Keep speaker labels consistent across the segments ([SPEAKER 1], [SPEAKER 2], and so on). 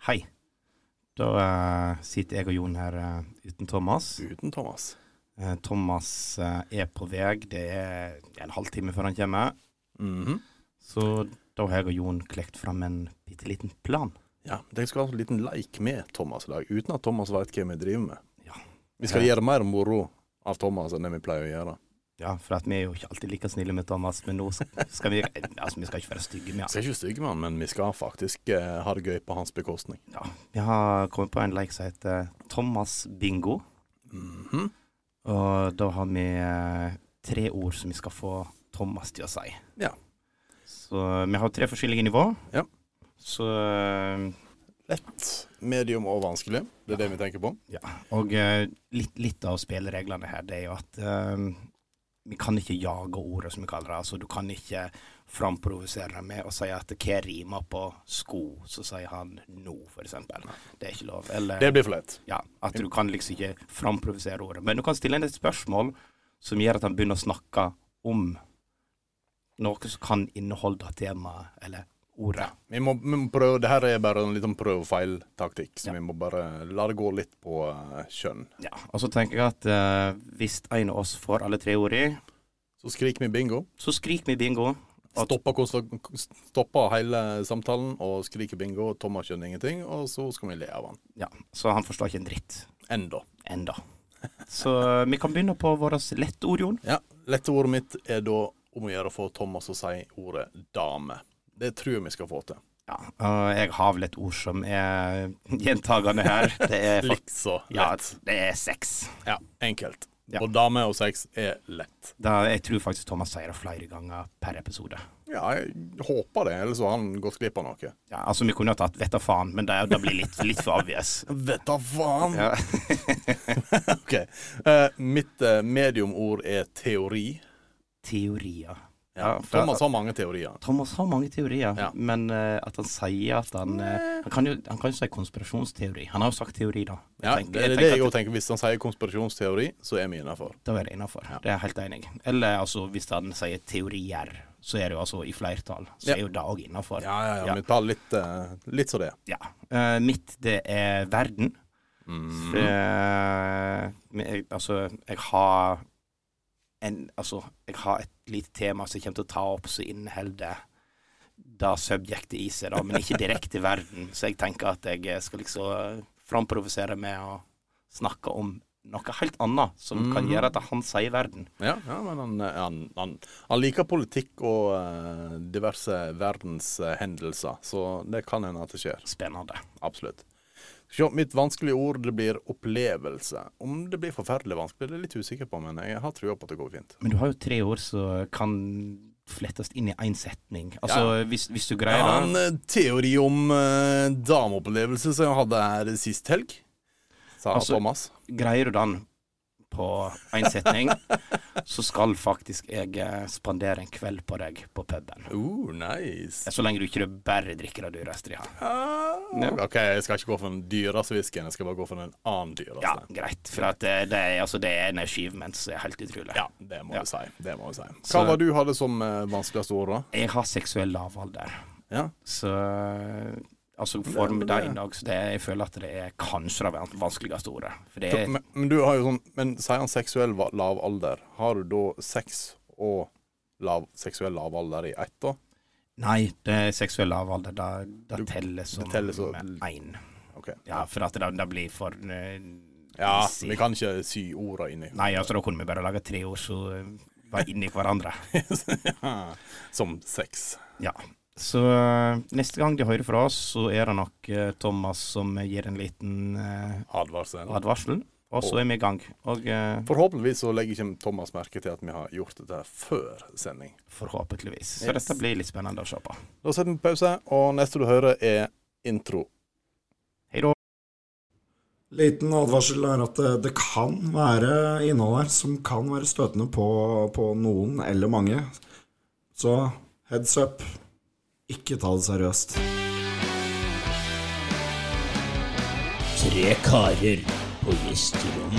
[SPEAKER 1] Hei. Da eh, sitter jeg og Jon her eh, uten Thomas.
[SPEAKER 2] Uten Thomas.
[SPEAKER 1] Eh, Thomas eh, er på vei. Det er en halvtime før han kommer.
[SPEAKER 2] Mhm.
[SPEAKER 1] Så da har jeg og Jon klekt fram en bitte liten plan.
[SPEAKER 2] Ja, Dere skal ha en liten leik med Thomas i dag, uten at Thomas veit hva vi driver med.
[SPEAKER 1] Ja.
[SPEAKER 2] Vi skal gjøre mer moro av Thomas enn det vi pleier å gjøre.
[SPEAKER 1] Ja, for at vi er jo ikke alltid like snille med Thomas, men nå sk- skal vi Altså, vi skal ikke være stygge med
[SPEAKER 2] Vi
[SPEAKER 1] han.
[SPEAKER 2] skal ikke stygge med han, men vi skal faktisk eh, ha det gøy på hans bekostning.
[SPEAKER 1] Ja, vi har kommet på en leik som heter Thomas bingo.
[SPEAKER 2] Mhm.
[SPEAKER 1] Og da har vi eh, tre ord som vi skal få Thomas til å si.
[SPEAKER 2] Ja.
[SPEAKER 1] Så eh, vi har tre forskjellige nivå.
[SPEAKER 2] Ja.
[SPEAKER 1] Så eh,
[SPEAKER 2] Lett, medium og vanskelig. Det er det vi tenker på.
[SPEAKER 1] Og eh, litt, litt av spillereglene her, det er jo at eh, vi kan ikke jage ordet, som vi kaller det. Altså, du kan ikke framprovosere det med å si at hva rimer på sko, så sier han no, for eksempel. Det er ikke lov. Eller
[SPEAKER 2] Det blir for lett.
[SPEAKER 1] ja, at du kan liksom ikke framprovosere ordet. Men du kan stille henne et spørsmål som gjør at han begynner å snakke om noe som kan inneholde temaet eller ordet.
[SPEAKER 2] Vi må, vi må prøve, det her er bare en liten prøv-feil-taktikk, så
[SPEAKER 1] Ja.
[SPEAKER 2] vi må bare la det gå litt på eh, kjønn.
[SPEAKER 1] Ja, Og så tenker jeg at eh, hvis en av oss får alle tre ordene,
[SPEAKER 2] Så skriker vi bingo.
[SPEAKER 1] så skriker vi bingo. At-
[SPEAKER 2] Stopper, kons- stopper hele samtalen og skriker bingo. Thomas skjønner ingenting, og så skal vi le av han.
[SPEAKER 1] Ja, så han forstår ikke en dritt
[SPEAKER 2] Enda.
[SPEAKER 1] enda. Så eh, vi kan begynne på vårt lette ord, Jon.
[SPEAKER 2] Ja, lette ordet mitt er da om å gjøre å få Thomas å si ordet dame. Det tror jeg vi skal få til.
[SPEAKER 1] Ja, og jeg har vel et ord som er gjentagende her. Det er, fakt-
[SPEAKER 2] Litt så lett.
[SPEAKER 1] ja, det er sex.
[SPEAKER 2] Ja, enkelt.
[SPEAKER 1] Ja.
[SPEAKER 2] Og dame og sex er lett.
[SPEAKER 1] Da, jeg tror faktisk Thomas sier det flere ganger per episode.
[SPEAKER 2] Ja, jeg håper det, ellers har han gått glipp av noe.
[SPEAKER 1] Ja, altså Vi kunne ha tatt 'vet da faen', men det, det blir litt, litt for obvious.
[SPEAKER 2] Vet da faen!
[SPEAKER 1] Ja.
[SPEAKER 2] OK. Eh, mitt eh, mediumord er teori.
[SPEAKER 1] Teorier.
[SPEAKER 2] Ja,
[SPEAKER 1] Ja, for-
[SPEAKER 2] Thomas har mange teorier.
[SPEAKER 1] Thomas har mange teorier,
[SPEAKER 2] Ja.
[SPEAKER 1] men eh, at han sier at han eh, Han kan jo han kan jo si konspirasjonsteori. Han har jo sagt teori, da. Jeg
[SPEAKER 2] Ja,
[SPEAKER 1] tenker-
[SPEAKER 2] det
[SPEAKER 1] jeg
[SPEAKER 2] er det
[SPEAKER 1] tenker
[SPEAKER 2] jeg
[SPEAKER 1] at
[SPEAKER 2] òg tenker. Hvis han sier konspirasjonsteori, så er vi innafor.
[SPEAKER 1] Da er det innafor. Det er jeg helt enig. Eller altså, hvis han sier teorier, så er det jo altså i flertall. Så
[SPEAKER 2] Ja.
[SPEAKER 1] er jo det òg innafor.
[SPEAKER 2] Ja, ja, ja.
[SPEAKER 1] Ja.
[SPEAKER 2] Vi tar litt, eh, litt så det.
[SPEAKER 1] Ja. Eh, mitt, det er verden. For, eh, men jeg, altså, jeg har en Altså, jeg har et lite tema som jeg kommer til å ta opp, som inneholder det subjektet i seg, da, men ikke direkte verden. Så jeg tenker at jeg skal liksom framprovosere med å snakke om noe helt annet som kan gjøre at han sier verden.
[SPEAKER 2] Ja, ja men han, eh, han, han, han liker politikk og eh, diverse verdenshendelser, så det kan hende at det skjer.
[SPEAKER 1] Spennende.
[SPEAKER 2] Absolutt. Sjå, mitt vanskelige ord det blir opplevelse. Om det blir forferdelig vanskelig, det er jeg litt usikker på, men jeg har trua på at det går fint.
[SPEAKER 1] Men du har jo tre ord som kan flettes inn i én setning. Altså, hvis, hvis du
[SPEAKER 2] Jeg
[SPEAKER 1] greier
[SPEAKER 2] har
[SPEAKER 1] det.
[SPEAKER 2] en eh, teori om eh, dameopplevelse som jeg hadde her sist helg, sa
[SPEAKER 1] Altså-
[SPEAKER 2] Thomas.
[SPEAKER 1] Greier du den på én setning, så skal faktisk jeg eh, spandere en kveld på deg på puben.
[SPEAKER 2] Oh, nice.
[SPEAKER 1] Så lenge du ikke bare drikker det dyreste de har.
[SPEAKER 2] Ah,
[SPEAKER 1] Ja.
[SPEAKER 2] OK, jeg skal ikke gå for den dyreste whiskyen, jeg skal bare gå for den annen
[SPEAKER 1] Ja,
[SPEAKER 2] dyreste.
[SPEAKER 1] greit. For at eh, det, er, altså, det er en achievement som er helt utrolig.
[SPEAKER 2] Ja, det må
[SPEAKER 1] Ja.
[SPEAKER 2] du si. Det må du si. Hva
[SPEAKER 1] Så-
[SPEAKER 2] var du hadde som eh, vanskeligste ord, da?
[SPEAKER 1] Jeg har seksuell lavalder,
[SPEAKER 2] Ja.
[SPEAKER 1] så Altså for
[SPEAKER 2] men
[SPEAKER 1] meg
[SPEAKER 2] det-
[SPEAKER 1] det i dag, så det, jeg føler at det er kanskje det van- vanskeligste ordet. For det er
[SPEAKER 2] Men, men du har jo sånn Men sier han seksuell va- lav alder, har du da sex og lav, seksuell lav alder i ett, da?
[SPEAKER 1] Nei, det er seksuell lavalder. Det, det teller som
[SPEAKER 2] teller så-
[SPEAKER 1] én.
[SPEAKER 2] OK.
[SPEAKER 1] Ja, for at det, det blir for eh,
[SPEAKER 2] Ja,
[SPEAKER 1] easy.
[SPEAKER 2] vi kan ikke sy orda inni.
[SPEAKER 1] Nei, altså da kunne vi bare lage tre ord som eh, var inni hverandre.
[SPEAKER 2] som sex.
[SPEAKER 1] Ja. Så eh, neste gang de hører fra oss, så er det nok eh, Thomas som gir en liten eh,
[SPEAKER 2] Advarsel.
[SPEAKER 1] advarsel. Og så er vi i gang. Og eh,
[SPEAKER 2] Forhåpentligvis så legger ikke Thomas merke til at vi har gjort dette før sending.
[SPEAKER 1] forhåpentligvis. Så
[SPEAKER 2] Yes.
[SPEAKER 1] dette blir litt spennende å se på.
[SPEAKER 2] Da setter vi pause, og neste du hører er intro.
[SPEAKER 1] Hei da.
[SPEAKER 3] Liten advarsel er at eh, det, det kan være innhold her som kan være støtende på, på noen eller mange. Så heads up. Ikke ta det seriøst.
[SPEAKER 4] Tre karer på gjesterom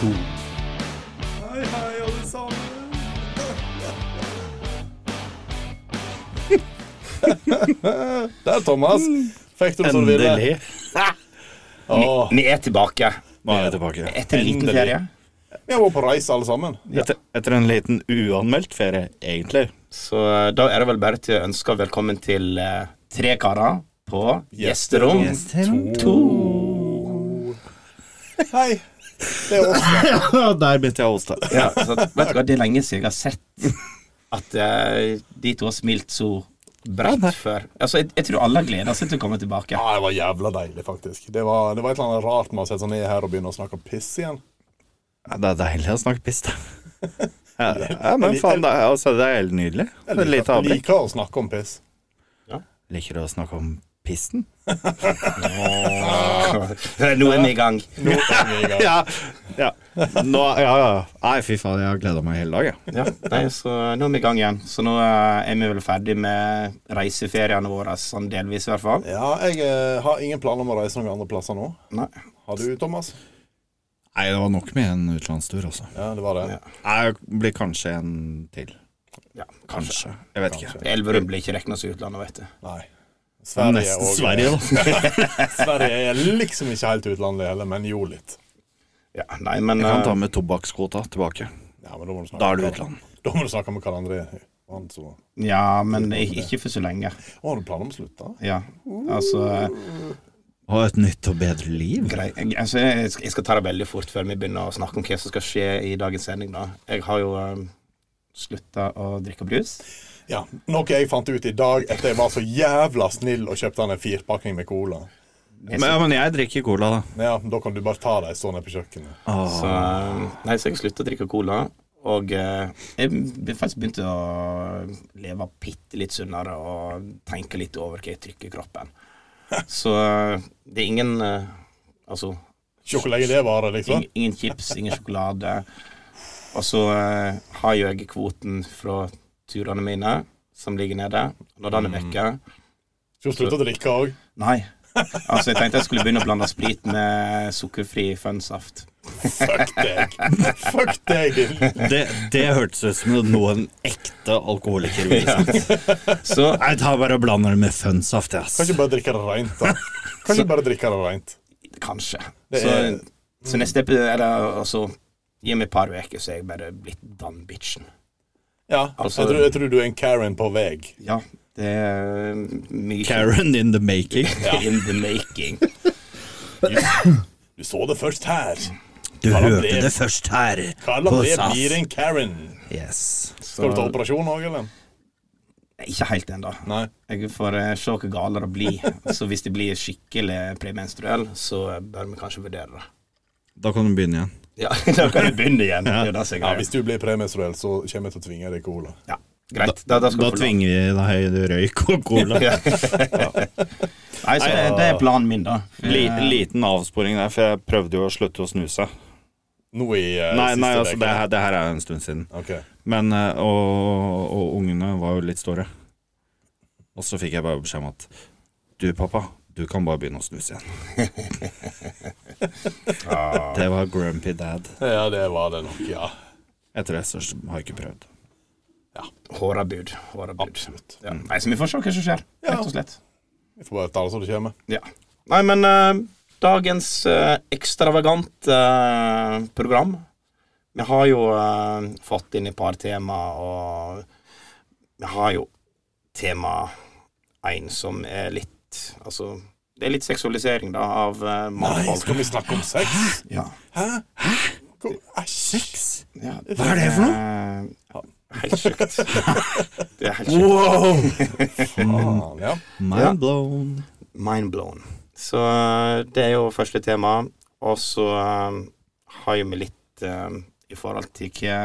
[SPEAKER 4] to.
[SPEAKER 2] Hei, hei, alle sammen. Der, Thomas. Fikk du det som du ville?
[SPEAKER 1] Endelig.
[SPEAKER 2] Åh,
[SPEAKER 1] Vi er tilbake
[SPEAKER 4] Vi er tilbake.
[SPEAKER 1] etter en liten
[SPEAKER 2] Endelig.
[SPEAKER 1] ferie.
[SPEAKER 2] vi har vært på reise alle sammen.
[SPEAKER 4] Etter, etter en liten uanmeldt ferie, egentlig.
[SPEAKER 1] Så eh, da er det vel bare til å ønske velkommen til eh, tre karer på gjesterom.
[SPEAKER 2] Hei. Det er oss.
[SPEAKER 4] Der begynte jeg å hoste.
[SPEAKER 1] Ja, så, vet du hva, det er lenge siden jeg har sett at eh, de to har smilt så bredt før. Altså, jeg, jeg tror alle gleder seg til å komme tilbake.
[SPEAKER 2] Ja, Ah, det var jævla deilig, faktisk. Det var, det var et eller annet rart med å sette seg ned her og begynne å snakke piss igjen.
[SPEAKER 4] Ja, Det er deilig å snakke piss, da. Ja, ja, men faen, det er, altså, det er helt nydelig. Et lite
[SPEAKER 2] Jeg
[SPEAKER 4] avbrekk.
[SPEAKER 2] liker å snakke om piss.
[SPEAKER 4] Liker du å snakke om pissen?
[SPEAKER 1] Nå er vi i gang.
[SPEAKER 2] Nå er vi i gang.
[SPEAKER 4] Ja. ja. Nå, ja, ja. Nei, fy faen, jeg har gleda meg hele dag, jeg.
[SPEAKER 1] Ja, nei, så nå er vi i gang igjen. Så nå eh, er vi vel ferdig med reiseferiene våre, sånn delvis i hvert fall.
[SPEAKER 2] Ja, jeg eh, har ingen planer om å reise noen andre plasser nå.
[SPEAKER 1] Nei.
[SPEAKER 2] Har du, Thomas?
[SPEAKER 4] Nei, det var nok med en utenlandstur, altså.
[SPEAKER 2] Ja, det var det.
[SPEAKER 1] Ja.
[SPEAKER 4] Nei, det blir kanskje en til.
[SPEAKER 1] Ja, kanskje.
[SPEAKER 4] Kanskje. Jeg vet ikke.
[SPEAKER 1] Elverum blir ikke regna som utlandet, vet du.
[SPEAKER 2] Nei. Sverige,
[SPEAKER 4] Nesten
[SPEAKER 2] og,
[SPEAKER 4] Sverige, da.
[SPEAKER 2] Sverige er liksom ikke helt utlandet heller, men jo litt.
[SPEAKER 1] Ja, nei, men
[SPEAKER 4] Jeg kan ta
[SPEAKER 1] eh,
[SPEAKER 4] med tobakkskvota tilbake.
[SPEAKER 2] Ja, men da må du snakke
[SPEAKER 4] Da er du
[SPEAKER 2] med-
[SPEAKER 4] utland.
[SPEAKER 2] Da må du snakke med Karl André. Han så
[SPEAKER 1] Ja, men ik- ikke for så lenge.
[SPEAKER 2] Å, har du planer om å slutte?
[SPEAKER 1] Ja, altså eh,
[SPEAKER 4] Og et nytt og bedre liv.
[SPEAKER 1] grei, jeg, altså, jeg, skal- jeg skal ta det veldig fort før vi begynner å snakke om hva som skal skje i dagens sending, da. Jeg har jo um, slutta å drikke brus.
[SPEAKER 2] Ja. Noe jeg fant ut i dag etter jeg var så jævla snill og kjøpte han en firpakning med cola.
[SPEAKER 4] Men, ja, men jeg drikker cola, da.
[SPEAKER 2] Ja, da kan du bare ta dem stående på kjøkkenet.
[SPEAKER 4] Ah.
[SPEAKER 1] Så, um, nei, så jeg slutta å drikke cola. Og eh, jeg be- faktisk begynte å leve bitte litt sunnere og tenke litt over hva jeg trykker i kroppen. Så eh, det er ingen eh, Altså
[SPEAKER 2] Se hvor lenge det varer, liksom.
[SPEAKER 1] Ingen, ingen chips, ingen sjokolade. Og så eh, har jo jeg kvoten fra turene mine, som ligger nede. Når den er vekke
[SPEAKER 2] Så slutt å drikke òg.
[SPEAKER 1] Nei. Altså, jeg tenkte jeg skulle begynne å blande sprit med sukkerfri fønsaft.
[SPEAKER 2] Fuck deg. Fuck deg, din
[SPEAKER 4] Det, det hørtes ut som noe en ekte alkoholiker ville sagt.
[SPEAKER 1] Så
[SPEAKER 4] Jeg tar bare og blander det med fønsaft, ass.
[SPEAKER 2] Kan ikke bare drikke det reint, da. Kan ikke bare drikke det reint.
[SPEAKER 1] kanskje.
[SPEAKER 2] Det
[SPEAKER 1] Så,
[SPEAKER 2] er-
[SPEAKER 1] så neste epi- eller altså Gi meg et par uker, så er jeg bare blitt den bitchen.
[SPEAKER 2] Ja,
[SPEAKER 1] Altså-
[SPEAKER 2] jeg, tror, jeg tror du er en Karen på vei.
[SPEAKER 1] Ja, det er mye
[SPEAKER 4] Karen in the making.
[SPEAKER 1] in the making.
[SPEAKER 2] Du så det først her.
[SPEAKER 4] Du
[SPEAKER 2] Karl André-
[SPEAKER 4] hørte det først her.
[SPEAKER 2] Karl
[SPEAKER 4] på
[SPEAKER 2] André
[SPEAKER 4] SAS.
[SPEAKER 2] blir en Karen.
[SPEAKER 4] Yes.
[SPEAKER 1] Så,
[SPEAKER 2] Skal du ta operasjon òg, eller?
[SPEAKER 1] ikke helt ennå.
[SPEAKER 2] Nei.
[SPEAKER 1] Jeg får eh, se hvor galere det blir. Så hvis det blir skikkelig premenstruell, så bør vi kanskje vurdere det.
[SPEAKER 4] Da kan du begynne igjen.
[SPEAKER 1] Ja, Da kan vi begynne igjen. Det er jo det som er
[SPEAKER 2] Ja,
[SPEAKER 1] greia.
[SPEAKER 2] hvis du blir premenstruell, så kommer jeg til å tvinge deg cola.
[SPEAKER 1] Ja, greit. Da, da skal du
[SPEAKER 4] Da
[SPEAKER 1] få lov.
[SPEAKER 4] tvinger vi deg i røyk og cola.
[SPEAKER 1] Ja. Nei, så det, det er planen min, da.
[SPEAKER 4] Li, liten avsporing der, for jeg prøvde jo å slutte å snuse.
[SPEAKER 2] Nå i eh,
[SPEAKER 4] Nei,
[SPEAKER 2] siste
[SPEAKER 4] nei, altså, det
[SPEAKER 2] veke.
[SPEAKER 4] her, det her er jo en stund siden.
[SPEAKER 2] Ok.
[SPEAKER 4] Men, eh, og, og ungene var jo litt store. Og så fikk jeg bare beskjed om at du, pappa, du kan bare begynne å snuse igjen. Det var grumpy dad.
[SPEAKER 2] Ja, det var det nok, ja.
[SPEAKER 4] Etter det så har jeg ikke prøvd.
[SPEAKER 1] Hårabud. Hårabud.
[SPEAKER 2] Absolutt.
[SPEAKER 1] Ja. Eh, Mm. Nei, så vi får se hva som skjer, rett og slett.
[SPEAKER 2] Vi får bare ta det som det kommer.
[SPEAKER 1] Ja. Nei, men eh, dagens eh, ekstravagant eh, program Vi har jo eh, fått inn et par tema, og vi har jo tema én som er litt Altså, det er litt seksualisering, da, av uh,
[SPEAKER 2] Nei,
[SPEAKER 1] mannfolk.
[SPEAKER 2] skal vi snakke om sex?
[SPEAKER 1] Ja.
[SPEAKER 2] Hvor- Æsj.
[SPEAKER 1] Ja,
[SPEAKER 4] Hva er det for noe?
[SPEAKER 1] noe? Eh, Helt sjukt. Det er helt sjukt.
[SPEAKER 4] Wow!
[SPEAKER 2] Faen,
[SPEAKER 1] Ja.
[SPEAKER 2] ja.
[SPEAKER 4] Mind blown.
[SPEAKER 1] Mind blown. Så eh, det er jo første tema. Og så eh, har jo vi litt eh, i forhold til hva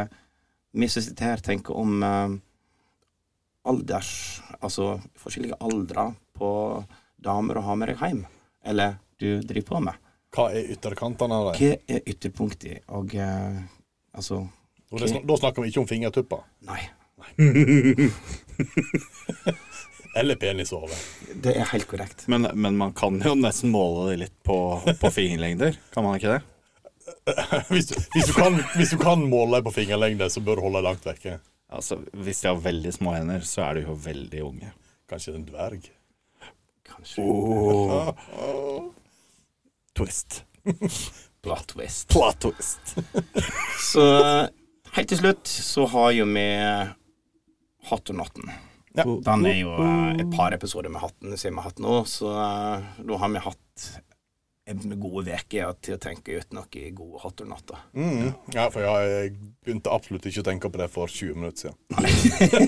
[SPEAKER 1] vi som sitter her, tenker om eh, alders Altså forskjellige aldre på damer å ha med deg hjem. Eller du driver på med.
[SPEAKER 2] Hva er ytterkantene av det?
[SPEAKER 1] Hva er ytterpunktet? Og eh, altså
[SPEAKER 2] Og det sn- Da snakker vi ikke om fingertupper.
[SPEAKER 1] Nei.
[SPEAKER 2] Eller penishove.
[SPEAKER 1] Det er helt korrekt.
[SPEAKER 4] Men, men man kan jo nesten måle det litt på, på fingerlengder, kan man ikke det?
[SPEAKER 2] Hvis, du- hvis, du kan- hvis du kan måle deg på fingerlengde, så bør du holde deg langt vekke.
[SPEAKER 4] Altså, Hvis de har veldig små hender, så er de jo veldig unge.
[SPEAKER 2] Kanskje en dverg.
[SPEAKER 1] Kanskje
[SPEAKER 4] Twist.
[SPEAKER 1] Plot twist.
[SPEAKER 4] Plot twist.
[SPEAKER 1] Så helt til slutt så har jo vi Hot or Notten.
[SPEAKER 2] Ja.
[SPEAKER 1] Den er jo eh, et par episoder med hatten siden vi har hatt nå, så eh, nå har vi hatt en gode uke til å tenke ut noe gode hot or not. da.
[SPEAKER 2] Mm. Ja, for jeg, jeg begynte absolutt ikke å tenke på det for 20 minutter siden.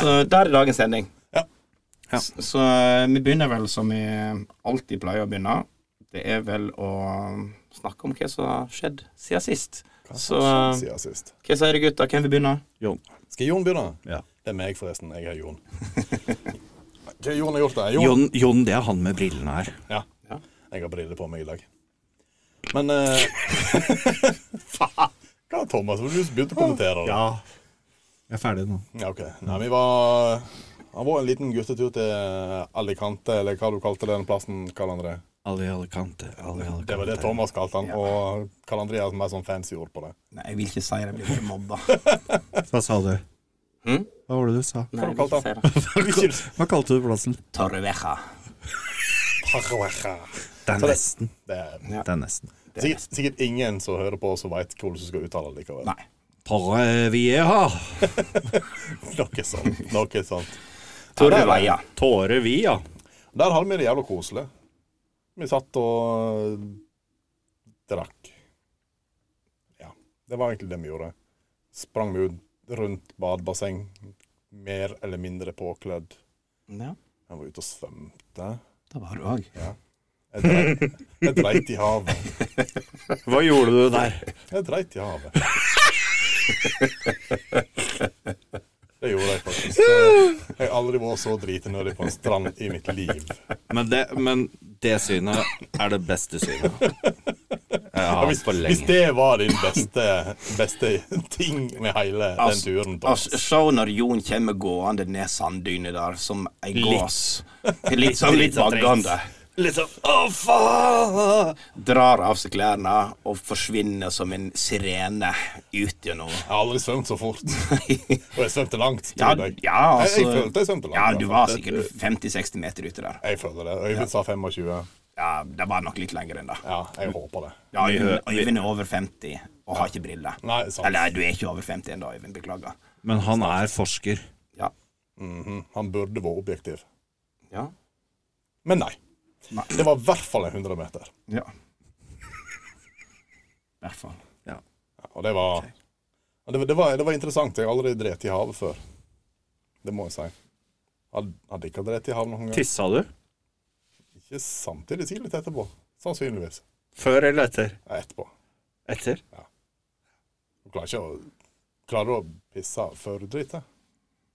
[SPEAKER 1] Så der er dagens sending.
[SPEAKER 2] Ja.
[SPEAKER 4] Ja.
[SPEAKER 1] S- Så, eh, vi begynner vel som vi alltid pleier å begynne. Det er vel å snakke om hva som har skjedd siden sist. Så eh,
[SPEAKER 2] Siden sist.
[SPEAKER 1] hva sier du, gutta? Hvem vil begynne?
[SPEAKER 4] Jon.
[SPEAKER 2] Skal Jon begynne?
[SPEAKER 4] Ja.
[SPEAKER 2] Det er meg, forresten. Jeg er Jon. Hva har Jon har gjort, da? Jon.
[SPEAKER 4] Jon, Jon, det er han med brillene her.
[SPEAKER 2] Ja.
[SPEAKER 1] Ja.
[SPEAKER 2] Jeg har briller på meg i dag. Men eh, Faen! Hva, Thomas? Du begynte å kommentere det.
[SPEAKER 4] Jeg er ferdig nå.
[SPEAKER 2] Ja, ok. Nei, vi var Han var en liten guttetur til Alicante, eller hva du kalte den plassen, Karl André.
[SPEAKER 4] Ali Alicante. Ali Alicante.
[SPEAKER 2] Det var det Thomas kalte han,
[SPEAKER 1] Ja.
[SPEAKER 2] og Karl André har et mer sånn fancy ord på det.
[SPEAKER 1] Nei, jeg vil ikke si det. Jeg blir ikke mobba.
[SPEAKER 4] Hva sa du?
[SPEAKER 1] Hm?
[SPEAKER 4] Hva var det du sa?
[SPEAKER 1] Nei,
[SPEAKER 2] Hva
[SPEAKER 1] jeg vil
[SPEAKER 2] kalte
[SPEAKER 1] ikke si det.
[SPEAKER 4] Hva kalte du plassen?
[SPEAKER 1] Torreveja.
[SPEAKER 4] Det er nesten.
[SPEAKER 2] Det er
[SPEAKER 1] Ja.
[SPEAKER 4] Det er nesten.
[SPEAKER 2] sikkert, sikkert ingen som hører på, som veit hvordan du skal uttale det likevel.
[SPEAKER 1] Nei.
[SPEAKER 4] Torre Vieja.
[SPEAKER 2] Noe sånt. Noe sånt.
[SPEAKER 1] Torreveja.
[SPEAKER 4] Tåre Via.
[SPEAKER 2] Der hadde vi det jævla koselig. Vi satt og øh, drakk. Ja. Det var egentlig det vi gjorde. Sprang vi ut rundt badebasseng, mer eller mindre påkledd.
[SPEAKER 1] Ja,
[SPEAKER 2] Jeg var ute og svømte.
[SPEAKER 1] det var du òg.
[SPEAKER 2] Jeg dreit, jeg dreit i havet.
[SPEAKER 4] Hva gjorde du der?
[SPEAKER 2] Jeg dreit i havet. Det gjorde jeg faktisk. Jeg har aldri vært så dritenødig på en strand i mitt liv.
[SPEAKER 4] Men det, men det synet er det beste synet. Ja,
[SPEAKER 2] Hvis,
[SPEAKER 4] for
[SPEAKER 2] hvis
[SPEAKER 4] lenge.
[SPEAKER 2] det var din beste, beste ting med hele den turen, Thomas.
[SPEAKER 1] Altså, Se når Jon kommer gående ned sanddynet der som ei gås. Litt sånn litt
[SPEAKER 4] Litt sånn
[SPEAKER 1] vaggende.
[SPEAKER 4] Litt sånn Å, faen!
[SPEAKER 1] Drar av seg klærne og forsvinner som en sirene ut gjennom
[SPEAKER 2] Jeg har aldri svømt så fort. Og jeg svømte langt. tror
[SPEAKER 1] Ja,
[SPEAKER 2] jeg.
[SPEAKER 1] ja, altså
[SPEAKER 2] jeg, jeg følte jeg svømte langt.
[SPEAKER 1] Ja,
[SPEAKER 2] i
[SPEAKER 1] du
[SPEAKER 2] hvert
[SPEAKER 1] var
[SPEAKER 2] fall.
[SPEAKER 1] sikkert 50-60 meter ute der.
[SPEAKER 2] Jeg føler det. Øyvind sa 25.
[SPEAKER 1] Ja, Det var nok litt lenger enn det.
[SPEAKER 2] Ja, jeg håper det.
[SPEAKER 1] Ja, Øyvind Øyvind er over 50 og har ikke briller.
[SPEAKER 2] Nei, sant.
[SPEAKER 1] Eller du er ikke over 50 ennå, Øyvind. Beklager.
[SPEAKER 4] Men han er forsker.
[SPEAKER 1] Ja.
[SPEAKER 2] Mhm. Han burde vært objektiv.
[SPEAKER 1] Ja.
[SPEAKER 2] Men nei.
[SPEAKER 1] Nei.
[SPEAKER 2] Det var i hvert fall en 100 meter.
[SPEAKER 1] ja. I hvert fall.
[SPEAKER 2] Ja, Og det var, og det, var- det var Det var interessant. Jeg har aldri drept i havet før. Det må jeg si. Hadde, hadde ikke drept i havet noen gang.
[SPEAKER 4] Tissa du?
[SPEAKER 2] Ikke samtidig tidlig etterpå. Sannsynligvis.
[SPEAKER 4] Før eller etter?
[SPEAKER 2] Nei, Etterpå.
[SPEAKER 4] Etter.
[SPEAKER 2] Du klarer ikke å Klarer du å pisse før du driter?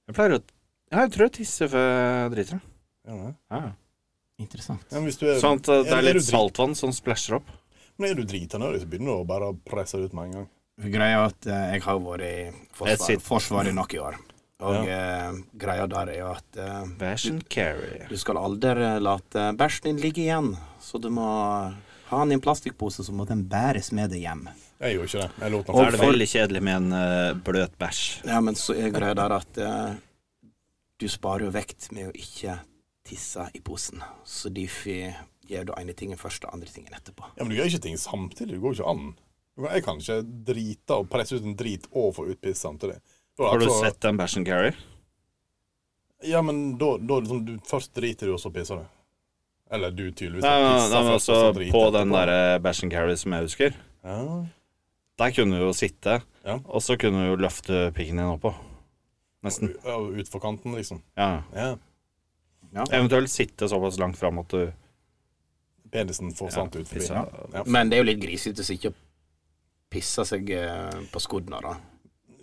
[SPEAKER 4] Jeg pleier å Ja, jeg tror jeg tisser før jeg driter.
[SPEAKER 2] Gjør du det?
[SPEAKER 4] Ja.
[SPEAKER 1] Interessant.
[SPEAKER 2] Ja, men hvis du er,
[SPEAKER 4] Sånn at det
[SPEAKER 2] er
[SPEAKER 4] er
[SPEAKER 2] du
[SPEAKER 4] litt
[SPEAKER 2] drit-
[SPEAKER 4] saltvann som splæsjer opp.
[SPEAKER 2] Men er du dritenødig, så begynner du å bare presse det ut med en gang.
[SPEAKER 1] Greia er at eh, jeg har vært i
[SPEAKER 4] Jeg
[SPEAKER 1] forsvar,
[SPEAKER 4] sitter-
[SPEAKER 1] Forsvaret i noen år. Og eh, greia der er jo at eh,
[SPEAKER 4] Bæsjen carry.
[SPEAKER 1] du skal aldri late bæsjen din ligge igjen. Så du må ha den i en plastikkpose, så må den bæres med deg hjem.
[SPEAKER 2] Jeg gjorde ikke det. Jeg lot
[SPEAKER 4] Så
[SPEAKER 2] den
[SPEAKER 4] er det
[SPEAKER 2] for-
[SPEAKER 4] veldig kjedelig med en eh, bløt bæsj.
[SPEAKER 1] Ja, men så er greia der at eh, du sparer jo vekt med å ikke tisse i posen. Så derfor gjør du ene tingen først og andre tingen etterpå.
[SPEAKER 2] Ja, men du gjør ikke ting samtidig. Det går jo ikke an. Du kan- Jeg kan ikke drite og presse ut en drit og få ut piss samtidig. Da er
[SPEAKER 4] Har du
[SPEAKER 2] altså-
[SPEAKER 4] sett den bæsjen carry?
[SPEAKER 2] Ja, men da, da liksom, du, først driter du, og så pisser du. Eller du tydeligvis har
[SPEAKER 4] Nei, nei,
[SPEAKER 2] pisset
[SPEAKER 4] nei, men
[SPEAKER 2] først,
[SPEAKER 4] også
[SPEAKER 2] og så driter
[SPEAKER 4] på
[SPEAKER 2] etterpå.
[SPEAKER 4] den eh, derre bæsjen carry som jeg husker.
[SPEAKER 2] ja.
[SPEAKER 4] Der kunne du jo sitte,
[SPEAKER 2] Ja.
[SPEAKER 4] og så kunne du jo løfte pikken din oppå. Nesten.
[SPEAKER 2] u- ja, Utfor kanten, liksom.
[SPEAKER 4] Ja.
[SPEAKER 2] Ja.
[SPEAKER 4] Eventuelt sitte såpass langt fram at du
[SPEAKER 2] Penisen får sant ut forbi.
[SPEAKER 4] pisser.
[SPEAKER 2] Ja.
[SPEAKER 1] Men det er jo litt grisete å ikke pisse seg eh, på skuddene, da.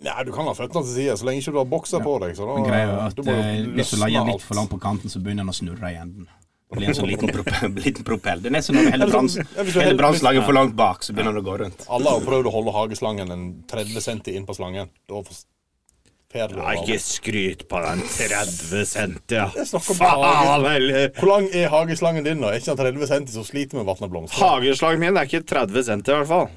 [SPEAKER 2] Nei, du kan ha føttene til siden så lenge ikke du har bokser på deg. Så da,
[SPEAKER 1] Men greia er at
[SPEAKER 2] du må jo
[SPEAKER 1] eh, hvis du
[SPEAKER 2] løsne
[SPEAKER 1] leier
[SPEAKER 2] alt.
[SPEAKER 1] litt for langt på kanten, så begynner den å snurre i enden. Det blir en sånn liten, prop liten propell. Det er nesten når du heller
[SPEAKER 2] Ja, men
[SPEAKER 1] brans
[SPEAKER 2] så- ja, hvis du
[SPEAKER 1] heller
[SPEAKER 2] heller-
[SPEAKER 1] brannslaget for langt bak, så begynner den å gå rundt.
[SPEAKER 2] Alle har prøvd å holde hageslangen en 30 cm inn på slangen. Da får Per det
[SPEAKER 4] Nei,
[SPEAKER 2] over.
[SPEAKER 4] ikke skryt på den 30 centi, ja.
[SPEAKER 2] Jeg snakker om
[SPEAKER 4] Faen heller!
[SPEAKER 2] Hvor lang er hageslangen din? nå? Er ikke den 30 cm, så sliter vi med vann og blomster.
[SPEAKER 4] Hageslaget min er ikke 30 centi, i hvert fall.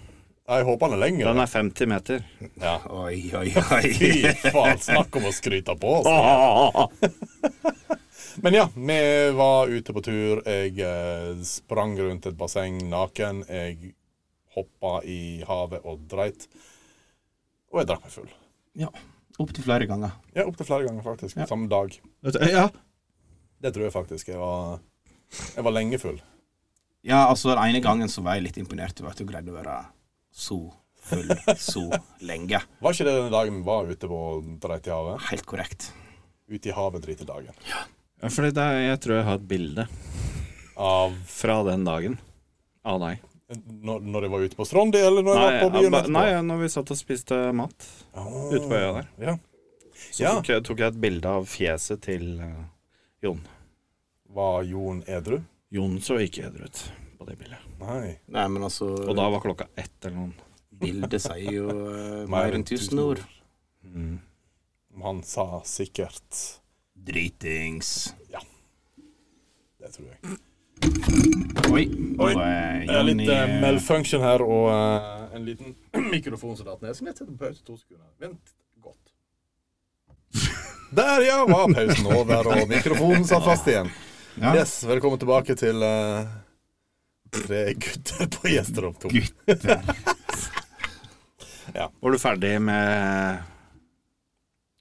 [SPEAKER 2] Jeg håper den er
[SPEAKER 4] Den
[SPEAKER 2] lengre.
[SPEAKER 4] er 50 meter.
[SPEAKER 2] Ja.
[SPEAKER 1] Oi, oi, oi.
[SPEAKER 2] Fy faen, snakk om å skryte på oss.
[SPEAKER 4] Åh,
[SPEAKER 2] altså. Men ja, vi var ute på tur. Jeg eh, sprang rundt et basseng naken. Jeg hoppa i havet og dreit. Og jeg drakk meg full.
[SPEAKER 5] Opptil flere ganger.
[SPEAKER 2] Ja, Opptil flere ganger, faktisk.
[SPEAKER 5] Ja.
[SPEAKER 2] Samme dag.
[SPEAKER 5] Vet du-
[SPEAKER 4] eh,
[SPEAKER 5] Ja.
[SPEAKER 2] Det tror jeg faktisk. Jeg var, jeg var lenge full.
[SPEAKER 1] Ja, altså, den ene gangen så var jeg litt imponert over at du greide å være så full så lenge.
[SPEAKER 2] Var ikke det den dagen vi var ute på dreit i havet?
[SPEAKER 1] Helt korrekt.
[SPEAKER 2] Ute i havet drite dagen.
[SPEAKER 4] Ja, fordi det, er- jeg tror jeg har et bilde
[SPEAKER 2] Av
[SPEAKER 4] fra den dagen. Av deg.
[SPEAKER 2] når, når jeg var ute på Strondi, eller når
[SPEAKER 4] Nei,
[SPEAKER 2] jeg var på byen
[SPEAKER 4] ja, ba-
[SPEAKER 2] etterpå?
[SPEAKER 4] nei, ja, når vi satt og spiste mat
[SPEAKER 2] Ah,
[SPEAKER 4] ute på øya der,
[SPEAKER 2] Ja.
[SPEAKER 4] så
[SPEAKER 2] Ja.
[SPEAKER 4] tok, jeg, tok jeg et bilde av fjeset til eh, Jon.
[SPEAKER 2] Var Jon edru?
[SPEAKER 4] Jon så ikke edru ut på det bildet.
[SPEAKER 2] Nei.
[SPEAKER 1] Nei, men altså
[SPEAKER 4] Og da var klokka ett eller noe.
[SPEAKER 1] Bildet sier jo eh, mer enn tusen ord.
[SPEAKER 4] Mm.
[SPEAKER 2] Han sa sikkert
[SPEAKER 1] Dritings.
[SPEAKER 2] Det tror jeg.
[SPEAKER 1] Oi.
[SPEAKER 2] Oi.
[SPEAKER 1] Nå er
[SPEAKER 2] Det er litt
[SPEAKER 1] Johnny
[SPEAKER 2] eh, malfunction her, og eh, en liten mikrofon som datt ned. Så vi setter pause to sekunder. Vent godt. Der, ja, var pausen over, og mikrofonen satt fast igjen.
[SPEAKER 5] Ja.
[SPEAKER 2] Yes, velkommen tilbake til eh, Tre gutter på gjesterom to.
[SPEAKER 4] Var du ferdig med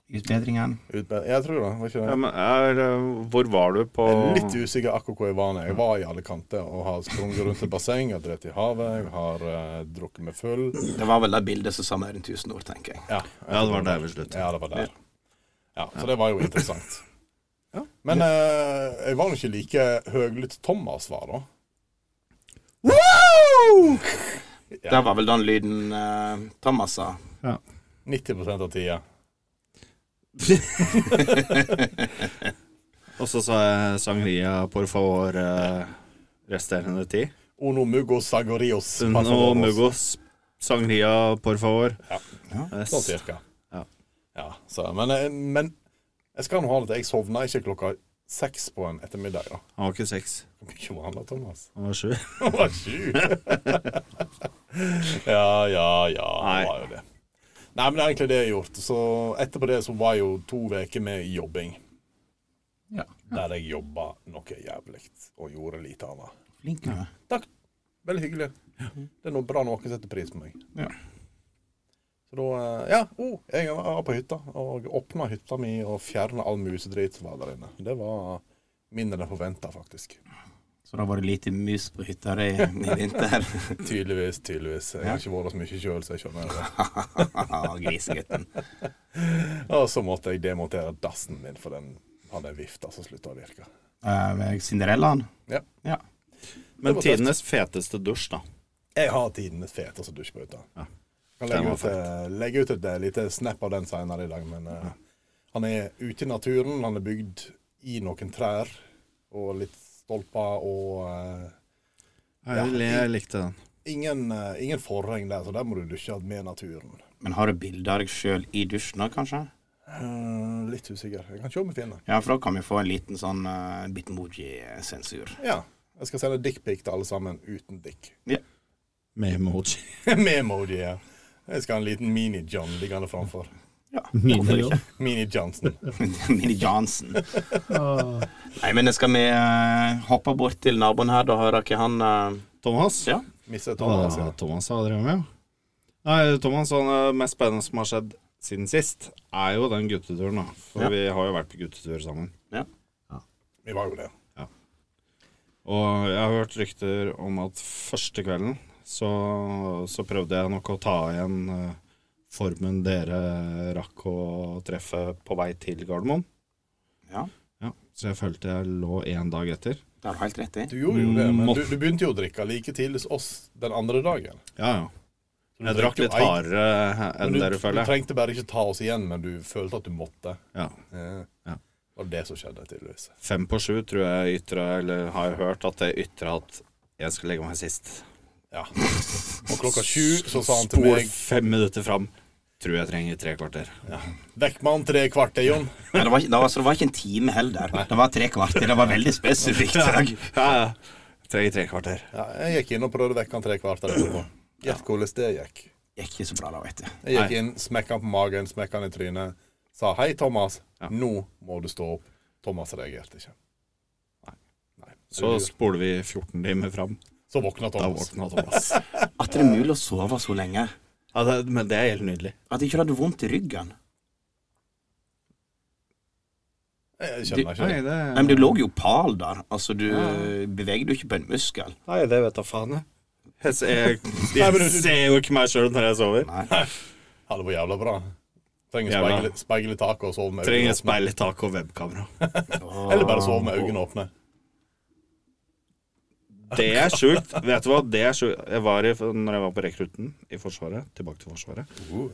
[SPEAKER 5] Utbedringen.
[SPEAKER 2] Ut med- Jeg tror det, var ikke
[SPEAKER 4] ja,
[SPEAKER 2] det?
[SPEAKER 4] men, er, eh, Hvor var du på
[SPEAKER 2] Jeg er litt usikker akkurat hvor jeg var. når Jeg var i alle kanter og har sprunget rundt et basseng, jeg har drept i havet, jeg har eh, drukket meg full.
[SPEAKER 1] Det var vel det bildet som sa mer enn tusen ord, tenker jeg.
[SPEAKER 2] Ja,
[SPEAKER 4] Ja, det var der vi sluttet.
[SPEAKER 2] Ja, det var der. Ja, så det var jo interessant. Men eh, jeg var jo ikke like høglytt Thomas var, da. Ja.
[SPEAKER 1] Det var vel den lyden eh, Thomas sa.
[SPEAKER 2] 90 av tida.
[SPEAKER 4] Og så sa jeg sangria por favor eh, resterende tid.
[SPEAKER 2] Uno mugos sagorios.
[SPEAKER 4] Uno
[SPEAKER 2] passadoros.
[SPEAKER 4] mugos sangria por favor. Eh,
[SPEAKER 2] Ja.
[SPEAKER 4] Yes.
[SPEAKER 2] Sånn cirka.
[SPEAKER 4] Ja.
[SPEAKER 2] Ja, så, men, eh, men jeg skal nå ha det til jeg sovna ikke klokka seks på en ettermiddag, da.
[SPEAKER 4] Han var ikke seks,
[SPEAKER 2] Hvor mye var han da, Thomas?
[SPEAKER 4] han var sju.
[SPEAKER 2] Han var sju. ja, ja, ja. Han
[SPEAKER 4] Nei.
[SPEAKER 2] var jo det. Nei, men det er egentlig det jeg har gjort. Så etterpå det så var jeg jo to uker med jobbing.
[SPEAKER 5] Ja.
[SPEAKER 2] Der jeg jobba noe jævlig og gjorde lite annet.
[SPEAKER 5] Flink du er.
[SPEAKER 2] Takk. Veldig hyggelig. Det er noe bra noen setter pris på meg.
[SPEAKER 5] Ja.
[SPEAKER 2] Så da eh, Ja, oh, jeg var på hytta og åpna hytta mi og fjerna all musedrit som var der inne. Det var mindre enn forventa, faktisk.
[SPEAKER 1] Så da var det lite mus på hytta di i vinter.
[SPEAKER 2] Tydeligvis, tydeligvis. Jeg har ikke vært så mye sjøl, så jeg skjønner det.
[SPEAKER 1] Grisegutten.
[SPEAKER 2] Og så måtte jeg demontere dassen min, for den hadde en vifte som slutta å virke.
[SPEAKER 1] Eh, Cinderellaen.
[SPEAKER 4] Men
[SPEAKER 2] var tøft.
[SPEAKER 4] tidenes feteste dusj, da.
[SPEAKER 2] Jeg har tidenes feteste dusjbøtte.
[SPEAKER 4] Ja.
[SPEAKER 2] Kan
[SPEAKER 4] Den
[SPEAKER 2] legge
[SPEAKER 4] var
[SPEAKER 2] ut, eh, legge ut et eh, lite snap av den seinere i dag, men eh, han er ute i naturen. Han er bygd i noen trær og litt stolper og eh,
[SPEAKER 4] Jeg, jeg likte den.
[SPEAKER 2] ingen, eh, ingen forheng der, så der må du dusje med naturen.
[SPEAKER 1] Men har du bilde av deg sjøl i dusjen òg, kanskje?
[SPEAKER 2] Eh, litt usikker. Jeg kan se om jeg finner.
[SPEAKER 1] Ja, for da kan vi få en liten sånn uh, bitmoji-sensur.
[SPEAKER 2] Ja. Jeg skal sende dickpic til alle sammen uten dick.
[SPEAKER 4] Med emoji.
[SPEAKER 2] med emoji. Ja. Jeg skal ha en liten mini-John liggende framfor.
[SPEAKER 1] Ja,
[SPEAKER 5] Hvorfor ikke?
[SPEAKER 2] Mini-Johnson.
[SPEAKER 1] Mini Johnson. Nei, men skal vi eh, hoppe bort til naboen her, da hører ikke han eh,
[SPEAKER 4] Thomas?
[SPEAKER 1] Ja.
[SPEAKER 2] Mistet
[SPEAKER 4] Hva
[SPEAKER 2] Thomas, ja.
[SPEAKER 4] Thomas har drevet med? Nei, Thomas, han eh, mest spennende som har skjedd siden sist, er jo den gutteturen, da. For
[SPEAKER 1] Ja.
[SPEAKER 4] vi har jo vært på guttetur sammen.
[SPEAKER 2] Vi var jo det.
[SPEAKER 4] Og jeg har hørt rykter om at første kvelden så, så prøvde jeg nok å ta igjen eh, formen dere rakk å treffe på vei til Gardermoen.
[SPEAKER 1] Ja,
[SPEAKER 4] Ja, så jeg følte jeg lå én dag etter.
[SPEAKER 1] det har du helt rett i.
[SPEAKER 2] Du gjorde jo det, men du, du begynte jo å drikke like tidlig som oss den andre dagen.
[SPEAKER 4] Ja, ja.
[SPEAKER 2] Så du
[SPEAKER 4] Jeg drakk
[SPEAKER 2] jo
[SPEAKER 4] litt
[SPEAKER 2] ei-
[SPEAKER 4] hardere
[SPEAKER 2] men
[SPEAKER 4] enn
[SPEAKER 2] du-
[SPEAKER 4] dere,
[SPEAKER 2] Du
[SPEAKER 4] føler jeg.
[SPEAKER 2] trengte bare ikke ta oss igjen, men du følte at du måtte.
[SPEAKER 4] Ja.
[SPEAKER 2] Ja.
[SPEAKER 4] Ja.
[SPEAKER 2] Det var det som skjedde, tydeligvis.
[SPEAKER 4] Fem på sju tror jeg ytra, eller har jeg hørt at jeg ytra at jeg skal legge meg sist.
[SPEAKER 2] Ja. Og klokka sju så sa han til meg
[SPEAKER 4] fem minutter fram. Tror jeg trenger tre kvarter.
[SPEAKER 2] Vekk med han tre kvarter, Jon.
[SPEAKER 1] Ja, det, var, ikke- det, var, så det var ikke en time heller. Det var tre kvarter. Det var veldig spesifikt.
[SPEAKER 4] Ja, ja. Trenger tre kvarter.
[SPEAKER 2] Ja, jeg gikk inn og prøvde å vekke han tre kvarter etterpå. Gjett hvordan det gikk.
[SPEAKER 1] Det gikk ikke så bra da, vet du.
[SPEAKER 2] Jeg gikk inn, smekka han på magen, smekka han i trynet. Sa 'Hei, Thomas, nå må du stå opp'. Thomas reagerte ikke.
[SPEAKER 4] Så spoler vi 14 timer fram.
[SPEAKER 2] Så våkna
[SPEAKER 4] Da
[SPEAKER 2] Thomas.
[SPEAKER 4] våkna Thomas.
[SPEAKER 1] At det er mulig å sove så lenge.
[SPEAKER 4] Ja, det, men det er helt nydelig.
[SPEAKER 1] At ikke du hadde vondt i ryggen.
[SPEAKER 2] Jeg skjønner ikke det.
[SPEAKER 4] Nei, det
[SPEAKER 1] Nei, men du lå jo pal der. Altså, du beveger jo ikke på en muskel.
[SPEAKER 4] Nei, det vet jeg faen, jeg. Jeg ser,
[SPEAKER 2] Nei, men
[SPEAKER 4] jeg
[SPEAKER 2] du-
[SPEAKER 4] ser jo ikke meg sjøl når jeg sover.
[SPEAKER 2] Ja, det var jævla bra. Trenger
[SPEAKER 4] Jævla.
[SPEAKER 2] speil- speil i taket og sove med
[SPEAKER 4] Trenger
[SPEAKER 2] øynene
[SPEAKER 4] et speil i taket og webkamera.
[SPEAKER 2] åpne. Eller bare sove med øynene åpne.
[SPEAKER 4] Det er sjukt. Vet du hva? Det er sjukt. Jeg var i, når jeg var på rekrutten i Forsvaret, tilbake til Forsvaret,
[SPEAKER 2] Uh,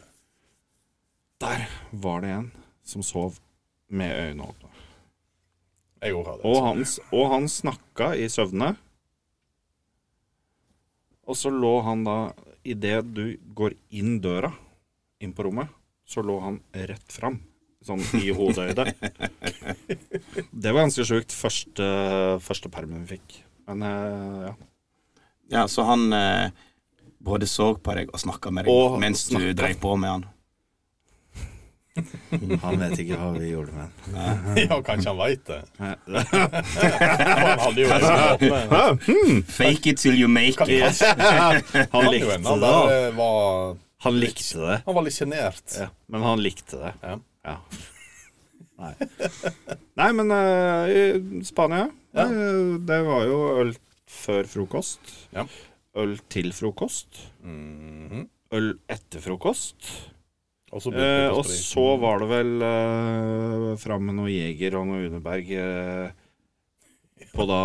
[SPEAKER 4] der var det en som sov med øynene åpne.
[SPEAKER 2] Jeg òg har det.
[SPEAKER 4] Og han, og han snakka i søvne. Og så lå han da Idet du går inn døra, inn på rommet, så lå han rett fram. Sånn i hodehøyde. Det var ganske sjukt. Første, første permen vi fikk. Men eh, ja.
[SPEAKER 1] Ja, så han eh, både så på deg og snakka med deg
[SPEAKER 4] Og
[SPEAKER 1] mens du
[SPEAKER 4] snakket.
[SPEAKER 1] drev på med han.
[SPEAKER 4] Han vet ikke hva vi gjorde med han.
[SPEAKER 2] Ja, kanskje han veit det.
[SPEAKER 4] Nei.
[SPEAKER 2] Han hadde jo øynene åpne.
[SPEAKER 1] Fake it till you make it.
[SPEAKER 4] Han
[SPEAKER 2] Han, jo
[SPEAKER 4] likte
[SPEAKER 2] en, han,
[SPEAKER 4] det. da.
[SPEAKER 2] der eh, var,
[SPEAKER 4] Han likte det.
[SPEAKER 2] han var litt sjenert.
[SPEAKER 4] Ja, men han likte det.
[SPEAKER 2] Ja.
[SPEAKER 4] Nei. Nei, men eh, i Spania
[SPEAKER 2] Ja.
[SPEAKER 4] eh, Det var jo øl før frokost.
[SPEAKER 2] Ja.
[SPEAKER 4] Øl til frokost.
[SPEAKER 2] Mhm.
[SPEAKER 4] Øl etter frokost.
[SPEAKER 2] Og så
[SPEAKER 4] Eh,
[SPEAKER 2] begynte vi på
[SPEAKER 4] og
[SPEAKER 2] sprit.
[SPEAKER 4] så var det vel eh, fram med noe Jeger og noe Underberg eh, på da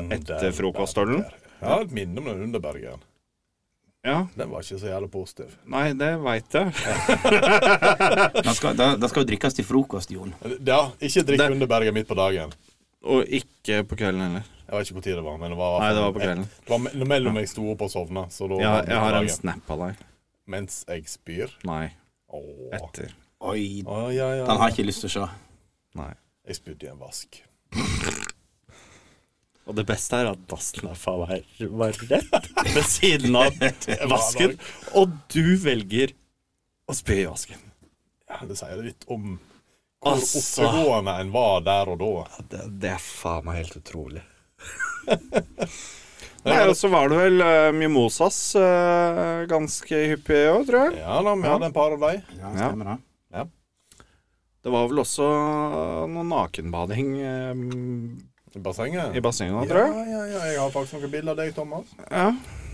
[SPEAKER 2] Mm,
[SPEAKER 4] etter frokostølen.
[SPEAKER 2] Jeg har et minne om den Underbergen.
[SPEAKER 4] Ja.
[SPEAKER 2] Den var ikke så jævlig positiv.
[SPEAKER 4] Nei, det veit jeg.
[SPEAKER 1] Da skal, da, da skal jo drikkes til frokost, Jon.
[SPEAKER 2] Ja, ikke drikk
[SPEAKER 4] Det-
[SPEAKER 2] Underbergen midt på dagen.
[SPEAKER 4] Og ikke på kvelden heller.
[SPEAKER 2] Jeg vet ikke hvor tid det var, men det var
[SPEAKER 4] Nei, det var på kvelden.
[SPEAKER 2] Det var me- mellom jeg sto opp og sovna, så da
[SPEAKER 4] Ja,
[SPEAKER 2] var det
[SPEAKER 4] jeg har en
[SPEAKER 2] dagen.
[SPEAKER 4] snap av deg.
[SPEAKER 2] Mens jeg spyr.
[SPEAKER 4] Nei,
[SPEAKER 2] Åh.
[SPEAKER 4] etter.
[SPEAKER 1] Oi,
[SPEAKER 2] Å, ja, ja.
[SPEAKER 1] den har jeg ikke lyst til å se.
[SPEAKER 4] Nei.
[SPEAKER 2] Jeg spydde i en vask.
[SPEAKER 4] Og det beste er at dasslaffa var, var rett ved siden av vasken, og du velger å spy i vasken.
[SPEAKER 2] Ja, det sier litt om hvor
[SPEAKER 4] Altså.
[SPEAKER 2] oppegående en var der og da.
[SPEAKER 4] Det, er faen meg helt utrolig.
[SPEAKER 2] Men
[SPEAKER 4] Nei,
[SPEAKER 2] jeg
[SPEAKER 4] Og
[SPEAKER 2] hadde-
[SPEAKER 4] så var det vel eh, mimosas eh, ganske hyppig òg, tror jeg.
[SPEAKER 2] Ja da, vi hadde en par av dem.
[SPEAKER 1] Ja,
[SPEAKER 4] stemmer
[SPEAKER 1] det.
[SPEAKER 4] Det var vel også noe nakenbading eh,
[SPEAKER 2] I bassenget.
[SPEAKER 4] i bassenget, da, tror jeg.
[SPEAKER 2] Ja, ja, ja. Jeg har faktisk noen bilder av deg, Thomas.
[SPEAKER 4] Ja.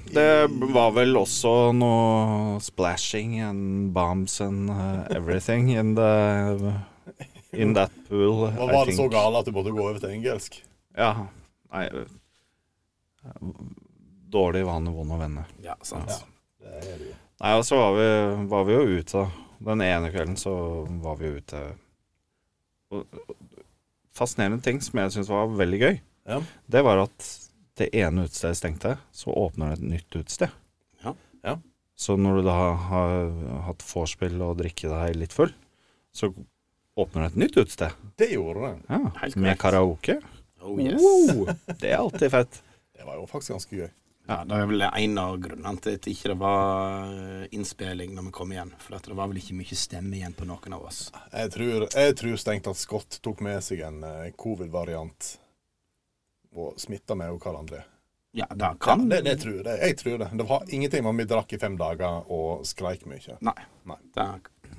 [SPEAKER 4] Det var vel også noe splashing and bombs and uh, everything in the In that pool,
[SPEAKER 2] Hva var det så gale at du måtte gå over til engelsk?
[SPEAKER 4] Ja. Nei eh, Dårlig vane, vond å vende.
[SPEAKER 1] Ja, sant.
[SPEAKER 4] Ja.
[SPEAKER 2] Det er det jo.
[SPEAKER 4] Nei, og så var vi, var vi jo ute, da. Den ene kvelden så var vi jo ute. Og, og fascinerende ting som jeg syntes var veldig gøy,
[SPEAKER 2] Ja.
[SPEAKER 4] det var at det ene utestedet stengte, så åpner det et nytt utested.
[SPEAKER 1] Ja.
[SPEAKER 2] Ja.
[SPEAKER 4] Så når du da har hatt vorspiel og drikke deg litt full, så åpner det et nytt utested.
[SPEAKER 2] Det gjorde det.
[SPEAKER 4] Ja,
[SPEAKER 1] Helt
[SPEAKER 4] med
[SPEAKER 1] korrekt.
[SPEAKER 4] karaoke.
[SPEAKER 1] Oh, yes.
[SPEAKER 4] Wow, det er alltid fett.
[SPEAKER 2] Det var jo faktisk ganske gøy.
[SPEAKER 1] Ja, Det er vel en av grunnene til at ikke det var eh, innspilling når vi kom igjen. For at det var vel ikke mye stemme igjen på noen av oss.
[SPEAKER 2] Jeg tror, jeg tror stengt at Scott tok med seg en eh, covid-variant og smitta med og Karl André.
[SPEAKER 1] Ja, det kan
[SPEAKER 2] Ja, det, det tror jeg. Jeg tror det. Det var ingenting om vi drakk i fem dager og skreik mye.
[SPEAKER 1] Nei.
[SPEAKER 2] Nei.
[SPEAKER 1] Det,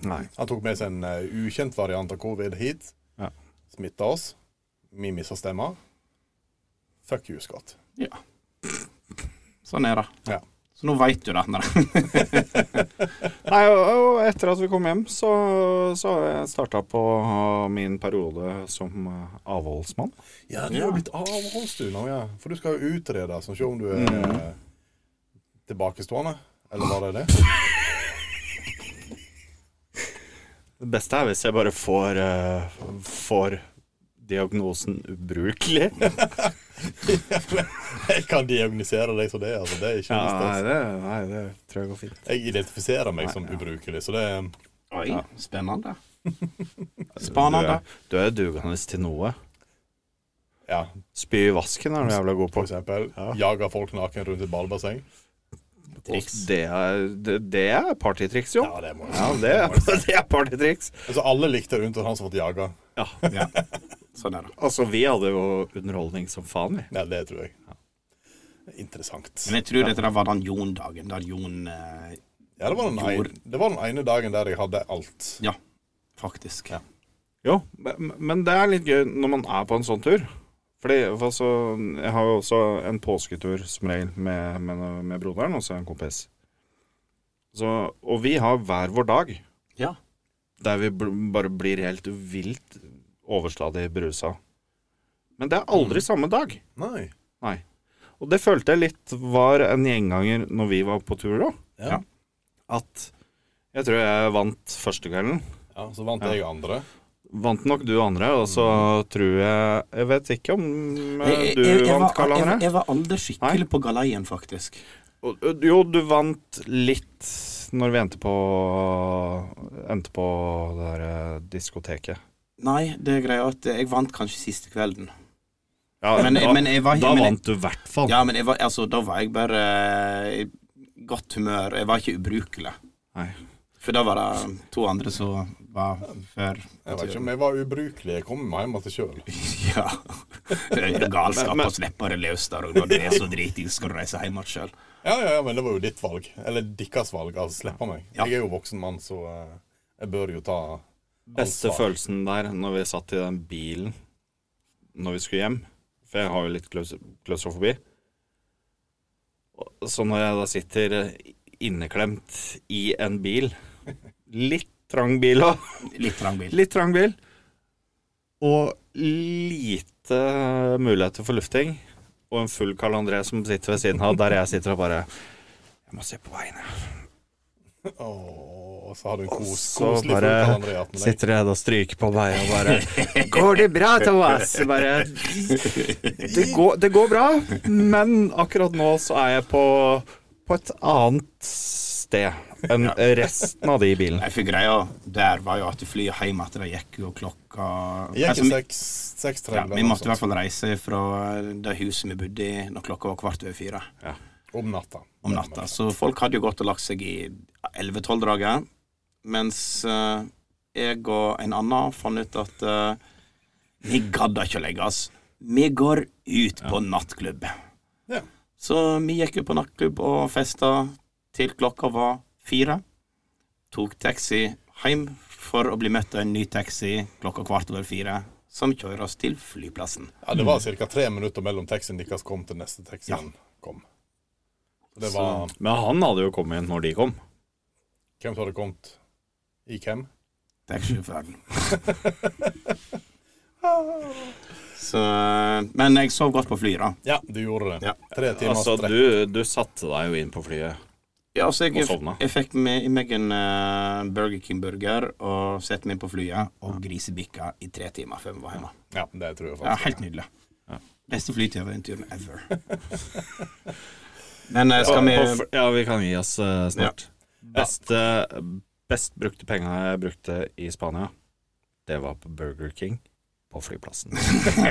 [SPEAKER 4] Nei.
[SPEAKER 2] Han tok med seg en eh, ukjent variant av covid hit.
[SPEAKER 4] Ja.
[SPEAKER 2] Smitta oss. Vi mista stemma. Fuck you, Scott.
[SPEAKER 1] ja. Sånn er det.
[SPEAKER 2] Ja.
[SPEAKER 1] Så nå veit du det. Nei.
[SPEAKER 4] Nei, og, og etter at vi kom hjem, så, så har jeg starta på uh, min periode som uh, avholdsmann.
[SPEAKER 2] Ja, du har blitt avholds du nå, ja. For du skal jo utrede, så se om du er eh, tilbakestående. Eller var det det?
[SPEAKER 4] Det beste er hvis jeg bare får, eh, får diagnosen ubrukelig.
[SPEAKER 2] Jeg kan diagnosere deg som det, altså. Det er ikke
[SPEAKER 4] Ja,
[SPEAKER 2] noe
[SPEAKER 4] nei,
[SPEAKER 2] stress.
[SPEAKER 4] det, nei, det tror jeg går fint.
[SPEAKER 2] Jeg identifiserer meg som ubrukelig, så det
[SPEAKER 1] Oi, spennende.
[SPEAKER 4] Du
[SPEAKER 1] Spanende.
[SPEAKER 4] er, du er dugende til noe.
[SPEAKER 2] Ja,
[SPEAKER 4] Spy i vasken er du jævla god på.
[SPEAKER 2] for eksempel.
[SPEAKER 4] Ja.
[SPEAKER 2] Jager folk naken rundt et badebasseng.
[SPEAKER 4] Og Det er, det, det er partytriks, jo.
[SPEAKER 2] Ja, det må jeg
[SPEAKER 4] Ja, det, er- det er partytriks.
[SPEAKER 2] Altså, alle likte det unntatt han som ble jaga.
[SPEAKER 4] Ja.
[SPEAKER 1] Sånn er det.
[SPEAKER 4] Altså, vi hadde jo underholdning som faen, vi.
[SPEAKER 2] Nei, det tror jeg. Interessant.
[SPEAKER 1] Men jeg tror dette der var den Jon-dagen, der Jon eh,
[SPEAKER 2] Ja, det var, den
[SPEAKER 1] Jord.
[SPEAKER 2] ene, det var den ene dagen der jeg hadde alt.
[SPEAKER 1] Ja, faktisk.
[SPEAKER 4] Jo, men men det er litt gøy når man er på en sånn tur. Fordi, for altså, Jeg har jo også en påsketur som regel med, med, med broderen og så en kompis. Så, og vi har hver vår dag
[SPEAKER 1] Ja.
[SPEAKER 4] der vi bl bare blir helt vilt overstadig berusa. Men det er aldri samme dag.
[SPEAKER 2] Nei.
[SPEAKER 4] Nei. Og det følte jeg litt var en gjenganger når vi var på tur, da.
[SPEAKER 2] Ja.
[SPEAKER 4] At jeg tror jeg vant første kvelden.
[SPEAKER 2] Ja, Så vant jeg andre.
[SPEAKER 4] Vant nok du andre, og så tror jeg Jeg vet ikke om eh,
[SPEAKER 1] Jeg- jeg-
[SPEAKER 4] du
[SPEAKER 1] jeg var-
[SPEAKER 4] vant, eh? Karl
[SPEAKER 1] Jeg,
[SPEAKER 4] André.
[SPEAKER 1] jeg var aldri skikkelig på galeien, faktisk.
[SPEAKER 4] Og- og- Jo, du vant litt når vi endte på Endte på det der eh, diskoteket.
[SPEAKER 1] Nei, det er greia at jeg vant kanskje siste kvelden.
[SPEAKER 4] Ja,
[SPEAKER 1] Men-
[SPEAKER 4] da,
[SPEAKER 1] men jeg var-
[SPEAKER 4] da
[SPEAKER 1] men jeg-
[SPEAKER 4] vant du i hvert fall.
[SPEAKER 1] Ja, men jeg var, altså, da var jeg bare eh, i godt humør. Jeg var ikke ubrukelig.
[SPEAKER 4] Nei.
[SPEAKER 1] For da var det to andre som var før.
[SPEAKER 2] Jeg vet ikke om jeg var ubrukelig. Jeg kom meg hjem til sjøl.
[SPEAKER 1] Ja. Det er jo galskap
[SPEAKER 4] Men- men-
[SPEAKER 1] å slippe det løs der, og når du er så dritings, skal du reise hjem igjen sjøl.
[SPEAKER 2] Ja, ja, ja, men det var jo ditt valg. Eller deres valg. Altså, slippe meg.
[SPEAKER 1] Ja.
[SPEAKER 2] Jeg er jo voksen mann, så eh, jeg bør jo ta
[SPEAKER 4] Beste
[SPEAKER 2] ansvar.
[SPEAKER 4] følelsen der, når vi satt i den bilen når vi skulle hjem For jeg har jo litt klaus- klaustrofobi. Og- Så når jeg da sitter eh, inneklemt i en bil Litt trang bil òg.
[SPEAKER 1] Litt trang bil.
[SPEAKER 4] Litt trang bil. Og lite muligheter for lufting. Og en full Karl André som sitter ved siden av, der jeg sitter og bare Jeg må se på veien, jeg.
[SPEAKER 2] Åh, Og så har du en
[SPEAKER 4] Og
[SPEAKER 2] kos,
[SPEAKER 4] så
[SPEAKER 2] koselig
[SPEAKER 4] bare
[SPEAKER 2] full kalender i hatten. Sitt.
[SPEAKER 4] Sitter jeg og stryker på meg og bare 'Går det bra, Thomas?' Jeg Bare det går, det går bra, men akkurat nå så er jeg på, på et annet sted enn resten av de i bilen.
[SPEAKER 1] Nei, for greia der var jo at flyet hjem at det gikk jo klokka
[SPEAKER 2] Gikk
[SPEAKER 1] Altså,
[SPEAKER 2] i
[SPEAKER 1] vi-
[SPEAKER 2] seks- 6.30
[SPEAKER 1] ja,
[SPEAKER 2] eller
[SPEAKER 1] Vi
[SPEAKER 2] noe
[SPEAKER 1] måtte i hvert
[SPEAKER 2] sånt.
[SPEAKER 1] fall reise fra det huset vi bodde i når klokka var kvart over fire.
[SPEAKER 2] Om natta.
[SPEAKER 1] om natta. Så folk hadde jo gått og lagt seg i 11-12-draget, mens eh, jeg og en annen fant ut at eh, vi gadd ikke å legge oss. Vi går ut på nattklubb.
[SPEAKER 2] Ja.
[SPEAKER 1] Så vi gikk jo på nattklubb og festa til klokka var fire. Tok taxi hjem for å bli møtt av en ny taxi klokka kvart over fire, som kjører oss til flyplassen.
[SPEAKER 2] Ja, det var ca. tre minutter mellom taxien deres kom til neste taxien kom. Det var
[SPEAKER 4] Men han hadde jo kommet inn når de kom.
[SPEAKER 2] Hvem som hadde kommet? I hvem?
[SPEAKER 1] Taxisjåføren. Så, eh, men jeg sov godt på flyet, da.
[SPEAKER 2] Ja, du gjorde det.
[SPEAKER 1] Ja.
[SPEAKER 2] Tre timer
[SPEAKER 4] Altså,
[SPEAKER 2] strekk.
[SPEAKER 4] du, du satte deg jo inn på flyet.
[SPEAKER 1] Ja, altså jeg,
[SPEAKER 4] Og sovna.
[SPEAKER 1] jeg fikk med i meg en eh, Burger King-burger og satte meg på flyet og grisebikka i tre timer før vi var hjemme.
[SPEAKER 2] Ja, det tror jeg
[SPEAKER 1] Ja,
[SPEAKER 2] faktisk.
[SPEAKER 1] helt nydelig. Beste flyturen ever. Men eh, skal vi
[SPEAKER 4] På fl- Ja, vi kan gi oss eh, snart. Beste, best brukte penga jeg brukte i Spania, det var på Burger King på flyplassen.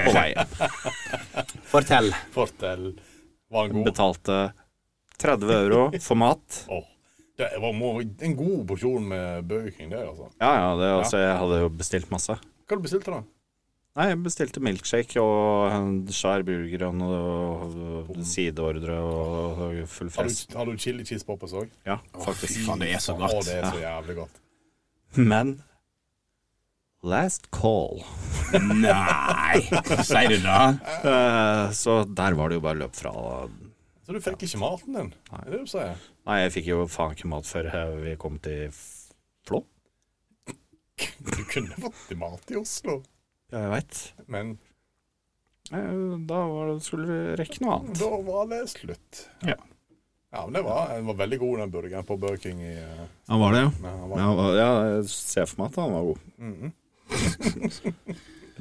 [SPEAKER 4] på vei hjem.
[SPEAKER 1] Fortell.
[SPEAKER 2] Fortell. Var han god?
[SPEAKER 4] Betalte 30 euro for mat.
[SPEAKER 2] Åh, Det var må, en god porsjon med Burger King, det, altså.
[SPEAKER 4] Ja, ja, det, altså, jeg hadde jo bestilt masse.
[SPEAKER 2] Hva du bestilte du, da?
[SPEAKER 4] Nei, jeg bestilte milkshake og en skjær burger og noe sideordre og og full
[SPEAKER 2] Har
[SPEAKER 4] fest.
[SPEAKER 2] du, har du chili cheese poppers òg?
[SPEAKER 4] Ja,
[SPEAKER 1] Fy
[SPEAKER 4] faktisk.
[SPEAKER 1] faen, det er så
[SPEAKER 2] Å,
[SPEAKER 1] godt.
[SPEAKER 2] det er så jævlig godt.
[SPEAKER 4] Men last call.
[SPEAKER 1] Nei, sier du det?
[SPEAKER 4] Eh, så der var det jo bare løp fra.
[SPEAKER 2] Så du fikk ikke maten din? Er det det du sier?
[SPEAKER 4] Nei, jeg fikk jo faen ikke mat før eh, vi kom til F- Flå.
[SPEAKER 2] Du kunne fått i mat i Oslo,
[SPEAKER 4] Ja, jeg veit.
[SPEAKER 2] men
[SPEAKER 4] Da var det, skulle vi rekke noe annet.
[SPEAKER 2] da var det slutt.
[SPEAKER 4] Ja.
[SPEAKER 2] Ja, men det var, den var veldig god, den burgeren på Burger King i eh,
[SPEAKER 4] Han var det, jo.
[SPEAKER 2] men han var,
[SPEAKER 4] Ja, ja, jeg ser for meg at han var god.
[SPEAKER 2] Mhm.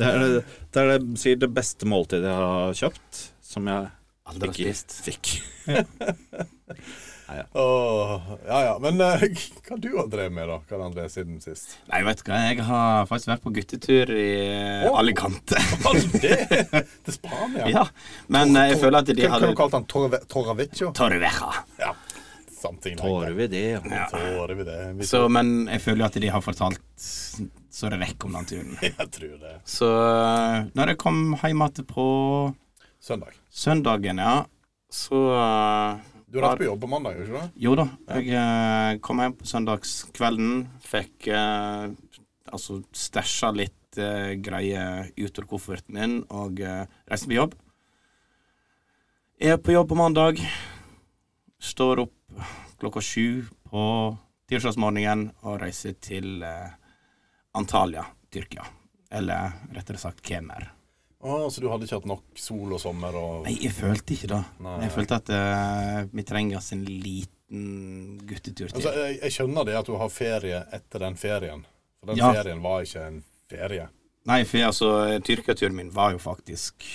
[SPEAKER 4] Det er det, det, er det sier det beste måltidet jeg har kjøpt, som jeg
[SPEAKER 1] Aldri har
[SPEAKER 4] ikke
[SPEAKER 1] spist.
[SPEAKER 4] fikk.
[SPEAKER 2] Åh, ja, ja. Men eh, hva du har drevet med, da, Karl André, siden sist?
[SPEAKER 1] Nei, vet du hva, jeg har faktisk vært på guttetur i eh,
[SPEAKER 2] Åh.
[SPEAKER 1] Alicante.
[SPEAKER 2] Var det det? Til Spania?
[SPEAKER 1] Ja, men eh, jeg føler at de
[SPEAKER 2] Hva
[SPEAKER 1] hadde
[SPEAKER 2] har du kalt han? Torve- Torravecchio?
[SPEAKER 1] Torveja.
[SPEAKER 2] Ja, samtidig.
[SPEAKER 4] Tårer vi det?
[SPEAKER 2] Tårer vi det. Vi
[SPEAKER 1] Så, men jeg føler jo at de har fortalt så er det vekk om den turen.
[SPEAKER 2] Jeg tror det.
[SPEAKER 1] Så eh, når jeg kom hjem igjen på
[SPEAKER 2] Søndag.
[SPEAKER 1] søndagen, ja, så eh,
[SPEAKER 2] Du har vært på jobb på mandag, gjør du ikke det?
[SPEAKER 1] Jo da, jeg eh, kom hjem på søndagskvelden, fikk eh, altså stæsja litt eh, greier ut av kofferten min og eh, reiste på jobb. Er på jobb på mandag, står opp klokka sju på tirsdagsmorgenen og reiser til eh, Antalya, Tyrkia. Eller rettere sagt Kemer.
[SPEAKER 2] Å, så du hadde ikke hatt nok sol og sommer og
[SPEAKER 1] Nei, jeg følte ikke det.
[SPEAKER 2] Nei.
[SPEAKER 1] Jeg følte at eh, vi trenger oss en liten guttetur til.
[SPEAKER 2] altså, jeg, jeg skjønner det at du har ferie etter den ferien. For den
[SPEAKER 1] Ja.
[SPEAKER 2] ferien var ikke en ferie.
[SPEAKER 1] Nei, for altså, Tyrkia-turen min var jo faktisk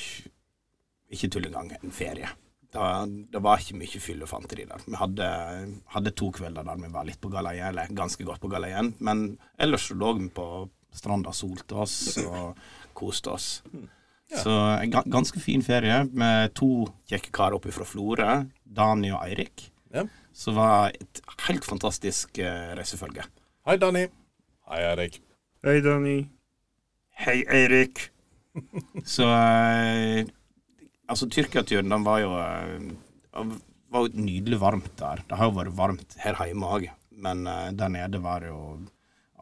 [SPEAKER 1] ikke tull engang en ferie. Da, det var ikke mye fyllefanteri der. Vi hadde, hadde to kvelder der vi var litt på galeien, eller ganske godt på galeien. Men ellers så lå vi på stranda, solte oss og koste oss. Så en ga- ganske fin ferie med to kjekke karer oppe fra Florø, Dani og Eirik.
[SPEAKER 2] Ja.
[SPEAKER 1] Så var et helt fantastisk eh, reisefølge.
[SPEAKER 2] Hei, Danny. Hei, Erik.
[SPEAKER 4] Hei, Danny.
[SPEAKER 1] Hei, Eirik. Så eh, Altså, Tyrkia-turen, den var jo eh, den var jo nydelig varmt der. Det har jo vært varmt her hjemme òg, men eh, der nede var det jo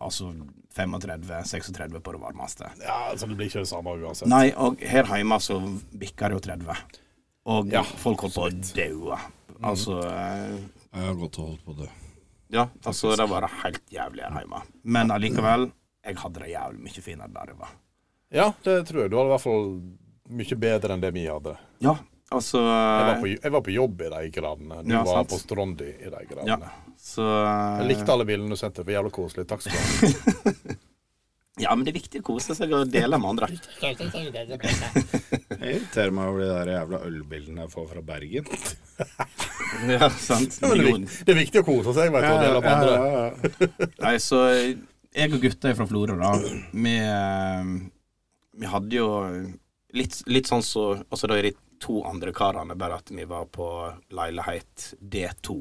[SPEAKER 1] altså 35-36 på det varmeste.
[SPEAKER 2] Ja, altså Det blir ikke det samme uansett.
[SPEAKER 1] Nei, og her hjemme så bikka det jo 30. Og
[SPEAKER 2] Ja, Mhm.
[SPEAKER 1] folk holdt på å daue. Altså eh,
[SPEAKER 6] Jeg har godt holdt på det.
[SPEAKER 1] Ja, altså, det var helt jævlig her hjemme. Men allikevel, jeg hadde det jævlig mye finere der jeg var.
[SPEAKER 2] Ja, det tror jeg. Du hadde i hvert fall mye bedre enn det vi hadde.
[SPEAKER 1] Ja, altså
[SPEAKER 2] Jeg var på, jeg var på jobb i de gradene. Du
[SPEAKER 1] Ja,
[SPEAKER 2] var
[SPEAKER 1] sant.
[SPEAKER 2] på Strondi i de
[SPEAKER 1] Ja,
[SPEAKER 2] gradene.
[SPEAKER 1] så
[SPEAKER 2] Jeg likte alle bildene du sendte. Det var jævla koselig. Takk skal du ha.
[SPEAKER 1] Ja, men det er viktig å kose seg og dele med andre.
[SPEAKER 6] Jeg irriterer meg over de der jævla ølbildene jeg får fra Bergen.
[SPEAKER 1] ja, sant.
[SPEAKER 2] Men det, er
[SPEAKER 1] Jo,
[SPEAKER 2] viktig, det er viktig å kose seg, vet du. Og dele med andre.
[SPEAKER 1] nei, så jeg og gutta fra Florø, da, vi, eh, vi hadde jo litt, litt sånn så Altså, da er de to andre karene, bare at vi var på leilighet D2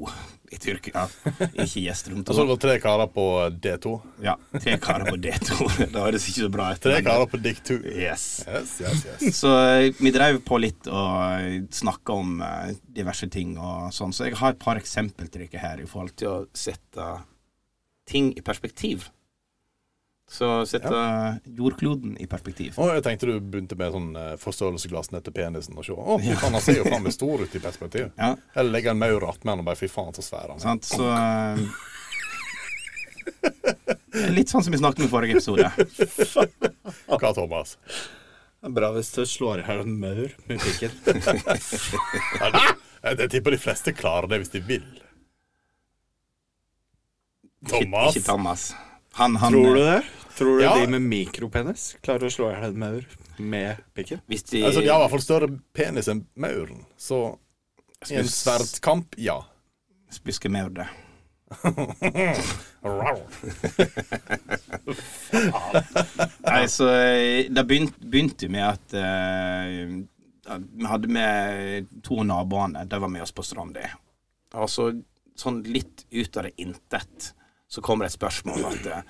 [SPEAKER 1] i Tyrkia. Ikke gjesterom
[SPEAKER 2] Og
[SPEAKER 1] 2.
[SPEAKER 2] så var det tre karer på D2.
[SPEAKER 1] Ja, tre karer på D2. Det høres ikke så bra ut.
[SPEAKER 2] Tre
[SPEAKER 1] men-
[SPEAKER 2] karer på Dick 2.
[SPEAKER 1] Yes.
[SPEAKER 2] Yes, yes, yes.
[SPEAKER 1] Så eh, vi drev på litt og eh, snakka om eh, diverse ting og sånn, så jeg har et par eksempel til dere her i forhold til å sette ting i perspektiv. Så sette jordkloden i perspektiv.
[SPEAKER 2] Og jeg tenkte du begynte med sånn eh, forstørrelsesglass ned til penisen og se. Å, fy faen, han ser jo faen meg stor ut i perspektiv.
[SPEAKER 1] Ja.
[SPEAKER 2] Eller legge en maur attmed han og bare fy faen, så svær han er.
[SPEAKER 1] Sant? Så eh, Litt sånn som vi snakket om i forrige episode.
[SPEAKER 2] Hva, Thomas?
[SPEAKER 6] Bra hvis du slår i hjel en maur med pikken.
[SPEAKER 2] Ja, det- Jeg, jeg tipper de fleste klarer det hvis de vil. Thomas?
[SPEAKER 1] Ikke Thomas. Han, han, eh,
[SPEAKER 6] Tror du det? Tror du
[SPEAKER 2] Ja.
[SPEAKER 6] de med mikropenis klarer å slå i hjel en maur med pikken?
[SPEAKER 1] Hvis de,
[SPEAKER 2] Altså, de har i hvert fall større penis enn mauren, så i en
[SPEAKER 1] Spis-
[SPEAKER 2] sverdkamp, ja.
[SPEAKER 1] Spisker mer det. Nei, så eh, det begynt- begynte med at eh, at vi hadde med to av naboene. De var med oss på stranda. Og så sånn litt ut av det intet, så kommer det et spørsmål at eh,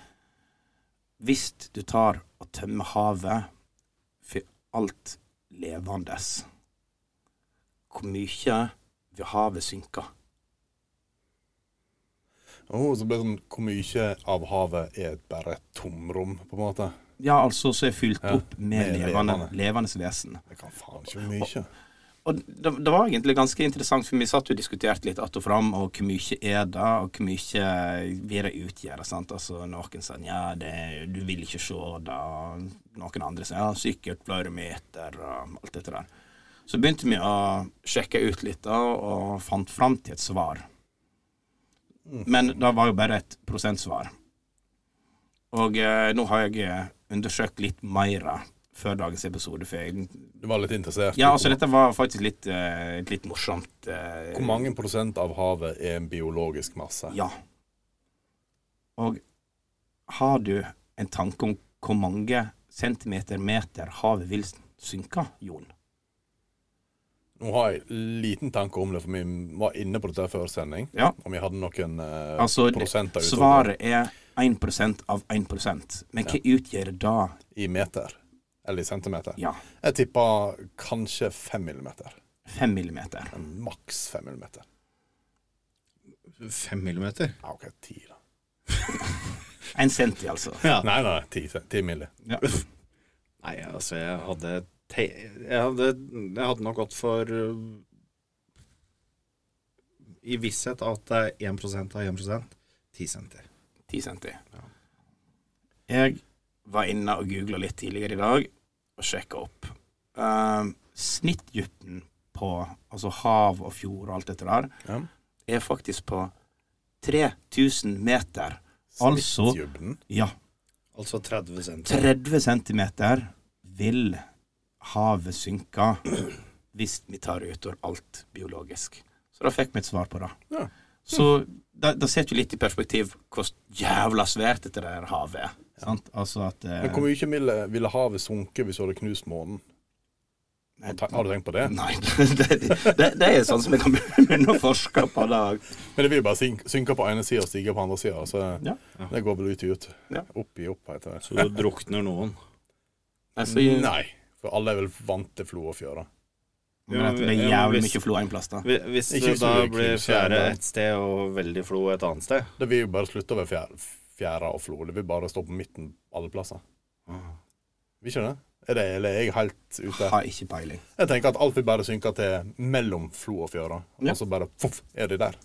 [SPEAKER 1] hvis du tar og tømmer havet for alt levende, hvor mye vil havet synke?
[SPEAKER 2] Oh, så ble det sånn Hvor mye av havet er bare et tomrom, på en måte?
[SPEAKER 1] Ja, altså, så er fylt
[SPEAKER 2] Ja,
[SPEAKER 1] opp med,
[SPEAKER 2] med
[SPEAKER 1] levende,
[SPEAKER 2] levende.
[SPEAKER 1] levende vesen.
[SPEAKER 2] Det kan faen ikke være mye.
[SPEAKER 1] Og det, det var egentlig ganske interessant, for vi satt jo og diskuterte litt att og fram, og hvor mye er det, og hvor mye vil det utgjøre, sant. Altså, noen sa ja, det, du vil ikke se det, og noen andre sa ja, sikkert flere meter, og alt dette der. Så begynte vi å sjekke ut litt, da, og fant fram til et svar. Men det var jo bare et prosentsvar. Og eh, nå har jeg eh, undersøkt litt mer før dagens episode, for jeg
[SPEAKER 2] Du var litt interessert?
[SPEAKER 1] ja,
[SPEAKER 2] i
[SPEAKER 1] altså
[SPEAKER 2] hvor-
[SPEAKER 1] dette var faktisk litt, eh, et litt morsomt. eh,
[SPEAKER 2] Hvor mange prosent av havet er en biologisk masse?
[SPEAKER 1] Ja. Og har du en tanke om hvor mange centimeter, meter havet vil synke, Jon?
[SPEAKER 2] Nå har jeg liten tanke om det, for vi var inne på dette før sending.
[SPEAKER 1] Ja.
[SPEAKER 2] Om vi hadde noen eh,
[SPEAKER 1] Altså, det-
[SPEAKER 2] prosenter utover.
[SPEAKER 1] Svaret er 1 av 1 Men hva utgjør det?
[SPEAKER 2] i meter. Eller i centimeter.
[SPEAKER 1] Ja,
[SPEAKER 2] Jeg tippa kanskje fem millimeter.
[SPEAKER 1] 5 millimeter.
[SPEAKER 2] Maks fem millimeter.
[SPEAKER 6] Fem millimeter?
[SPEAKER 2] Ja, OK, ti, da.
[SPEAKER 1] En centi, altså.
[SPEAKER 6] Ja.
[SPEAKER 2] Nei, nei, ti, ti milli.
[SPEAKER 1] Ja.
[SPEAKER 6] Nei, altså, jeg hadde te jeg hadde, jeg hadde nok gått for øh, I visshet at det er 1 av 1 10 center.
[SPEAKER 1] 10 centi. Jeg var inne og googla litt tidligere i dag og sjekka opp. Ehm, snittdypten på altså hav og fjord og alt dette der
[SPEAKER 2] Ja.
[SPEAKER 1] er faktisk på 3000 meter. Altså
[SPEAKER 2] Dybden.
[SPEAKER 1] ja,
[SPEAKER 6] Altså 30 center.
[SPEAKER 1] 30 centimeter vil havet synke hvis vi tar ut over alt biologisk. Så da fikk vi et svar på det.
[SPEAKER 2] Ja.
[SPEAKER 1] Så da, da setter vi litt i perspektiv hvor jævla svært dette der havet er. Sant? Altså at eh,
[SPEAKER 2] Men hvor mye ville, ville havet sunket hvis du hadde knust månen? Har te- har du tenkt på det?
[SPEAKER 1] Nei, det, det, det er sånn som jeg kan begynne å forske på det.
[SPEAKER 2] Men det vil jo bare syn- synke på ene sida og stige på andre sida. Så
[SPEAKER 1] Ja.
[SPEAKER 2] det går vel ut i ut.
[SPEAKER 1] Ja.
[SPEAKER 2] Opp i opp, heter det.
[SPEAKER 6] Så du drukner noen.
[SPEAKER 1] Altså, jeg,
[SPEAKER 2] Nei, for alle er vel vant til flo og fjøra.
[SPEAKER 1] men at det er
[SPEAKER 6] Ja, men
[SPEAKER 1] jævlig
[SPEAKER 6] hvis-
[SPEAKER 1] mye flo en plass, da.
[SPEAKER 6] Hvi- Hvis
[SPEAKER 2] Ikke
[SPEAKER 6] det
[SPEAKER 2] hvis du
[SPEAKER 6] da
[SPEAKER 2] vil
[SPEAKER 6] blir
[SPEAKER 2] knuse
[SPEAKER 6] fjære
[SPEAKER 2] den.
[SPEAKER 6] et sted og veldig flo et annet sted
[SPEAKER 2] Det vil jo bare slutte å være fjæra, fjæra og flo. Det vil bare stå på midten alle plasser.
[SPEAKER 1] Ah.
[SPEAKER 2] Vil ikke det? Er det, eller er jeg helt ute?
[SPEAKER 1] Har ikke peiling.
[SPEAKER 2] Jeg tenker at alt vil bare synke til mellom flo og fjøra, og så bare poff, er de der.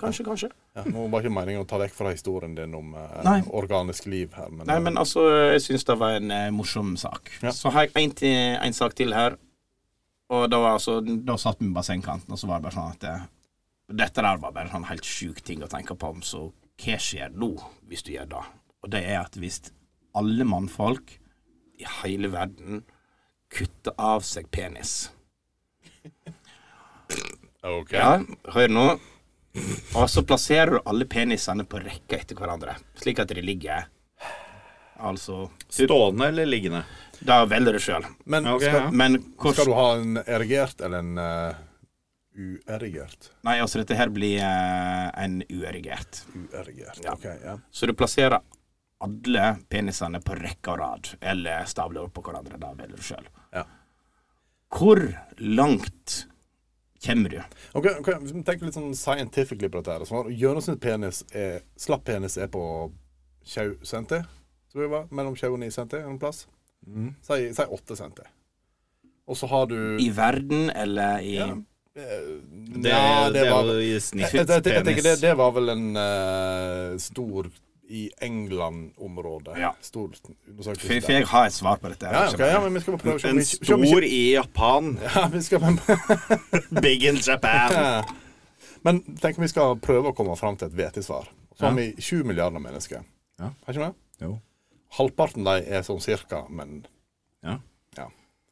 [SPEAKER 1] Kanskje, kanskje.
[SPEAKER 2] Ja, nå var ikke meningen å ta vekk fra historien din om eh,
[SPEAKER 1] Nei.
[SPEAKER 2] organisk liv her, men,
[SPEAKER 1] Nei, men altså, jeg syns det var en eh, morsom sak.
[SPEAKER 2] Ja.
[SPEAKER 1] Så har jeg en, til, en sak til her. Og da, var altså, da satt vi ved bassengkanten, og så var det bare sånn at eh, Dette der var bare sånn helt sjuk ting å tenke på om, så hva skjer nå, hvis du gjør det? Og det er at hvis alle mannfolk i hele verden kutter av seg penis
[SPEAKER 2] eh, OK.
[SPEAKER 1] Ja, hør nå. Og så plasserer du alle penisene på rekke etter hverandre, slik at de ligger Altså
[SPEAKER 6] Stående eller liggende?
[SPEAKER 1] Da velger du sjøl.
[SPEAKER 2] Men
[SPEAKER 6] Ok,
[SPEAKER 2] skal,
[SPEAKER 6] ja.
[SPEAKER 1] Men hvor
[SPEAKER 2] skal du ha en erigert eller en eh, uerigert?
[SPEAKER 1] Nei, altså dette her blir eh, en uerigert.
[SPEAKER 2] Uerigert,
[SPEAKER 1] Ja.
[SPEAKER 2] OK. Ja.
[SPEAKER 1] Så du plasserer alle penisene på rekke og rad, eller stabler opp på hverandre. Da velger du sjøl.
[SPEAKER 2] Ja.
[SPEAKER 1] Hvor langt kommer du?
[SPEAKER 2] Ok, ok, Hvis vi tenker litt sånn scientifically på dette her så Gjennomsnittspenis er Slapp penis er på 20 cm, tror jeg det var. Mellom 20 og 9 cm en plass. Si, si 8 cm. Og så har du
[SPEAKER 1] I verden, eller i
[SPEAKER 2] Ja.
[SPEAKER 6] Det,
[SPEAKER 2] Det,
[SPEAKER 6] er-
[SPEAKER 2] det,
[SPEAKER 6] det
[SPEAKER 2] var
[SPEAKER 6] er jo i
[SPEAKER 2] jeg, jeg, jeg, jeg tenker det,
[SPEAKER 6] snittpenis.
[SPEAKER 2] det var vel en eh, stor i England-området.
[SPEAKER 1] Ja.
[SPEAKER 2] Stor undersøkelse
[SPEAKER 1] For, for
[SPEAKER 2] der.
[SPEAKER 1] jeg har et svar på dette. her,
[SPEAKER 2] Ja,
[SPEAKER 1] ikke
[SPEAKER 2] ok,
[SPEAKER 1] sant?
[SPEAKER 2] ja, men vi skal bare prøve å se om
[SPEAKER 6] En
[SPEAKER 2] vi ikke- se om vi ikke-
[SPEAKER 6] stor i Japan.
[SPEAKER 2] Ja, vi skal
[SPEAKER 6] Big in Japan.
[SPEAKER 2] Men tenk om vi skal prøve å komme fram til et vetesvar. Så har vi 7 milliarder mennesker.
[SPEAKER 6] Ja.
[SPEAKER 2] Har ikke vi det?
[SPEAKER 6] Jo.
[SPEAKER 2] Halvparten av dem er sånn cirka, men
[SPEAKER 6] Ja.
[SPEAKER 2] ja.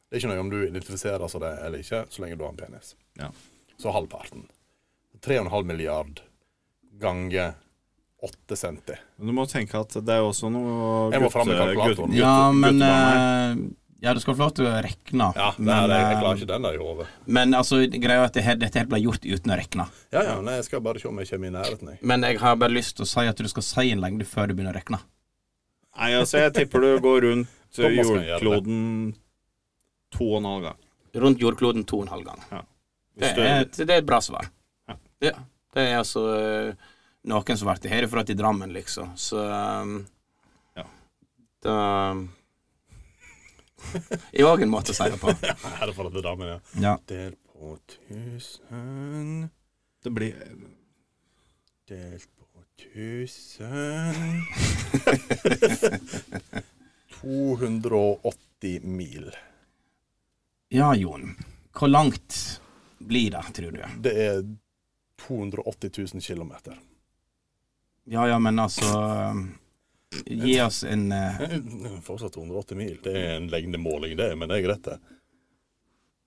[SPEAKER 2] Det er ikke noe om du identifiserer som det eller ikke, så lenge du har en penis.
[SPEAKER 6] Ja.
[SPEAKER 2] Så halvparten. 3,5 milliard ganger 8 centi.
[SPEAKER 6] Men du må tenke at det er også noe
[SPEAKER 2] Jeg må fram med
[SPEAKER 6] gutte-
[SPEAKER 2] kalkulatoren.
[SPEAKER 6] gutte-
[SPEAKER 1] Ja, men
[SPEAKER 6] guttebane her.
[SPEAKER 1] eh, Ja, du skal få lov til å regne.
[SPEAKER 2] Ja, det
[SPEAKER 1] men,
[SPEAKER 2] er, jeg,
[SPEAKER 1] eh,
[SPEAKER 2] jeg klarer ikke den der i hodet.
[SPEAKER 1] men altså, greia er at det her, dette her ble gjort uten å regne.
[SPEAKER 2] Ja, ja, nei, jeg skal bare se om jeg kommer i nærheten. Jeg.
[SPEAKER 1] Men jeg har bare lyst til å si at du skal si en lengde før du begynner å regne.
[SPEAKER 6] Nei, altså, jeg tipper du går rundt
[SPEAKER 2] Thomas kan gjøre det.
[SPEAKER 6] jordkloden to og en halv gang.
[SPEAKER 1] Rundt jordkloden to og en halv gang. Det
[SPEAKER 6] Hvis du-
[SPEAKER 1] er, et- det er et bra svar.
[SPEAKER 6] Ja.
[SPEAKER 1] Ja. Det er altså eh, noen som ble herifra til Drammen, liksom. Så um,
[SPEAKER 6] Ja.
[SPEAKER 1] da I òg en måte å si det på.
[SPEAKER 2] Er det for at det er damen, ja.
[SPEAKER 1] Ja.
[SPEAKER 2] Del på 1000
[SPEAKER 6] det blir
[SPEAKER 2] Delt på 1000 280 mil.
[SPEAKER 1] ja, Jon. Hvor langt blir det, tror du?
[SPEAKER 2] Det er 280 000 km.
[SPEAKER 1] Ja ja, men altså eh, Gi oss en eh,
[SPEAKER 2] Fortsatt 280 mil. Det er en lengdemåling, det, men det er greit, det.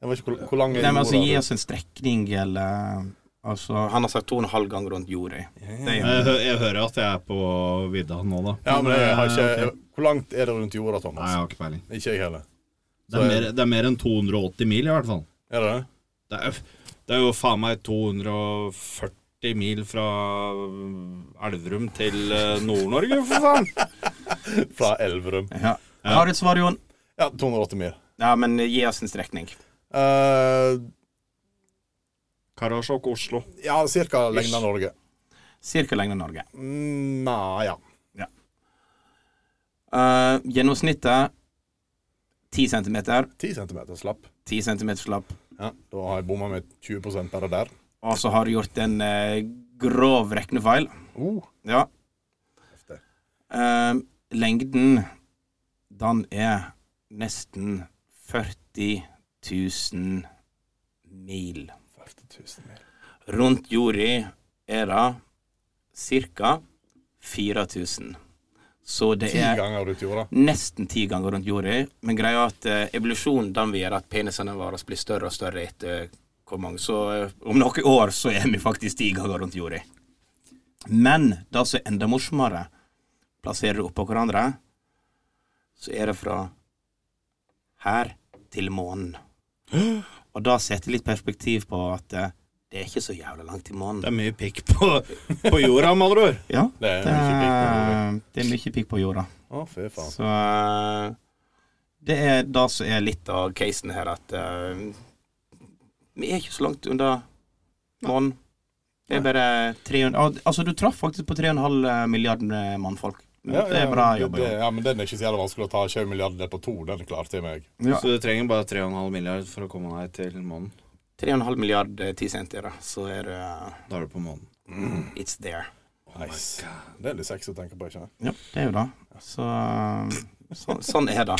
[SPEAKER 2] Jeg vet ikke hvor, hvor lang er
[SPEAKER 1] Nei, men altså,
[SPEAKER 2] jorda?
[SPEAKER 1] gi oss en strekning, eller Altså, han har sagt to og en halv gang rundt jorda. Det er jo
[SPEAKER 6] jeg, hø- jeg hører at jeg er på vidda nå, da.
[SPEAKER 2] Ja, men jeg har ikke,
[SPEAKER 6] Eh, ok.
[SPEAKER 2] Hvor langt er det rundt jorda,
[SPEAKER 6] Nei, jeg
[SPEAKER 2] Thomas?
[SPEAKER 6] har ikke peiling.
[SPEAKER 2] Ikke jeg heller.
[SPEAKER 6] Det er, mer, det er mer enn 280 mil, i hvert fall.
[SPEAKER 2] Er det det?
[SPEAKER 6] Det er, det er jo faen meg 240 40 mil fra eh, Elverum til eh, Nord-Norge, for faen!
[SPEAKER 2] Fra Elverum.
[SPEAKER 1] Ja. Har du et svar, Jon?
[SPEAKER 2] Ja, 280 mil.
[SPEAKER 1] Ja, men gi oss en strekning.
[SPEAKER 2] Eh,
[SPEAKER 6] Karasjok, Oslo.
[SPEAKER 2] ja, cirka lengden av Norge.
[SPEAKER 1] Cirka lengden av Norge.
[SPEAKER 2] Mm, Nei, ja.
[SPEAKER 1] Eh, gjennomsnittet 10 cm.
[SPEAKER 2] 10 cm slapp.
[SPEAKER 1] 10 cm slapp.
[SPEAKER 2] Ja, da har jeg bomma med 20 bare der.
[SPEAKER 1] Og så har du gjort en eh, grov regnefeil.
[SPEAKER 2] Uh,
[SPEAKER 1] Ja.
[SPEAKER 2] Heftig.
[SPEAKER 1] Eh, lengden, den er nesten 40 000 mil.
[SPEAKER 2] 40 000 mil.
[SPEAKER 1] Rundt jorda er det ca. 4000. Så det
[SPEAKER 2] Ti
[SPEAKER 1] er
[SPEAKER 2] ganger rundt jorda.
[SPEAKER 1] nesten ti ganger rundt jorda. Men greia er at eh, evolusjonen den vil gjøre at penisene våre blir større og større etter hvor mange Så eh, om noen år så er vi faktisk ti ganger rundt jorda. Men det som er enda morsommere, plasserer du oppå hverandre, så er det fra her til månen. Og da setter litt perspektiv på at eh, det er ikke så jævla langt til månen.
[SPEAKER 6] Det er mye pikk på, på jorda, med andre ord.
[SPEAKER 1] Ja,
[SPEAKER 2] Det er
[SPEAKER 1] det
[SPEAKER 2] mye pikk på jorda.
[SPEAKER 1] er, det er mye pikk på jorda.
[SPEAKER 2] Å, fy faen.
[SPEAKER 1] Så eh, det er det som er litt av casen her, at eh, vi er ikke så langt unna månen. Det er bare 300 Al- Altså, du traff faktisk på 3,5 milliarder eh, mannfolk. det er bra
[SPEAKER 2] det-
[SPEAKER 1] jobb.
[SPEAKER 2] det-
[SPEAKER 1] Jon.
[SPEAKER 2] Ja, men den er ikke så jævla vanskelig å ta. 20 milliarder delt på to, den klarte jeg meg.
[SPEAKER 1] Ja.
[SPEAKER 6] Så du trenger bare 3,5 milliard for å komme deg til månen.
[SPEAKER 1] 3,5 milliarder 10 cent er det, så er det eh,
[SPEAKER 6] Da er du på månen.
[SPEAKER 1] It's there.
[SPEAKER 2] Nice. det er litt sexy å tenke på, ikke sant?
[SPEAKER 1] Ja, det er jo det. Så så, sånn er det.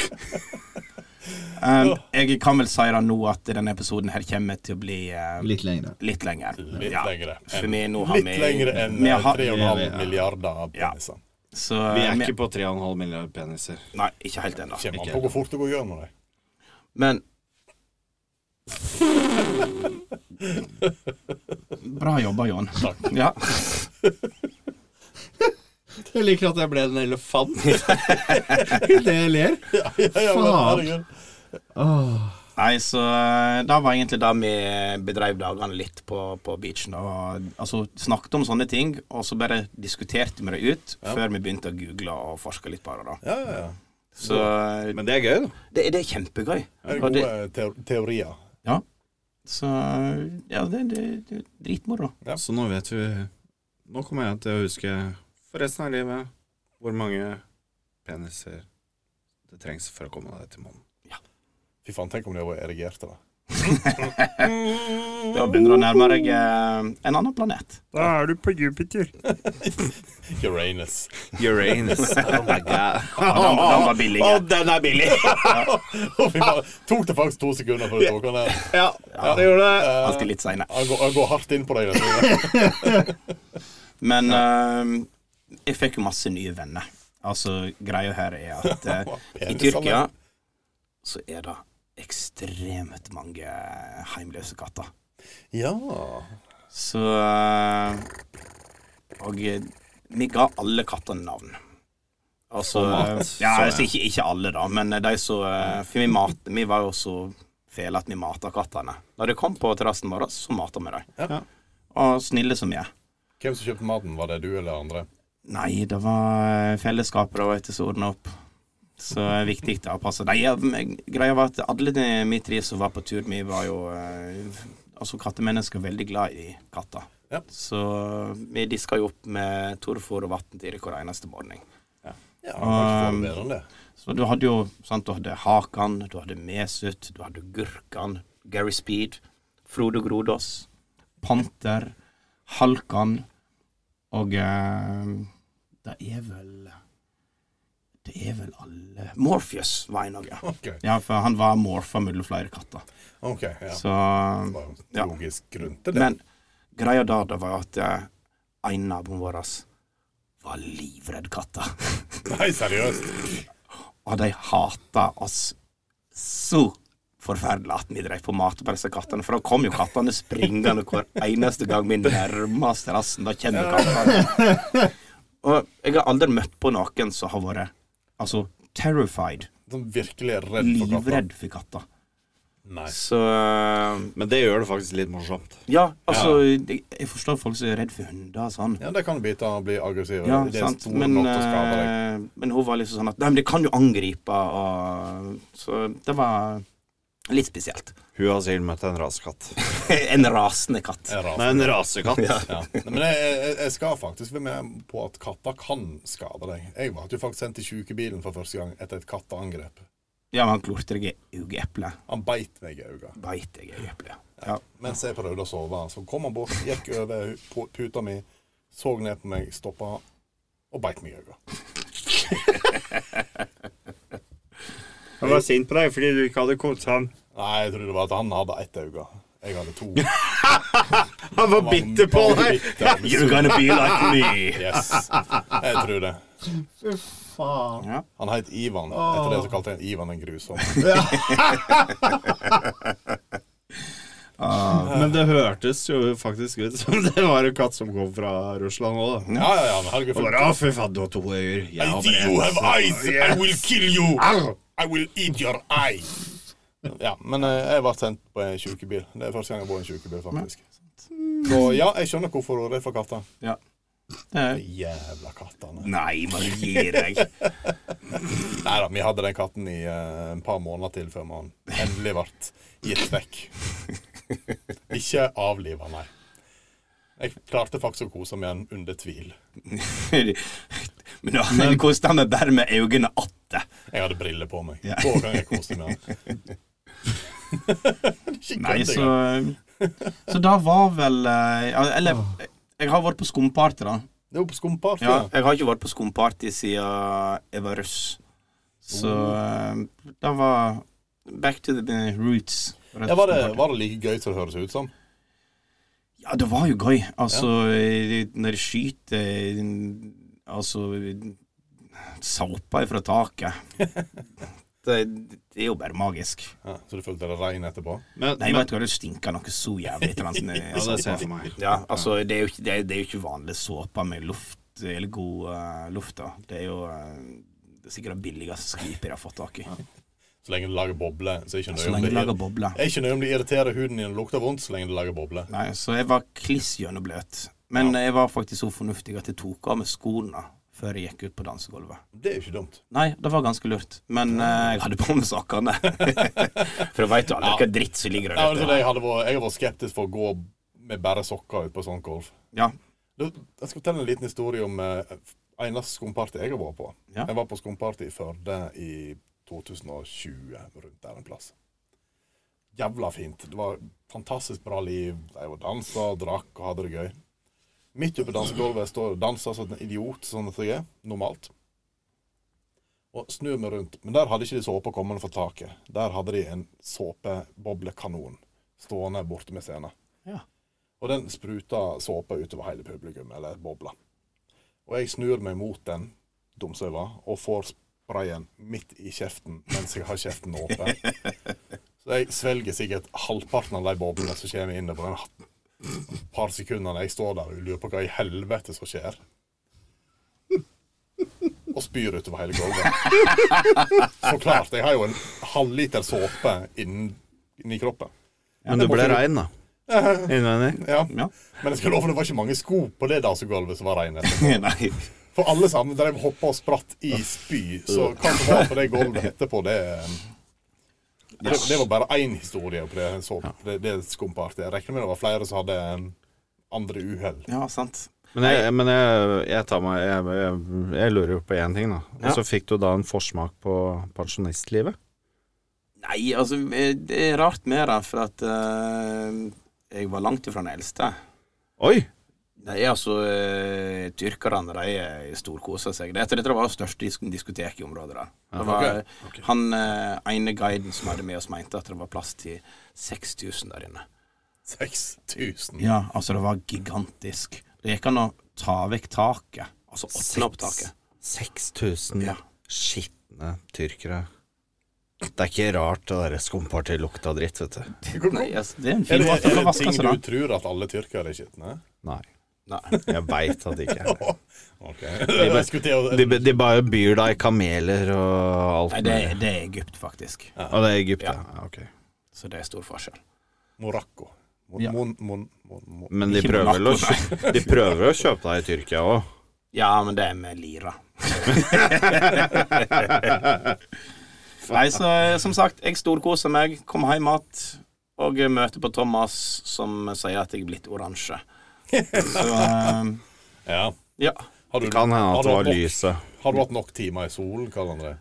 [SPEAKER 1] Um, jeg kan vel si det nå at denne episoden her kommer til å bli eh,
[SPEAKER 7] Litt lengre.
[SPEAKER 1] litt lenger.
[SPEAKER 2] Litt
[SPEAKER 1] Ja,
[SPEAKER 2] lengre.
[SPEAKER 1] For
[SPEAKER 2] enn-
[SPEAKER 1] vi nå har
[SPEAKER 2] litt
[SPEAKER 1] vi
[SPEAKER 2] lengre enn
[SPEAKER 1] vi
[SPEAKER 2] eh,
[SPEAKER 1] har-
[SPEAKER 2] 3,5 milliarder
[SPEAKER 1] Ja.
[SPEAKER 2] peniser.
[SPEAKER 1] Så eh,
[SPEAKER 6] Vi er ikke på 3,5 milliard peniser.
[SPEAKER 1] Nei, ikke helt ennå.
[SPEAKER 2] Kjem an
[SPEAKER 6] Ikke
[SPEAKER 2] på hvor fort det går gjennom det.
[SPEAKER 1] Men Bra jobba, Jon. Ja.
[SPEAKER 6] Jeg liker at jeg ble en elefant idet jeg ler. Faen.
[SPEAKER 2] Herregud.
[SPEAKER 1] Nei, så eh, da var egentlig det vi bedrev dagene litt på, på beachen. Og, altså snakket om sånne ting, og så bare diskuterte vi det ut før vi begynte å google og forske litt på det. da.
[SPEAKER 2] Ja, ja, ja.
[SPEAKER 1] Så eh,
[SPEAKER 6] Men det er gøy, da.
[SPEAKER 1] det, det er kjempegøy.
[SPEAKER 2] Det er
[SPEAKER 1] Og det,
[SPEAKER 2] gode teo- teorier.
[SPEAKER 1] ja. Så ja, det, det, det er dritmoro.
[SPEAKER 2] Ja.
[SPEAKER 6] Så nå vet vi Nå kommer jeg til å huske for resten av livet hvor mange peniser det trengs for å komme deg til månen.
[SPEAKER 2] Fy faen, tenk om de var erigerte, da.
[SPEAKER 1] Da begynner du å nærme deg eh, en annen planet.
[SPEAKER 6] Da er du på Jupiter.
[SPEAKER 2] Uranus.
[SPEAKER 6] Uranus. Oh my god.
[SPEAKER 1] Ja, den, den var billig.
[SPEAKER 6] Å, den er billig!
[SPEAKER 2] Å, fy faen. Tok det faktisk to sekunder før du tok den der. Eh,
[SPEAKER 6] ja, det gjorde det.
[SPEAKER 1] Alltid litt seine.
[SPEAKER 2] Han går, han går hardt inn på deg. Dette.
[SPEAKER 1] Men eh, jeg fikk jo masse nye venner. Altså, greia her er at eh, i Tyrkia så er det ekstremt mange eh, heimløse katter.
[SPEAKER 2] Ja.
[SPEAKER 1] Så eh, Og eh, vi ga alle kattene navn. Altså ja, altså, ikke, ikke alle, da, men de som eh, For vi, mat, vi var jo så fæle at vi mata kattene. Når de kom på terrassen vår, så mata vi dem.
[SPEAKER 2] Ja.
[SPEAKER 1] Og snille som vi er.
[SPEAKER 2] Hvem som kjøpte maten? Var det du eller andre?
[SPEAKER 1] Nei, det var eh, fellesskapet da, vet du, som ordna opp. Så det er viktig da, å passe. Nei, ja, men greia var at alle de vi tre som var på tur, vi var jo eh, Altså, kattemennesker er veldig glad i katter.
[SPEAKER 2] Ja.
[SPEAKER 1] Så vi diska jo opp med torfôr og vann til dem hver eneste morgen.
[SPEAKER 2] Ja, han kan ikke få det bedre enn det.
[SPEAKER 1] Så du hadde jo sant, du hadde Hakan, du hadde Mesut, du hadde Gurkan, Gary Speed, Frode Grodås, Panter, Halkan og eh, Det er vel Det er vel alle Morpheus var en av dem.
[SPEAKER 2] OK.
[SPEAKER 1] Ja, for han var morfa mellom flere katter.
[SPEAKER 2] ok, ja.
[SPEAKER 1] Så
[SPEAKER 2] Det var jo
[SPEAKER 1] Ja.
[SPEAKER 2] logisk grunn til det.
[SPEAKER 1] Men greia da, det var at eh, en naboen vår var livredd katter.
[SPEAKER 2] Nei, seriøst.
[SPEAKER 1] Og de hata oss så forferdelig at vi drev på mat på disse kattene. For da kom jo kattene springende hver eneste gang vi nærma oss terrassen. Da kjenner vi kattene. Og jeg har aldri møtt på noen som har vært altså terrified,
[SPEAKER 2] Sånn virkelig redd for katter.
[SPEAKER 1] livredd for katter.
[SPEAKER 2] Nei.
[SPEAKER 1] Så
[SPEAKER 6] Men det gjør det faktisk litt morsomt.
[SPEAKER 1] Ja, altså, jeg, jeg forstår folk som er redd for hunder og sånn.
[SPEAKER 2] Ja, det kan bite og bli aggressive.
[SPEAKER 1] Ja,
[SPEAKER 2] det er
[SPEAKER 1] sant.
[SPEAKER 2] store
[SPEAKER 1] Men,
[SPEAKER 2] nok til å skade deg.
[SPEAKER 1] eh, men hun var liksom sånn at Nei, men det kan jo angripe, og Så det var litt spesielt.
[SPEAKER 6] Hun har sikkert møtt en rasekatt.
[SPEAKER 1] en rasende katt.
[SPEAKER 2] En
[SPEAKER 6] Nei,
[SPEAKER 2] ras.
[SPEAKER 6] en rasekatt.
[SPEAKER 2] Ja. Nei, Men jeg, jeg- jeg skal faktisk være med på at katter kan skade deg. Jeg var jo faktisk sendt i sjukebilen for første gang etter et katteangrep.
[SPEAKER 1] Ja, men han klorte deg i øyeeplet.
[SPEAKER 2] Han beit meg i øynene.
[SPEAKER 1] Beit deg i øyeeplet.
[SPEAKER 2] Mens jeg prøvde å sove. Så kom han bort, gikk over pu- puta mi, så ned på meg, stoppa og beit meg i øynene.
[SPEAKER 6] Han var sint på deg fordi du ikke hadde kost ham.
[SPEAKER 2] Nei, jeg trodde det var at han hadde ett øye. Jeg hadde to.
[SPEAKER 6] Han var bitter på
[SPEAKER 2] Bare
[SPEAKER 6] deg!
[SPEAKER 2] bitter, men
[SPEAKER 1] You're gonna be like me.
[SPEAKER 2] Yes. Jeg tror det.
[SPEAKER 6] Fy faen.
[SPEAKER 2] Han het Ivan. Etter det så kalte jeg han Ivan den grusomme.
[SPEAKER 6] Men det hørtes jo faktisk ut som det var en katt som kom fra Russland òg.
[SPEAKER 2] Ja, ja, ja. Men herregud, for
[SPEAKER 6] Å, fy faen, du har to øyer. Jeg har bare ett.
[SPEAKER 2] I will kill you.
[SPEAKER 6] Au!
[SPEAKER 2] I will eat your eye. Ja, men eh, jeg ble sendt på en sjukebil. Det er første gang jeg bor i en sjukebil, faktisk. Så ja, jeg skjønner hvorfor hun er redd for katter.
[SPEAKER 1] Ja. Eh,
[SPEAKER 2] Jævla kattene.
[SPEAKER 1] Nei, bare gi deg.
[SPEAKER 2] Nei da, vi hadde den katten i eh, et par måneder til før man endelig ble gitt vekk. Ikke avliva, nei. Jeg klarte faktisk å kose meg med den under tvil.
[SPEAKER 1] Men da men, koste han meg bare med øynene atte.
[SPEAKER 2] Jeg hadde briller på meg. Hver gang jeg koste meg med den. Det er ikke
[SPEAKER 1] Nei,
[SPEAKER 2] kødd
[SPEAKER 1] så eh,
[SPEAKER 2] engang.
[SPEAKER 1] Så da var vel eh, ja, Eller jeg- jeg har vært på skumparty, da.
[SPEAKER 2] Det er jo på skumparty.
[SPEAKER 1] Ja, jeg har ikke vært på skumparty siden jeg var russ. Så eh, det var back to the roots.
[SPEAKER 2] Ja, var, det, var det like gøy som det høres ut som?
[SPEAKER 1] Ja, det var jo gøy. Altså, eh, når de skyter eh, Altså Såpa fra taket. det, det er jo bare magisk.
[SPEAKER 2] Ja, så du følte det regn etterpå?
[SPEAKER 6] Men,
[SPEAKER 1] Nei,
[SPEAKER 6] men
[SPEAKER 1] vet du hva, det stinker noe så jævlig til den
[SPEAKER 6] ja, det ser jeg for meg.
[SPEAKER 1] sånn, eh, Ja, altså, det er jo ikke, det er, det er jo ikke vanlig såpe med luft, eller god eh, luft, da. Det er jo eh, det er sikkert det billigste skvipet jeg har fått tak i.
[SPEAKER 2] Så lenge du lager bobler, så er ikke nøye
[SPEAKER 1] Så
[SPEAKER 2] om
[SPEAKER 1] lenge
[SPEAKER 2] det
[SPEAKER 1] du lager
[SPEAKER 2] irri-
[SPEAKER 1] bobler.
[SPEAKER 2] Jeg er ikke nøye om det irriterer huden din og lukter vondt, så lenge du lager bobler.
[SPEAKER 1] Nei, så jeg var kliss gjennombløt. Men jeg var faktisk så fornuftig at jeg tok av meg skoene før jeg gikk ut på dansegulvet.
[SPEAKER 2] Det er jo ikke dumt.
[SPEAKER 1] Nei, det var ganske lurt, men eh, jeg hadde på meg sokkene. For jeg veit jo aldri hva dritt som ligger
[SPEAKER 2] Ja, altså,
[SPEAKER 1] der.
[SPEAKER 2] jeg, hadde vært, jeg har vært skeptisk for å gå med bare sokker ut på sånn golf.
[SPEAKER 1] Ja.
[SPEAKER 2] Du, Jeg skal fortelle en liten historie om eh, eneste skumparty jeg har vært på.
[SPEAKER 1] Ja.
[SPEAKER 2] Jeg var på skumparty i Førde i 2020, rundt der en plass. Jævla fint. Det var fantastisk bra liv. De var dansa, drakk og hadde det gøy. Midt oppe på dansegulvet står jeg og danser som en idiot, sånn at jeg er, normalt. Og snur meg rundt. Men der hadde ikke de såpe kommende fra taket. Der hadde de en såpeboblekanon stående borte med scenen. Og den spruta såpe utover hele publikum, eller bobla. Og jeg snur meg mot den, dum som jeg var, og får sprayen midt i kjeften mens jeg har kjeften åpen. Så jeg svelger sikkert halvparten av de boblene som kommer inn på den par sekundene jeg står der og lurer på hva i helvete som skjer. Og spyr utover hele gulvet. Så klart. Jeg har jo en halvliter såpe innen, inni kroppen.
[SPEAKER 6] Men du ble rein, da. Innvendig.
[SPEAKER 2] Ja.
[SPEAKER 1] Ja.
[SPEAKER 2] Men jeg skal love det var ikke mange sko på det dansegulvet som var rene.
[SPEAKER 1] Nei.
[SPEAKER 2] For alle sammen drev hoppa og spratt i spy. Så hva som var på det gulvet etterpå, det Det, det var bare én historie på det, så, det, det skumpartiet. Jeg regner med det var flere som hadde um, andre uhell.
[SPEAKER 1] Ja, sant.
[SPEAKER 6] Men, jeg, men jeg, jeg tar meg jeg, jeg, jeg lurer jo på én ting, da. Og så fikk du da en forsmak på pensjonistlivet.
[SPEAKER 1] Nei, altså, eh, det er rart med det, for at eh, jeg var langt ifra den eldste.
[SPEAKER 6] Oi!
[SPEAKER 1] Nei, altså, eh, tyrkerne, de er storkoser seg. Dette, dette var det største disk diskotek i området der. Det var, Han eh, ene guiden som hadde med oss, mente at det var plass til 6000 der inne.
[SPEAKER 2] 6000.
[SPEAKER 1] Ja, altså, det var gigantisk. Det gikk an å ta vekk taket. Altså åpne opp taket.
[SPEAKER 6] 6000
[SPEAKER 1] Ja.
[SPEAKER 6] skitne tyrkere. Det er ikke rart det derre skumpartiet lukta dritt, vet du.
[SPEAKER 1] Nei, altså, det er en
[SPEAKER 2] Er
[SPEAKER 1] fin
[SPEAKER 2] det,
[SPEAKER 1] måte å
[SPEAKER 2] er
[SPEAKER 1] få
[SPEAKER 2] det
[SPEAKER 1] vaska
[SPEAKER 2] ting
[SPEAKER 1] seg
[SPEAKER 2] du
[SPEAKER 1] da.
[SPEAKER 2] tror at alle tyrkere er skitne?
[SPEAKER 6] Nei.
[SPEAKER 1] Nei.
[SPEAKER 6] Jeg veit at det ikke er det.
[SPEAKER 2] Ok. Jeg skulle til å-
[SPEAKER 6] De, de bare byr deg kameler og alt
[SPEAKER 1] Nei, det, er- det er Egypt, faktisk.
[SPEAKER 6] mulig. Og det er Egypt, ja. ja ok.
[SPEAKER 1] Så det er stor forskjell.
[SPEAKER 2] Morocco. Mon,
[SPEAKER 1] Ja.
[SPEAKER 2] mon, mon, mon, mon.
[SPEAKER 4] Men de
[SPEAKER 1] Ikke
[SPEAKER 4] prøver, vel å,
[SPEAKER 1] Monaco,
[SPEAKER 4] kjø- de prøver å kjøpe deg i Tyrkia òg.
[SPEAKER 1] Ja, men det er med lira. Nei, så eh, som sagt, jeg storkoser meg, kom hjem igjen og eh, møter på Thomas, som sier at jeg er blitt oransje. Så eh,
[SPEAKER 2] Ja.
[SPEAKER 1] ja.
[SPEAKER 2] Har du,
[SPEAKER 4] Det kan hende
[SPEAKER 2] har
[SPEAKER 4] at
[SPEAKER 2] du
[SPEAKER 4] det
[SPEAKER 2] hatt
[SPEAKER 4] var
[SPEAKER 2] nok-
[SPEAKER 4] lyset.
[SPEAKER 2] Har du hatt nok timer i solen, Karl André?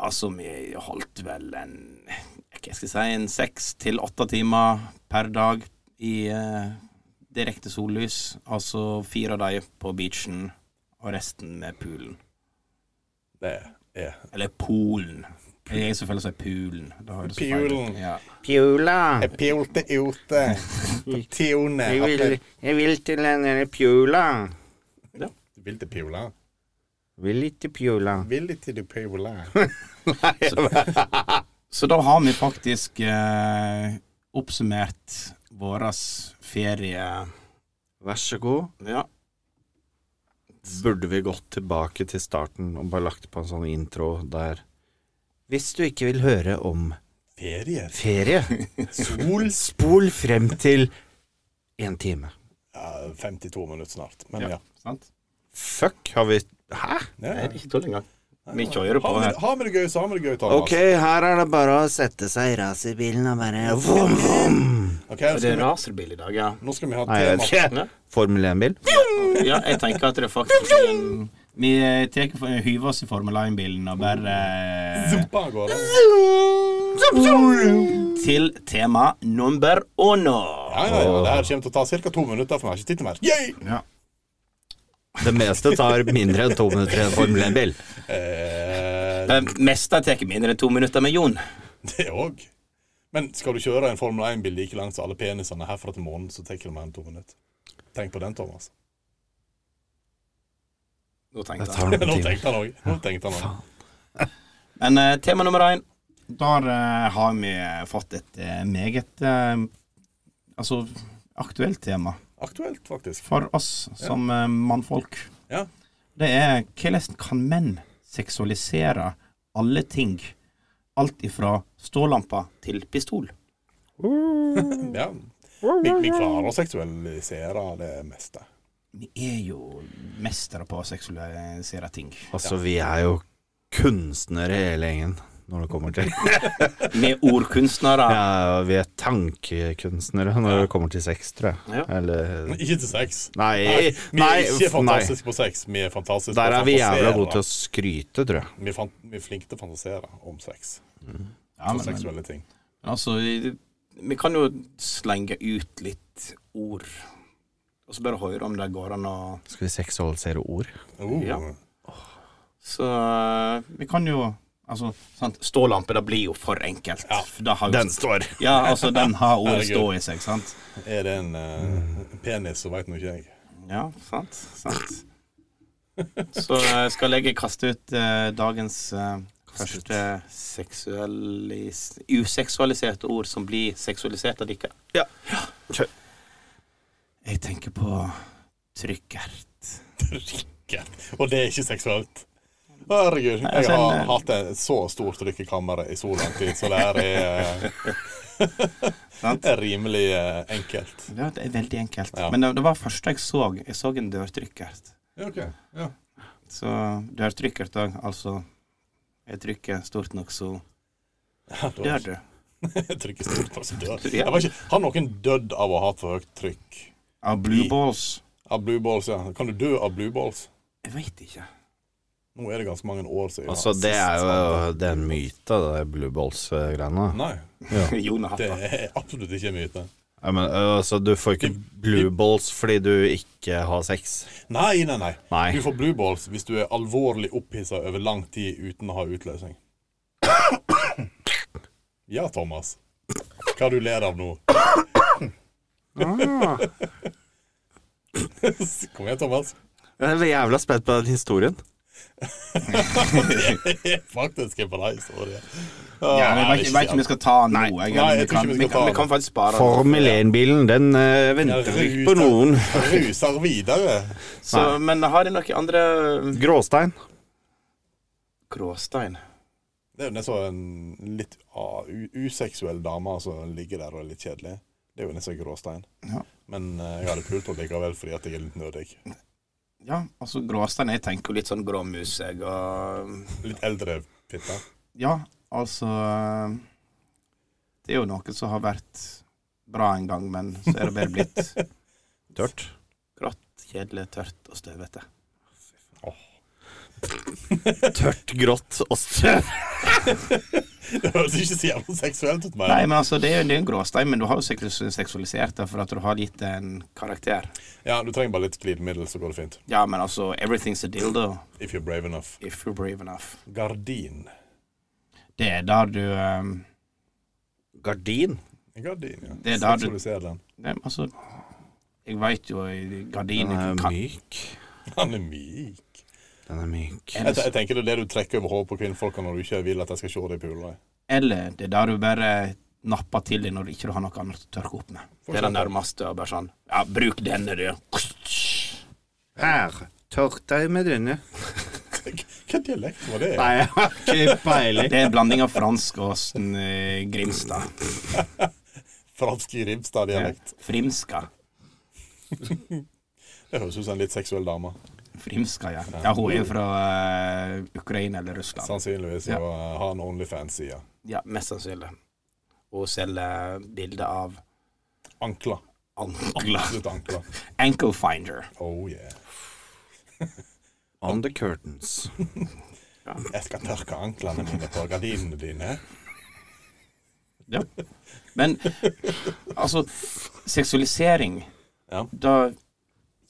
[SPEAKER 1] Altså, vi holdt vel en Hva skal jeg si En seks til åtte timer per dag i eh, direkte sollys. Altså fire av dem på beachen, og resten med poolen.
[SPEAKER 2] Det er
[SPEAKER 1] Eller poolen. Jeg er selvfølgelig sier poolen. Da høres det feil ut.
[SPEAKER 2] Poolen.
[SPEAKER 1] Ja.
[SPEAKER 4] Pjula.
[SPEAKER 2] Jeg pilte ute. Tione.
[SPEAKER 4] til den derre pjula.
[SPEAKER 2] Vil til Piola.
[SPEAKER 4] Vil ikke pjula.
[SPEAKER 2] Vil ikke til Piola.
[SPEAKER 1] Så da har vi faktisk eh, oppsummert vår ferie
[SPEAKER 4] Vær så god.
[SPEAKER 1] Ja.
[SPEAKER 4] Burde vi gått tilbake til starten og bare lagt på en sånn intro der Hvis du ikke vil høre om
[SPEAKER 2] Ferie.
[SPEAKER 4] ferie,
[SPEAKER 2] Sol.
[SPEAKER 4] spol frem til én time.
[SPEAKER 2] Ja, 52 minutter snart. Men ja.
[SPEAKER 1] Ja. Sant?
[SPEAKER 4] Fuck, har vi Hæ?
[SPEAKER 2] ja.
[SPEAKER 1] Nei, ikke tull engang. Vi kjører på
[SPEAKER 2] Har vi
[SPEAKER 1] her.
[SPEAKER 2] det- Har vi det gøy, så har vi det gøy, Thomas.
[SPEAKER 4] Ok, her er det bare å sette seg i racerbilen og bare vroom, vroom.
[SPEAKER 2] Ok, nå,
[SPEAKER 1] Er det
[SPEAKER 2] skal vi,
[SPEAKER 1] racerbil i dag, ja?
[SPEAKER 2] nå skal vi ha
[SPEAKER 4] Nei, jeg
[SPEAKER 2] tema.
[SPEAKER 4] vet ikke.
[SPEAKER 1] Ja.
[SPEAKER 4] Formel 1-bil?
[SPEAKER 1] Ja, jeg tenker at det faktisk er en- Vi eh, tek- hyver oss i Formel 1-bilen og bare eh,
[SPEAKER 2] Zumpa av gårde.
[SPEAKER 1] Til tema number uno.
[SPEAKER 2] Ja, ja, ja. Det her kommer til å ta ca. to minutter, for vi har ikke tid til mer. Yay!
[SPEAKER 4] Det meste tar mindre enn to minutter i en Formel 1-bil.
[SPEAKER 2] Eh,
[SPEAKER 1] Det meste tar mindre enn to minutter med Jon.
[SPEAKER 2] det òg. Men skal du kjøre en Formel 1-bil like langt som alle penisene herfra til månen, så tar det mer enn to minutter. Tenk på den, Thomas.
[SPEAKER 1] Nå tenkte
[SPEAKER 4] Det
[SPEAKER 1] jeg.
[SPEAKER 4] tar noen
[SPEAKER 2] Nå
[SPEAKER 4] timer.
[SPEAKER 2] tenkte han òg. Nå tenkte han også.
[SPEAKER 1] Men eh, tema nummer én Der eh, har vi fått et eh, meget eh, Altså aktuelt tema
[SPEAKER 2] Aktuelt, faktisk.
[SPEAKER 1] for oss som eh, mannfolk.
[SPEAKER 2] Ja.
[SPEAKER 1] Det er hvordan kan menn seksualisere alle ting? Alt ifra stålampa til pistol.
[SPEAKER 2] Ja. Vi, vi klarer å seksualisere det meste.
[SPEAKER 1] Vi er jo mestere på å seksualisere ting.
[SPEAKER 4] Altså, vi er jo kunstnere hele gjengen når det kommer til
[SPEAKER 1] Vi er ordkunstnere.
[SPEAKER 4] Ja, vi er tankekunstnere når det kommer til sex, tror jeg.
[SPEAKER 1] Ja.
[SPEAKER 4] Eller
[SPEAKER 2] Ikke til sex.
[SPEAKER 4] Nei,
[SPEAKER 2] Nei, vi
[SPEAKER 4] nei,
[SPEAKER 2] er ikke
[SPEAKER 4] f- nei.
[SPEAKER 2] fantastiske på sex. Vi er fantastiske
[SPEAKER 4] Der
[SPEAKER 2] på å
[SPEAKER 4] er vi jævla
[SPEAKER 2] fantasere.
[SPEAKER 4] gode til å skryte, tror jeg.
[SPEAKER 2] Vi, er fan- vi er flinke til å fantasere om sex.
[SPEAKER 1] Ja,
[SPEAKER 2] om
[SPEAKER 1] men, men,
[SPEAKER 2] seksuelle ting.
[SPEAKER 1] altså, vi- vi kan jo slenge ut litt ord, og så bare høre om det går an å
[SPEAKER 4] Skal vi seksualisere ord?
[SPEAKER 2] Oh.
[SPEAKER 1] Ja. Så eh, vi kan jo Altså, sant? Stålampe, det blir jo for enkelt.
[SPEAKER 2] Ja,
[SPEAKER 1] For det har jo-
[SPEAKER 4] Den står.
[SPEAKER 1] Ja, altså, den har ordet
[SPEAKER 2] Herregud.
[SPEAKER 1] stå i seg, sant?
[SPEAKER 2] Er det en eh, penis, så veit nå ikke jeg.
[SPEAKER 1] Ja, sant? Sant. Så eh, skal jeg kaste ut eh, dagens eh, første seksualis... useksualiserte ord som blir seksualisert av dere.
[SPEAKER 4] Ja. Kjør.
[SPEAKER 1] Jeg tenker på trykkert.
[SPEAKER 2] Rikken. Og det er ikke seksuelt. Herregud.
[SPEAKER 1] Nei, altså,
[SPEAKER 2] Jeg har
[SPEAKER 1] en, eh,
[SPEAKER 2] hatt et så stort trykk i kammeret i så lang tid, så det her er, eh,
[SPEAKER 1] Sant?
[SPEAKER 2] er rimelig eh, enkelt.
[SPEAKER 1] Ja, det er veldig enkelt.
[SPEAKER 2] Ja.
[SPEAKER 1] Men det, det var første jeg så. Jeg så en dørtrykkert.
[SPEAKER 2] Ja, ok. Ja.
[SPEAKER 1] Så dørtrykkert òg, altså Jeg trykker stort nok, så dør du.
[SPEAKER 2] Trykket stort på sin dør.
[SPEAKER 1] Ja.
[SPEAKER 2] Jeg vet ikke, Har noen dødd av å ha for høyt trykk?
[SPEAKER 1] Av blue balls?
[SPEAKER 2] Av blue balls, ja. Kan du dø av blue balls?
[SPEAKER 1] Jeg veit ikke.
[SPEAKER 2] Nå er det ganske mange år siden.
[SPEAKER 4] Altså, det er jo det er en myte, det der blue balls-greiene.
[SPEAKER 2] Nei,
[SPEAKER 1] Jon har hatt
[SPEAKER 2] det
[SPEAKER 1] det.
[SPEAKER 2] er absolutt ikke en myte.
[SPEAKER 4] Ja, men ø, altså, du får ikke blue balls fordi du ikke har sex.
[SPEAKER 2] Nei, nei, nei.
[SPEAKER 4] Nei.
[SPEAKER 2] Du får blue balls hvis du er alvorlig opphissa over lang tid uten å ha utløsning. Ja, Thomas. Hva du ler av nå? Kom igjen, Thomas.
[SPEAKER 4] Jeg er jævla spent på den historien.
[SPEAKER 2] Faktisk er på Ah, deg, sorry.
[SPEAKER 1] Ja, men jeg vet ikke- jeg vet ikke om vi skal ta nå. Jeg,
[SPEAKER 2] Nei, jeg
[SPEAKER 1] vi,
[SPEAKER 2] tror
[SPEAKER 1] kan,
[SPEAKER 2] ikke vi
[SPEAKER 1] vi,
[SPEAKER 2] skal ta
[SPEAKER 1] kan, vi
[SPEAKER 2] det.
[SPEAKER 1] kan faktisk spare den.
[SPEAKER 4] Formel 1-bilen, den ø, venter ikke på noen.
[SPEAKER 2] Ruser videre.
[SPEAKER 1] Så, men har de noen andre
[SPEAKER 4] Gråstein.
[SPEAKER 1] um, Gråstein?
[SPEAKER 2] Det er jo nesten en litt ah, u- useksuell dame som ligger der og er litt kjedelig. Det er jo nesten gråstein.
[SPEAKER 1] Ja.
[SPEAKER 2] Men eh, jeg hadde pult henne likevel fordi at jeg er litt nerdig.
[SPEAKER 1] Ja, altså gråstein Jeg tenker jo litt sånn gråmus, jeg, og
[SPEAKER 2] Litt eldre fitte.
[SPEAKER 1] Ja, altså Det er jo noe som har vært bra en gang, men så er det bare blitt
[SPEAKER 4] Tørt.
[SPEAKER 1] grått, kjedelig, tørt og støvete.
[SPEAKER 4] Tørt, grått og støv.
[SPEAKER 2] Det høres ikke så jævla seksuelt ut,
[SPEAKER 1] Nei,
[SPEAKER 2] men
[SPEAKER 1] men altså, det er jo det er en gråstein, men du har jo seksualis- seksualisert det for at du har gitt det en karakter.
[SPEAKER 2] ja, du trenger bare litt glidemiddel, så går det fint.
[SPEAKER 1] Ja, men altså, everything's a dildo
[SPEAKER 2] If you're brave enough.
[SPEAKER 1] if you're brave enough.
[SPEAKER 2] Gardin.
[SPEAKER 1] Det er der du ehm,
[SPEAKER 4] Gardin.
[SPEAKER 2] Gardin, ja.
[SPEAKER 1] Det er da du-
[SPEAKER 2] Seksualiser den.
[SPEAKER 1] Nei, men altså Jeg veit jo i
[SPEAKER 4] Den
[SPEAKER 1] gardiner
[SPEAKER 4] er
[SPEAKER 1] kan
[SPEAKER 4] myk.
[SPEAKER 2] Han er myk.
[SPEAKER 4] Den er myk.
[SPEAKER 2] Jeg, jeg tenker det er det du trekker over hodet på kvinnfolka når du ikke vil at jeg skal se det i pula.
[SPEAKER 1] Eller det er der du bare napper til deg når du ikke har noe annet å tørke opp med. Det er det
[SPEAKER 2] eksempel.
[SPEAKER 1] nærmeste. og Bare sånn Ja, bruk denne, du.
[SPEAKER 4] Her. Tørk deg med denne.
[SPEAKER 2] Hvilken dialekt var det?
[SPEAKER 4] Nei, jeg har ikke peiling.
[SPEAKER 1] Det er en blanding av fransk og sånn, eh, Grimstad.
[SPEAKER 2] Fransk i Ribstad-dialekt.
[SPEAKER 1] Frimska.
[SPEAKER 2] Det høres ut som en litt seksuell dame.
[SPEAKER 1] Frimska, ja. ja hun er jo fra eh, Ukraina eller Russland.
[SPEAKER 2] Sannsynligvis
[SPEAKER 1] Ja.
[SPEAKER 2] ja. har en Onlyfans-side.
[SPEAKER 1] Ja, mest sannsynlig. Hun selger bilder av
[SPEAKER 2] Ankler.
[SPEAKER 1] ankler.
[SPEAKER 2] Absolutt ankler.
[SPEAKER 1] Ankle finder.
[SPEAKER 2] Oh yeah.
[SPEAKER 4] On the curtains.
[SPEAKER 2] Jeg skal tørke anklene mine på gardinene dine.
[SPEAKER 1] Ja. Men altså, seksualisering
[SPEAKER 2] Ja.
[SPEAKER 1] Da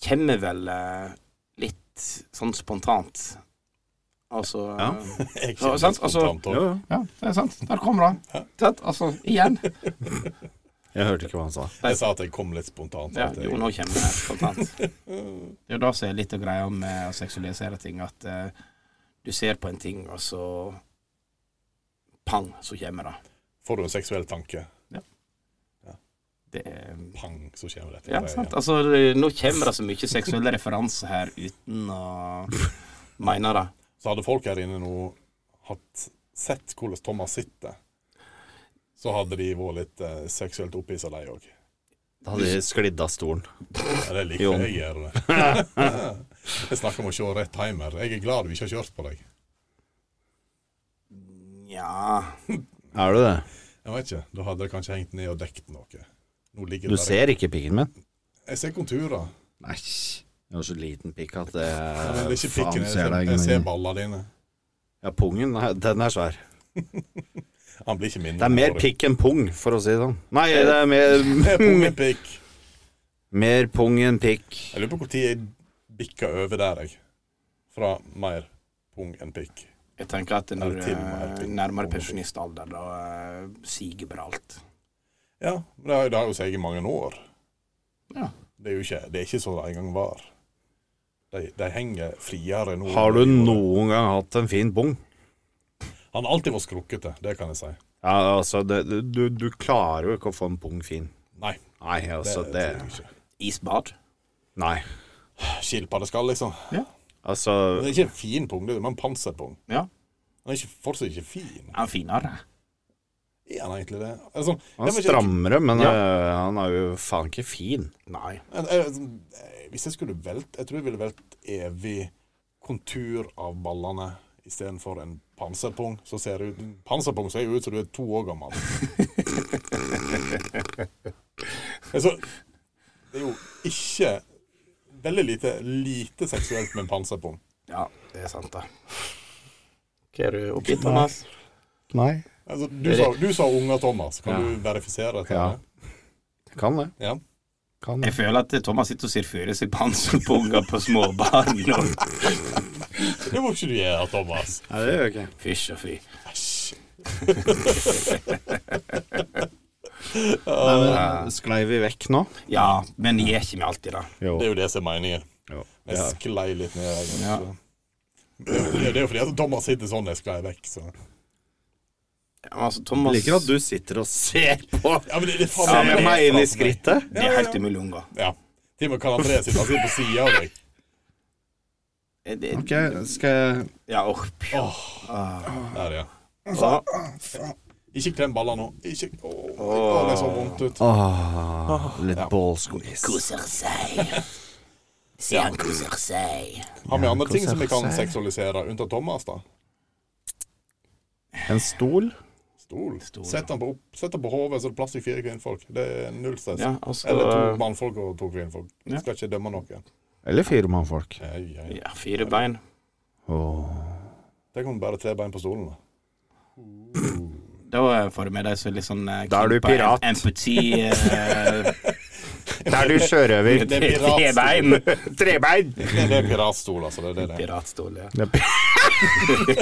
[SPEAKER 1] kommer vel eh, litt sånn spontant. Altså
[SPEAKER 4] Ja.
[SPEAKER 1] Ja,
[SPEAKER 2] Jeg kjenner
[SPEAKER 1] sant, Altså,
[SPEAKER 2] spontant
[SPEAKER 4] Jo,
[SPEAKER 2] også.
[SPEAKER 4] jo.
[SPEAKER 1] Ja, det er sant. Der kommer det. Tett, altså, igjen.
[SPEAKER 4] Jeg hørte ikke hva han sa.
[SPEAKER 2] Jeg sa at jeg kom litt spontant.
[SPEAKER 1] Ja,
[SPEAKER 2] at jeg-
[SPEAKER 1] jo, nå kommer det spontant. Det er jo det som er litt av greia med å seksualisere ting, at eh, du ser på en ting, og så pang, så kommer det.
[SPEAKER 2] Får du en seksuell tanke,
[SPEAKER 1] Det er
[SPEAKER 2] pang, så kommer dette.
[SPEAKER 1] Ja,
[SPEAKER 2] Det er-
[SPEAKER 1] sant. Altså, det- nå kommer det så mye seksuelle referanser her uten å mene det.
[SPEAKER 2] Så hadde folk her inne nå hatt sett hvordan Thomas sitter, så hadde de vært litt eh, seksuelt opphissa, de òg.
[SPEAKER 4] Da hadde jeg sklidd av stolen.
[SPEAKER 2] Ja, det liker
[SPEAKER 4] Jo.
[SPEAKER 2] jeg gjør det. Jeg snakker om å se rett timer. Jeg er glad du ikke har kjørt på deg.
[SPEAKER 1] Ja
[SPEAKER 4] Er du det?
[SPEAKER 2] Jeg vet ikke, Da hadde det kanskje hengt ned og dekt noe. Nå ligger
[SPEAKER 4] Du
[SPEAKER 2] det
[SPEAKER 4] ser ikke pikken min?
[SPEAKER 2] Jeg ser konturer.
[SPEAKER 4] Nei. Jeg har så liten pikk at det
[SPEAKER 2] Men det er ikke pikken. Jeg
[SPEAKER 6] ser
[SPEAKER 2] ser,
[SPEAKER 6] deg
[SPEAKER 2] jeg ser
[SPEAKER 6] gni.
[SPEAKER 2] ballene dine.
[SPEAKER 4] Ja, pungen, nei, den er svær.
[SPEAKER 2] Han blir ikke mindre.
[SPEAKER 4] Det er mer
[SPEAKER 2] enn
[SPEAKER 4] pikk enn pung, for å si det sånn. Nei, det er mer
[SPEAKER 2] Det er pung enn pikk.
[SPEAKER 4] Mer pung enn pikk.
[SPEAKER 2] Jeg lurer på når jeg bikka over der, jeg. Fra mer pung enn pikk.
[SPEAKER 1] Jeg tenker at når
[SPEAKER 2] Eller
[SPEAKER 1] du
[SPEAKER 2] til og med
[SPEAKER 1] er
[SPEAKER 2] til-
[SPEAKER 1] nærmere pensjonistalder, da eh, siger bare alt.
[SPEAKER 2] Ja, men det har, det har jo seg i mange år.
[SPEAKER 1] Ja.
[SPEAKER 2] Det er jo ikke, det er ikke sånn det en gang var. De, de henger friere nå.
[SPEAKER 4] Har du noen gang hatt en fin pung?
[SPEAKER 2] Han har alltid vært skrukkete, det kan jeg si.
[SPEAKER 4] Ja, altså, det, du, du klarer jo ikke å få en pung fin.
[SPEAKER 2] Nei,
[SPEAKER 4] Nei,
[SPEAKER 2] det
[SPEAKER 4] altså, det,
[SPEAKER 2] tror jeg ikke.
[SPEAKER 1] Isbad?
[SPEAKER 4] Nei.
[SPEAKER 2] Skilpaddeskall, liksom.
[SPEAKER 4] Altså
[SPEAKER 2] Det er ikke en fin pung, det er bare en panserpung.
[SPEAKER 1] Ja.
[SPEAKER 2] Han er ikke, fortsatt ikke fin.
[SPEAKER 1] Er han finere?
[SPEAKER 2] Er han egentlig det? Er det sånn,
[SPEAKER 4] Han
[SPEAKER 2] jeg vet ikke-
[SPEAKER 4] strammere, men øh, han er jo faen ikke fin.
[SPEAKER 1] Nei.
[SPEAKER 2] Jeg- jeg- jeg- eh, altså, Hvis jeg skulle velt Jeg tror jeg ville velt evig kontur av ballene istedenfor en panserpung. Så ser det ut, panserpung ser jo ut som du er to år gammel. altså, det er jo ikke Veldig lite, lite seksuelt med en panserpung.
[SPEAKER 1] Ja, det er sant, det. Hva er du oppgitt, Thomas?
[SPEAKER 4] Nei.
[SPEAKER 2] Altså, du, sa, du sa unge Thomas. Kan du verifisere dette?
[SPEAKER 4] Ja.
[SPEAKER 2] eller?
[SPEAKER 4] Kan det.
[SPEAKER 2] ja.
[SPEAKER 4] Kan
[SPEAKER 1] Jeg
[SPEAKER 4] det.
[SPEAKER 1] føler at Thomas sitter og ser for seg panserpunger på små barn. og-
[SPEAKER 2] Det må ikke du gjøre, Thomas.
[SPEAKER 4] Nei, det gjør jeg ikke.
[SPEAKER 1] Fysj og fy.
[SPEAKER 2] Æsj.
[SPEAKER 4] Nei, men, eh, sklei vi vekk nå?
[SPEAKER 1] Ja, men gjør ikke vi alltid det?
[SPEAKER 4] Jo.
[SPEAKER 2] Det er jo det som er meningen.
[SPEAKER 4] jo.
[SPEAKER 2] Jeg
[SPEAKER 4] Ja.
[SPEAKER 2] sklei litt ned. Jeg,
[SPEAKER 1] Ja.
[SPEAKER 2] så. det, er jo- det er jo fordi at Thomas sitter sånn jeg sklei vekk. Så.
[SPEAKER 1] Ja, men altså, Thomas
[SPEAKER 4] Jeg liker at du sitter og ser på
[SPEAKER 2] Ja, men det, det er faen
[SPEAKER 4] Ser
[SPEAKER 2] meg-
[SPEAKER 4] meg inn
[SPEAKER 2] faen
[SPEAKER 4] i
[SPEAKER 2] meg.
[SPEAKER 4] skrittet.
[SPEAKER 1] Det er helt umulig å unngå.
[SPEAKER 2] Ja. Til og med Karl André sitter han sitter på sida av deg.
[SPEAKER 1] Eh, det-
[SPEAKER 6] Ok, skal jeg
[SPEAKER 1] Ja, åh, pj-
[SPEAKER 2] Der, ja. Ikke klem baller nå. Ikke Å, det så vondt ut.
[SPEAKER 4] Åh, litt ballsqueeze.
[SPEAKER 7] Koser seg. Se han koser seg.
[SPEAKER 2] Har vi andre ting som vi kan
[SPEAKER 4] konsert.
[SPEAKER 2] seksualisere, unntatt Thomas, da?
[SPEAKER 4] En stol?
[SPEAKER 2] Stol. Sett den på, opp- sett den på hodet, så det er plass til fire kvinnfolk. Det er null stress.
[SPEAKER 1] Ja, altså,
[SPEAKER 2] Eller to mannfolk og to kvinnfolk.
[SPEAKER 1] Ja.
[SPEAKER 2] Skal ikke dømme noen.
[SPEAKER 4] Eller fire mannfolk?
[SPEAKER 2] Nei, nei.
[SPEAKER 1] ja, fire bein.
[SPEAKER 4] Åh.
[SPEAKER 2] Tenk om bare tre bein på stolen, da.
[SPEAKER 1] Da får du med deg så litt sånn eh,
[SPEAKER 4] Da er du
[SPEAKER 1] knipa em-
[SPEAKER 4] pirat.
[SPEAKER 1] Empati. eh,
[SPEAKER 4] Der du sjørøver.
[SPEAKER 2] Det
[SPEAKER 1] tre
[SPEAKER 2] er piratstol.
[SPEAKER 1] bein.
[SPEAKER 4] Trebein!
[SPEAKER 2] Det er- det er piratstol, altså. Det er det. det. er.
[SPEAKER 1] Piratstol, ja.
[SPEAKER 4] Det er pi-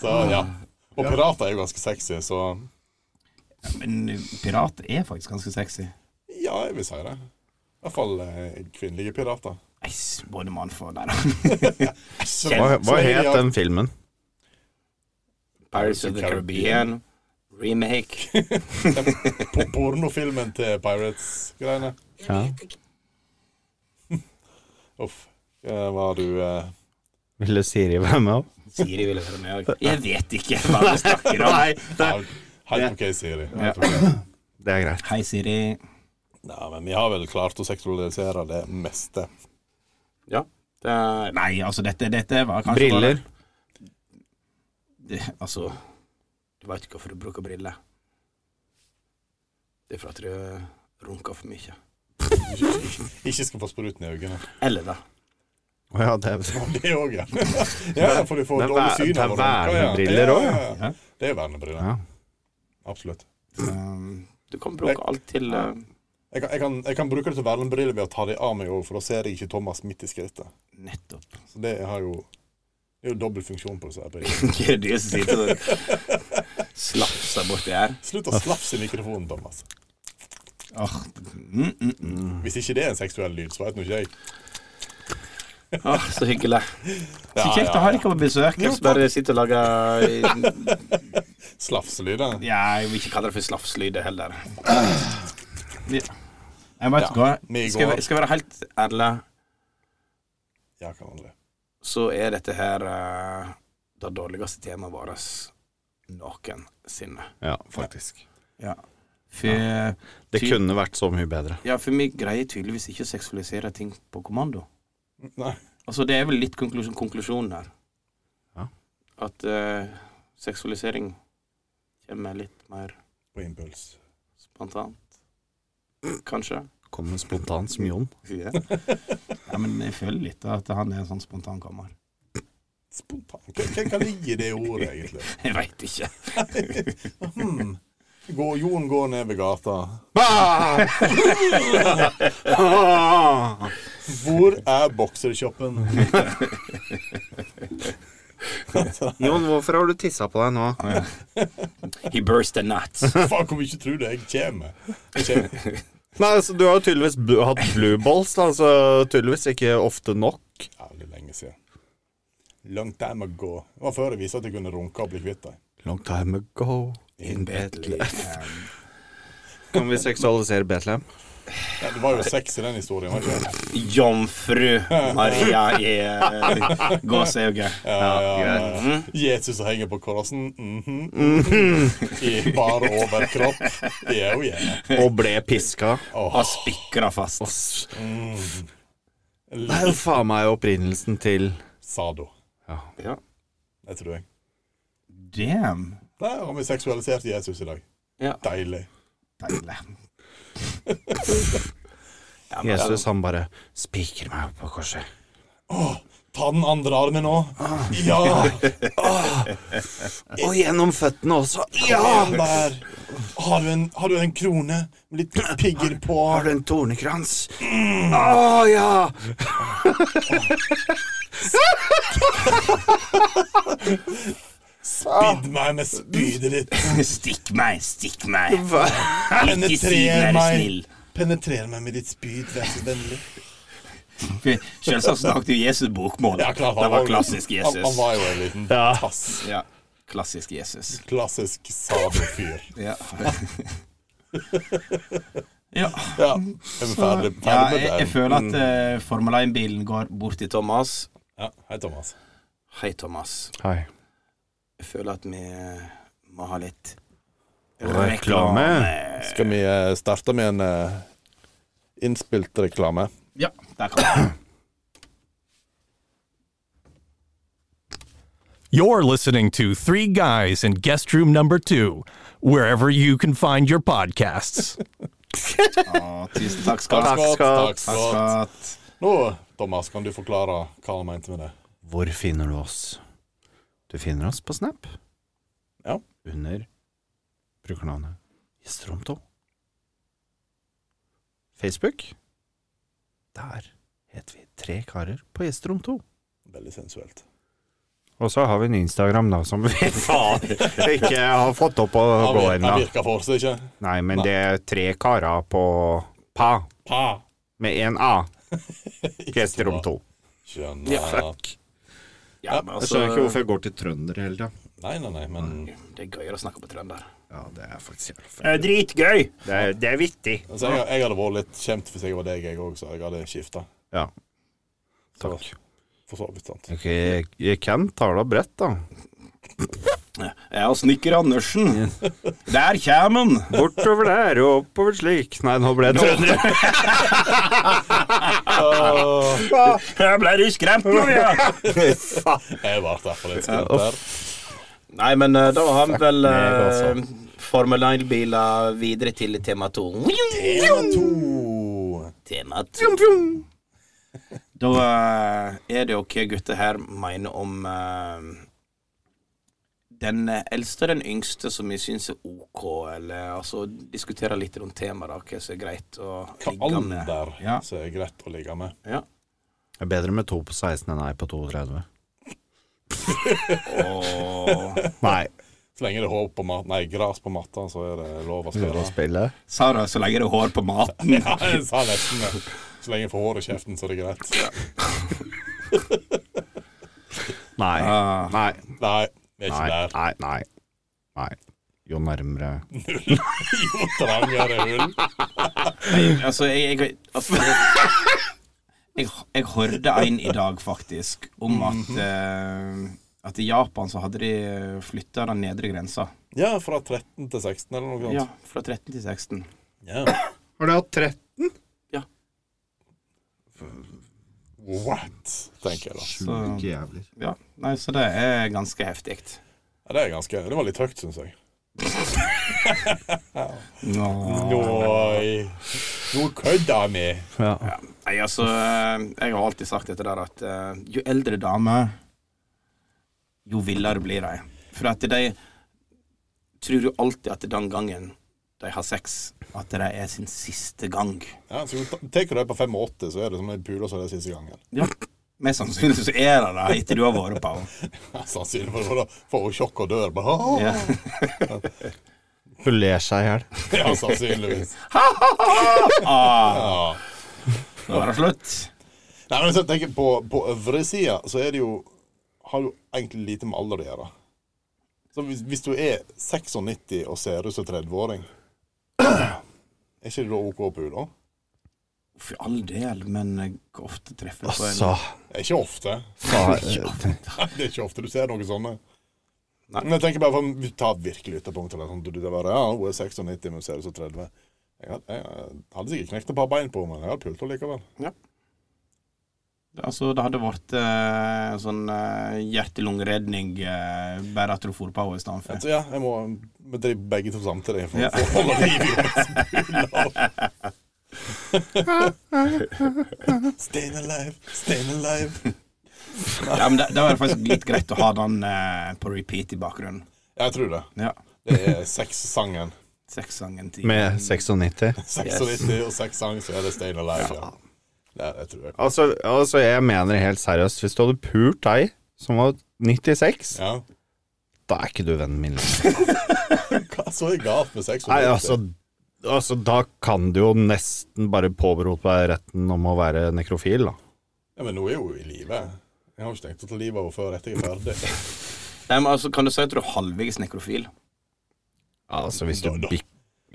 [SPEAKER 2] Så, ja. Og pirater er jo ganske sexy, så
[SPEAKER 1] Men eh, pirat er faktisk ganske sexy.
[SPEAKER 2] ja, jeg vil si det. I hvert fall eh, kvinnelige pirater.
[SPEAKER 1] Eiss, både mannfolk der.
[SPEAKER 4] Hva, hva het den filmen?
[SPEAKER 1] Pirates of the Caribbean. Remake.
[SPEAKER 2] På pornofilmen til Pirates-greiene.
[SPEAKER 4] Ja.
[SPEAKER 2] Uff. Eh, Var du eh,
[SPEAKER 4] Ville Siri være med opp?
[SPEAKER 1] Siri ville være med òg. Jeg vet ikke hva du snakker om.
[SPEAKER 2] Helt helt OK, Siri. Helt ok.
[SPEAKER 4] Det er greit.
[SPEAKER 1] Hei, Siri.
[SPEAKER 2] Nei, men vi har vel klart å seksualisere det meste.
[SPEAKER 1] Ja. Det er, nei, altså, dette, dette var kanskje
[SPEAKER 4] Briller.
[SPEAKER 1] bare- det, altså Du veit ikke hvorfor du bruker briller. Det er for at du runker for mye.
[SPEAKER 2] Ikke skal få spruten i øynene.
[SPEAKER 1] Eller det.
[SPEAKER 4] Å ja, det er
[SPEAKER 2] Det òg, ja. ja. For du får
[SPEAKER 4] Det er
[SPEAKER 2] dårlig
[SPEAKER 4] væ-
[SPEAKER 2] syn.
[SPEAKER 4] det
[SPEAKER 2] av
[SPEAKER 4] er
[SPEAKER 2] å runke, ja.
[SPEAKER 4] vernebriller også, ja.
[SPEAKER 2] ja. Det er vernebriller.
[SPEAKER 4] Ja.
[SPEAKER 2] Absolutt.
[SPEAKER 1] Um, du kan bruke alt til uh,
[SPEAKER 2] Jeg kan, jeg, kan, jeg kan bruke det til vernebriller ved å ta de av meg òg, for da ser jeg ikke Thomas midt i skrittet.
[SPEAKER 1] nettopp
[SPEAKER 2] Så det har jo Det er jo dobbel funksjon på disse her brillene.
[SPEAKER 1] Hva er det som sitter og slafser borti her?
[SPEAKER 2] Slutt å slafse i mikrofonen, Thomas.
[SPEAKER 1] Åh, mm, mm, mm.
[SPEAKER 2] Hvis ikke det er en seksuell lyd, så veit nå ikke jeg.
[SPEAKER 1] Åh, så hyggelig. Så
[SPEAKER 2] Ja,
[SPEAKER 1] kjekt å
[SPEAKER 2] ja,
[SPEAKER 1] ha
[SPEAKER 2] ja.
[SPEAKER 1] dere på besøk.
[SPEAKER 2] Jo,
[SPEAKER 1] Jeg bare sitter og lager
[SPEAKER 2] Slafselyder.
[SPEAKER 1] Ja, jeg vil ikke kalle det for slafslyder heller. Ja. Jeg vet
[SPEAKER 2] Ja,
[SPEAKER 1] ikke hva.
[SPEAKER 2] vi
[SPEAKER 1] Skal
[SPEAKER 2] går.
[SPEAKER 1] jeg, skal jeg være helt ærlig,
[SPEAKER 2] Ja, kan André.
[SPEAKER 1] så er dette her eh, det dårligste temaet vårt noensinne.
[SPEAKER 4] ja, faktisk.
[SPEAKER 1] Ja. For,
[SPEAKER 4] Det kunne vært så mye bedre.
[SPEAKER 1] ja, for vi greier tydeligvis ikke å seksualisere ting på kommando.
[SPEAKER 2] Nei.
[SPEAKER 1] Altså, det er vel litt konklusjon, konklusjonen her.
[SPEAKER 4] Ja.
[SPEAKER 1] At eh, seksualisering kommer litt mer
[SPEAKER 2] På impuls.
[SPEAKER 1] spontant. Kanskje.
[SPEAKER 4] Kommer spontant som Jon.
[SPEAKER 1] Ja. men jeg føler litt at han er en sånn spontan kammer.
[SPEAKER 2] Spontan. Hva- Hva kan ligge i det ordet, egentlig?
[SPEAKER 1] Jeg veit ikke.
[SPEAKER 2] Hmm. Går, Jon går ned ved gata.
[SPEAKER 4] Ah!
[SPEAKER 2] Hvor er bokserkjoppen?
[SPEAKER 4] Jon, hvorfor har du tissa på deg nå?
[SPEAKER 1] He burst a nut.
[SPEAKER 2] Faen, hvor mye tror du jeg kommer? Jeg kommer.
[SPEAKER 4] Nei, altså, Du har jo tydeligvis bl hatt blue balls, da, så tydeligvis ikke ofte nok.
[SPEAKER 2] Jævlig lenge siden. Long time ago. Det var før jeg viste at jeg kunne runke og bli kvitt deg.
[SPEAKER 4] Long time ago in Bethlehem.
[SPEAKER 1] Bethlehem.
[SPEAKER 4] Kan vi seksualisere Bethlehem?
[SPEAKER 2] Ja, det var jo sex i den historien, var det ikke?
[SPEAKER 1] Jomfru Maria i eh, gåseøyne.
[SPEAKER 2] Ja, ja,
[SPEAKER 4] greit.
[SPEAKER 1] Mm.
[SPEAKER 2] ja. Jesus som henger på korsen. mhm,
[SPEAKER 1] Mm-hmm.
[SPEAKER 2] I bare overkropp. Yeah, yeah.
[SPEAKER 4] Og ble piska.
[SPEAKER 1] Og spikra fast.
[SPEAKER 4] Mm. Det er jo faen meg opprinnelsen til
[SPEAKER 2] Sado.
[SPEAKER 1] Ja.
[SPEAKER 2] Det tror jeg.
[SPEAKER 1] Damn.
[SPEAKER 2] Der har vi seksualisert Jesus i dag.
[SPEAKER 1] Ja.
[SPEAKER 2] Deilig.
[SPEAKER 1] Deilig.
[SPEAKER 4] Jesus. Han bare spiker meg opp på korset.
[SPEAKER 2] Ta den andre armen nå.
[SPEAKER 1] Ah.
[SPEAKER 2] Ja!
[SPEAKER 4] Og gjennom føttene også.
[SPEAKER 2] ja der. Har, du en, har du en krone med litt pigger på?
[SPEAKER 4] Har du en tornekrans? Mm. Å ja!
[SPEAKER 2] Bidd meg med spydet ditt.
[SPEAKER 1] altså, Stikk meg, stikk meg. Ah. Ikke si
[SPEAKER 2] Penetrer
[SPEAKER 1] vær
[SPEAKER 2] meg.
[SPEAKER 1] snill.
[SPEAKER 2] Penetrer meg med ditt spyd, vær så vennlig.
[SPEAKER 1] Selvsagt snakket jo Jesus bokmål.
[SPEAKER 2] Ja, klart, han
[SPEAKER 1] det var
[SPEAKER 2] var-
[SPEAKER 1] klassisk
[SPEAKER 2] Han, han
[SPEAKER 1] Jesus.
[SPEAKER 2] var jo en liten tass.
[SPEAKER 1] Ja, klassisk Jesus.
[SPEAKER 2] Klassisk sabelfyr.
[SPEAKER 1] Ja. ja.
[SPEAKER 2] Ja. Er vi ferdig,
[SPEAKER 1] ja
[SPEAKER 2] ferdig
[SPEAKER 1] jeg, jeg
[SPEAKER 2] med den?
[SPEAKER 4] Mm.
[SPEAKER 1] føler at eh, Formel 1-bilen går bort til Thomas,
[SPEAKER 2] Ja, hei, Thomas.
[SPEAKER 1] Hei, Thomas.
[SPEAKER 4] Hei.
[SPEAKER 1] Jeg føler at vi må ha litt
[SPEAKER 4] Reklame.
[SPEAKER 2] Skal vi eh, starte med en eh, innspilt reklame?
[SPEAKER 1] Ja, der kan
[SPEAKER 8] You're listening to Three Guys in Guest Room Number Two, wherever you can find your podcasts.
[SPEAKER 1] vi. Å, Tusen takk skal du ha.
[SPEAKER 2] Takk, takk,
[SPEAKER 4] Scott.
[SPEAKER 2] Scott. Nå, Thomas, kan du forklare hva han mente med det?
[SPEAKER 4] Hvor finner du oss? Du finner oss på Snap.
[SPEAKER 2] Ja.
[SPEAKER 4] Under brukernavnet Gistromto. Facebook. Der heter vi Tre karer på Gistromto.
[SPEAKER 2] Veldig sensuelt.
[SPEAKER 4] Og så har vi en Instagram, da, som vi faen ikke har fått opp å
[SPEAKER 2] Han
[SPEAKER 4] gå
[SPEAKER 2] vir-
[SPEAKER 4] ennå.
[SPEAKER 2] han virker for seg, ikke?
[SPEAKER 4] Nei, men det er tre karer på pa,
[SPEAKER 2] Pa!
[SPEAKER 4] med én A. Gjesterom to.
[SPEAKER 2] Skjønner.
[SPEAKER 1] Ja, men
[SPEAKER 6] Jeg
[SPEAKER 1] altså,
[SPEAKER 6] skjønner ikke hvorfor jeg går til trønder hele tida.
[SPEAKER 2] Nei, nei, nei, men
[SPEAKER 1] det er gøyere å snakke på trønder.
[SPEAKER 4] Ja, det er faktisk jævlig fett.
[SPEAKER 1] Det er Eh, dritgøy!
[SPEAKER 4] Det er, det er vittig.
[SPEAKER 2] altså, jeg, jeg hadde vært litt kjent hvis jeg var deg, jeg òg, så jeg hadde skifta.
[SPEAKER 4] Ja. Takk.
[SPEAKER 2] For så vidt, sant.
[SPEAKER 4] Ok, jeg kan tale bredt, da.
[SPEAKER 1] Jeg er snekker Andersen. Der kommer han!
[SPEAKER 4] Bortover der og oppover slik. Nei, nå ble jeg trønder.
[SPEAKER 1] Jeg ble du skremt nå, ja?
[SPEAKER 2] Jeg ble derfor litt skremt der.
[SPEAKER 1] Nei, men eh, da har vi vel eh,
[SPEAKER 4] meg,
[SPEAKER 1] Formel 1-biler videre til tema 2.
[SPEAKER 2] Tema to.
[SPEAKER 1] Tema 2. Da eh, er det jo hva gutter her mener om eh, den eldste og den yngste som vi syns er OK, eller altså diskutere litt rundt temaet, da, hva som er greit å
[SPEAKER 2] Hva
[SPEAKER 1] ligge med.
[SPEAKER 2] alder
[SPEAKER 1] Ja.
[SPEAKER 2] som er greit å ligge med?
[SPEAKER 1] Ja.
[SPEAKER 4] Det er bedre med to på 16 enn ei på 32.
[SPEAKER 1] Og
[SPEAKER 4] Nei.
[SPEAKER 2] Så lenge det er hår på mat, nei, gras på matta, så er det lov å spille.
[SPEAKER 4] spille?
[SPEAKER 1] Sara, så lenge det er hår på maten.
[SPEAKER 2] Ja, jeg sa nesten det. Så lenge jeg får hår i kjeften, så er det greit.
[SPEAKER 4] Nei.
[SPEAKER 1] Ah.
[SPEAKER 4] Nei.
[SPEAKER 2] Nei, vi er ikke
[SPEAKER 4] Nei.
[SPEAKER 2] der.
[SPEAKER 4] Nei. Nei. Nei. Jo nærmere
[SPEAKER 2] Jo trangere hull.
[SPEAKER 1] Altså, jeg jeg, altså, jeg, jeg, jeg hørte en i dag, faktisk, om at
[SPEAKER 2] Mhm.
[SPEAKER 1] eh, At i Japan så hadde de flytta den nedre grensa.
[SPEAKER 2] Ja, fra 13 til 16 eller noe
[SPEAKER 1] Ja,
[SPEAKER 2] sånt.
[SPEAKER 1] fra 13 til 16.
[SPEAKER 2] Ja.
[SPEAKER 4] Har du hatt 13?
[SPEAKER 2] What? Tenker jeg da.
[SPEAKER 1] Så,
[SPEAKER 6] Jævler.
[SPEAKER 1] ja. Nei, så det er ganske heftig.
[SPEAKER 2] Ja, det, er ganske, det var litt høyt, syns jeg. Nå, eh, nå kødder vi!
[SPEAKER 1] Nei, altså, eh, jeg har alltid sagt dette der at eh, jo eldre damer, jo villere blir de. For at de tror jo alltid at den gangen de har sex, at det er sin siste gang.
[SPEAKER 2] Ja, så ta- Tar du det på 85, så er det som en pule, så er det siste gangen.
[SPEAKER 1] Mest sannsynlig så er det det etter du har vært på henne.
[SPEAKER 2] Ja, Sannsynlig, for da får hun sjokk og dør. Bare, «Åh!»
[SPEAKER 1] Ja.
[SPEAKER 4] Hun ler seg i hjel.
[SPEAKER 2] ja, sannsynligvis.
[SPEAKER 1] Ah,
[SPEAKER 2] Ja.
[SPEAKER 1] nå er det slutt.
[SPEAKER 2] Nei, men så tenker jeg på, på øvre sida, så er det jo Har jo egentlig lite med alder å gjøre. Så hvis, hvis du er 96 og ser ut som 30-åring, er ikke det da OK å pule?
[SPEAKER 1] For all del, men hvor ofte treffer du på en
[SPEAKER 4] Altså,
[SPEAKER 2] Det er Ikke ofte.
[SPEAKER 4] faen.
[SPEAKER 2] Det er ikke ofte du ser noen sånne.
[SPEAKER 1] Nei.
[SPEAKER 2] Men jeg tenker bare for vi tar virkelig ytterpunktet. Sånn, du, det er bare, ja, hun er 96, men hun ser ut som 30. Jeg hadde, jeg hadde sikkert knekt et par bein på henne, men jeg hadde pult henne likevel.
[SPEAKER 1] Altså, det hadde vært eh, sånn eh, hjerte-lungeredning eh, bare at du for på henne i stedet for.
[SPEAKER 2] Så Altså, ja, jeg må vi driver begge to samtidig for,
[SPEAKER 1] Ja.
[SPEAKER 2] for å holde liv i henne. Stayin' alive, stayin' alive.
[SPEAKER 1] Ja, men det, det var faktisk litt greit å ha den eh, på repeat i bakgrunnen.
[SPEAKER 2] Jeg tror det.
[SPEAKER 1] Ja.
[SPEAKER 2] Det er sexsangen.
[SPEAKER 1] Sexsangen til
[SPEAKER 4] Med 96.
[SPEAKER 2] 96 og sexsang, så er det Stayin' alive. Ja. Det, det tror jeg.
[SPEAKER 4] Altså, altså, jeg mener helt seriøst, hvis du hadde pult deg som var 96,
[SPEAKER 2] Ja.
[SPEAKER 4] da er ikke du vennen min. lenger.
[SPEAKER 2] Hva så er galt med sex?
[SPEAKER 4] Nei, altså, altså, da kan du jo nesten bare påberope deg retten om å være nekrofil, da.
[SPEAKER 2] Ja, men nå er hun jo i live. Jeg har jo ikke tenkt å ta livet av henne før etter jeg er ferdig.
[SPEAKER 1] Nei, men altså, Kan du si at du er halvveis nekrofil?
[SPEAKER 4] Ja, altså, hvis du
[SPEAKER 2] Da- da-
[SPEAKER 4] bikk...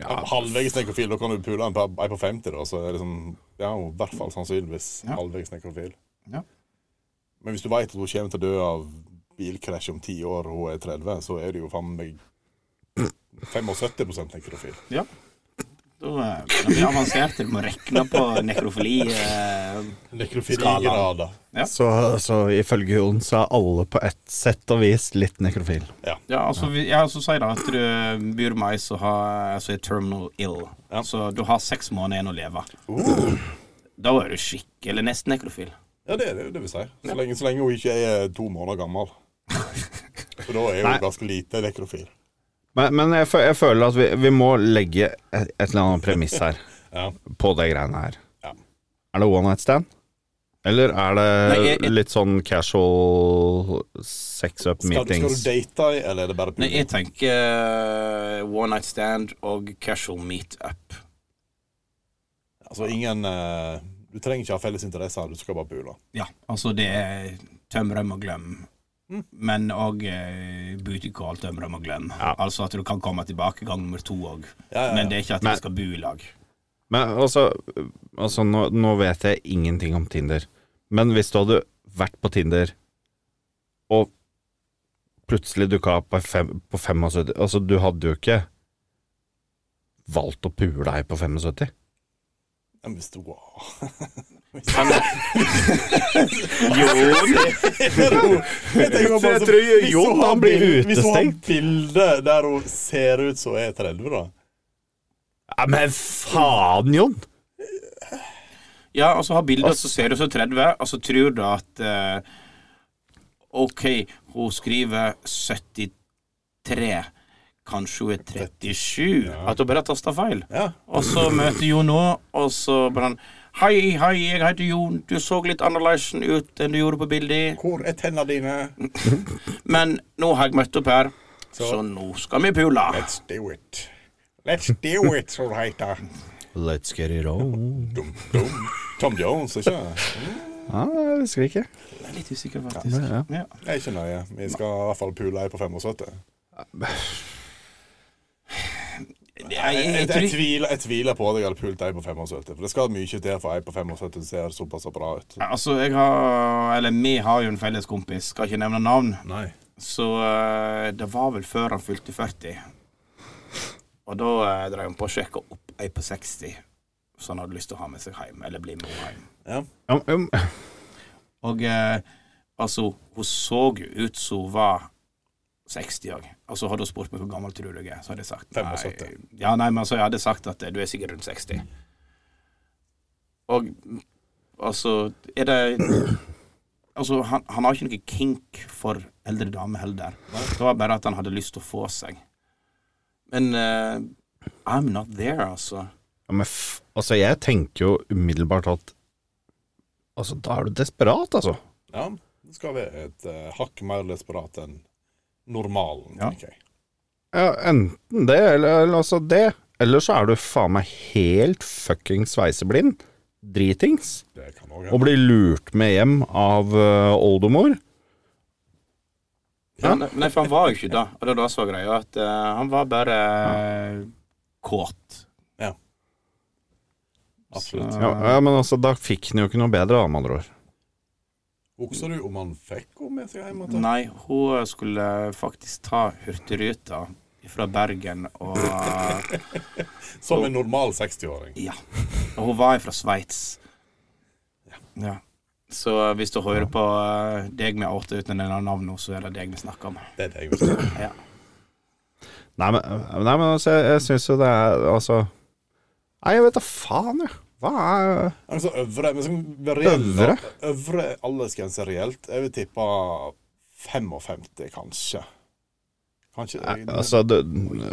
[SPEAKER 2] Ja. Halvveis nekrofil, da kan du pule en, par- ei på liksom- 50, da. Så er det sånn, ja, hun er i hvert fall sannsynligvis
[SPEAKER 1] Ja.
[SPEAKER 2] halvveis nekrofil.
[SPEAKER 1] Ja.
[SPEAKER 2] Men hvis du veit at hun kommer til å dø av bilkrasj om ti år, og hun er 30, så er det jo faen meg 75 nekrofil.
[SPEAKER 1] Ja. Da eh, kan det bli avansert. Du må rekne på nekrofili. Eh,
[SPEAKER 2] Nekrofiligrader.
[SPEAKER 4] Så, så ifølge Jon så er alle på ett sett og vis litt nekrofil.
[SPEAKER 1] ja, altså, vi- ja, så sier det at du byr meg som har- som er terminal ill. Så du har seks måneder igjen å leve.
[SPEAKER 2] Uh.
[SPEAKER 1] Da er du skikkelig nesten nekrofil.
[SPEAKER 2] Ja, det er det jo det vil si. Så lenge, så lenge hun ikke er to måneder gammel. For da er hun ganske lite nekrofil.
[SPEAKER 4] Men, men jeg, fø- jeg føler at vi, vi må legge et, et eller annet premiss her
[SPEAKER 2] Ja.
[SPEAKER 4] på det greiene her.
[SPEAKER 2] Ja.
[SPEAKER 4] Er det one night stand? Eller er det
[SPEAKER 1] Nei, jeg- jeg-
[SPEAKER 4] litt sånn casual sex
[SPEAKER 2] Skal, skal
[SPEAKER 4] up
[SPEAKER 2] du
[SPEAKER 4] meetings?
[SPEAKER 2] date henne, eller er det bare
[SPEAKER 1] Nei,
[SPEAKER 2] puling?
[SPEAKER 1] jeg tenker eh, one night stand og casual meet-up.
[SPEAKER 2] Altså ingen eh, Du trenger ikke ha felles interesser, du skal bare pule.
[SPEAKER 1] Ja, altså det er tøm, røm og glem.
[SPEAKER 2] Mm.
[SPEAKER 1] Men òg butikal, tøm, røm og glem. Altså at du kan komme tilbake gang nummer to òg.
[SPEAKER 2] Ja, ja, ja.
[SPEAKER 1] Men det er ikke at
[SPEAKER 4] Men-
[SPEAKER 1] vi skal bo i lag.
[SPEAKER 4] Men altså, altså nå, nå vet jeg ingenting om Tinder. Men hvis du hadde vært på Tinder, og plutselig dukka opp på, fem, på 75 Altså, du hadde jo ikke valgt å pule ei på 75.
[SPEAKER 2] Men hvis du wow. Jeg tenker bare
[SPEAKER 4] Jeg
[SPEAKER 2] så-
[SPEAKER 4] tror
[SPEAKER 2] hvis
[SPEAKER 4] Jon,
[SPEAKER 2] hun har
[SPEAKER 4] han blir
[SPEAKER 2] bild- Hvis hun har
[SPEAKER 4] utestengt.
[SPEAKER 2] bilde der hun ser ut som hun er 30, da.
[SPEAKER 4] Ja, men faen, Jon!
[SPEAKER 1] Ja, og så har bilder, så ser du så 30, og så tror du at eh, OK, hun skriver 73. Kanskje hun er 37? At hun bare tasta feil. Og så møter Jon nå, og så bare han Hei, hei, jeg heter Jon. Du så litt annerledes ut enn du gjorde på bildet.
[SPEAKER 2] Hvor er tennene dine?
[SPEAKER 1] Men nå har jeg møtt opp her, så, nå skal vi pule.
[SPEAKER 2] Let's do it. Let's do it, som det heter.
[SPEAKER 4] Let's get it on.
[SPEAKER 2] Dum, dum. Tom Jones, ikke
[SPEAKER 4] Ja, jeg husker ikke.
[SPEAKER 1] Jeg er litt usikker, faktisk.
[SPEAKER 4] Ja,
[SPEAKER 1] Ja.
[SPEAKER 2] Jeg er ikke nøye. Vi skal i hvert fall pule ei på 75.
[SPEAKER 1] Jeg,
[SPEAKER 2] Jeg,
[SPEAKER 1] jeg,
[SPEAKER 2] jeg,
[SPEAKER 1] jeg, tror-
[SPEAKER 2] tviler, jeg tviler på at jeg hadde pult ei på 75, for det skal mye til for ei på 75 ser såpass bra ut.
[SPEAKER 1] altså, jeg har Eller vi har jo en felles kompis, skal ikke nevne navn.
[SPEAKER 2] Nei.
[SPEAKER 1] Så eh, det var vel før han fylte 40. Og da eh, drev han på å sjekke opp ei på 60 som han hadde lyst til å ha med seg hjem, eller bli med henne hjem.
[SPEAKER 4] Ja, men-
[SPEAKER 1] Og eh, altså, hun så jo ut som hun var 60 òg. Altså, hadde hun spurt meg hvor gammel tror du jeg er, så hadde jeg sagt nei.
[SPEAKER 2] 75.
[SPEAKER 1] Ja, nei, men altså, jeg hadde sagt at eh, du er sikkert rundt 60. Og mm, altså, er det Altså, han, han har ikke noe kink for eldre damer heller. Det var bare at han hadde lyst til å få seg. Men eh, I'm not there, altså.
[SPEAKER 4] ja, men f altså, jeg tenker jo umiddelbart at Altså, da er du desperat, altså.
[SPEAKER 2] Ja, det skal være et eh, hakk mer desperat enn normalen,
[SPEAKER 1] Ja.
[SPEAKER 2] tenker jeg.
[SPEAKER 4] Ja, enten det, eller, eller altså det. Eller så er du faen meg helt fucking sveiseblind, dritings,
[SPEAKER 2] Det kan òg
[SPEAKER 4] og blir lurt med hjem av øh, oldemor.
[SPEAKER 1] Ja, ne- nei, for han var jo ikke det. Og det var da så greia at eh, han var bare eh, kåt.
[SPEAKER 2] Absolutt.
[SPEAKER 4] Ja, ja, men altså, da fikk den jo ikke noe bedre, da, med andre ord.
[SPEAKER 2] Husker du om han fikk henne med seg
[SPEAKER 4] Mm.
[SPEAKER 2] hjem? igjen?
[SPEAKER 1] Nei, hun skulle faktisk ta Hurtigruta fra Bergen og
[SPEAKER 2] Som en normal 60-åring.
[SPEAKER 1] Ja. Og hun var fra Sveits. Ja. Så hvis du hører på eh, deg med åtte uten en annen navn nå, så er det deg vi snakker om.
[SPEAKER 2] Det er det jeg vil si.
[SPEAKER 1] Ja.
[SPEAKER 4] Nei, men, nei, men altså, jeg, jeg syns jo det er Altså Nei, jeg vet da faen, jeg. Hva er
[SPEAKER 2] Altså øvre men sånn reell,
[SPEAKER 4] Øvre?
[SPEAKER 2] øvre aldersgrense reelt. Jeg vil tippe 55, kanskje. Kanskje
[SPEAKER 4] Altså, det,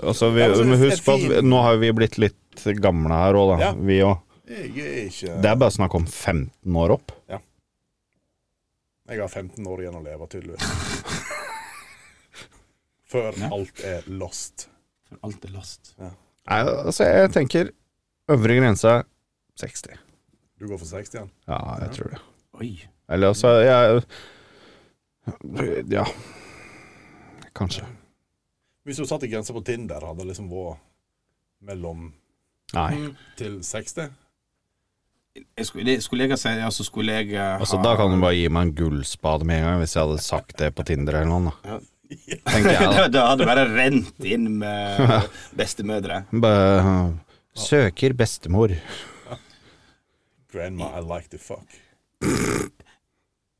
[SPEAKER 4] altså vi,
[SPEAKER 2] Ja, men så
[SPEAKER 4] men
[SPEAKER 2] det er
[SPEAKER 4] husk på at vi,
[SPEAKER 2] fint.
[SPEAKER 4] nå har vi blitt litt gamle her òg, da.
[SPEAKER 2] Ja.
[SPEAKER 4] Vi òg.
[SPEAKER 2] Jeg er ikke
[SPEAKER 4] Det er bare snakk om 15 år opp.
[SPEAKER 2] Jeg har 15 år igjen å leve, tydeligvis. Før alt er lost.
[SPEAKER 1] For alt er last.
[SPEAKER 4] Nei, altså, jeg tenker øvre grense 60.
[SPEAKER 2] Du går for 60 igjen?
[SPEAKER 4] Ja, jeg tror det.
[SPEAKER 1] Oi.
[SPEAKER 4] Eller altså, jeg Ja. Kanskje.
[SPEAKER 2] Hvis du satt i grensa på Tinder, hadde det liksom vært mellom
[SPEAKER 4] Nei.
[SPEAKER 1] Mm.
[SPEAKER 2] til 60?
[SPEAKER 1] jeg skulle, det skulle jeg ha sagt altså skulle jeg eh, ha
[SPEAKER 4] Altså, da kan du bare gi meg en gullspade med en gang, hvis jeg hadde sagt det på Tinder eller noe. Da. Tenker jeg da.
[SPEAKER 1] da, da hadde det bare rent inn med bestemødre.
[SPEAKER 4] Bare øh, søker bestemor.
[SPEAKER 2] Grandma, I like to fuck.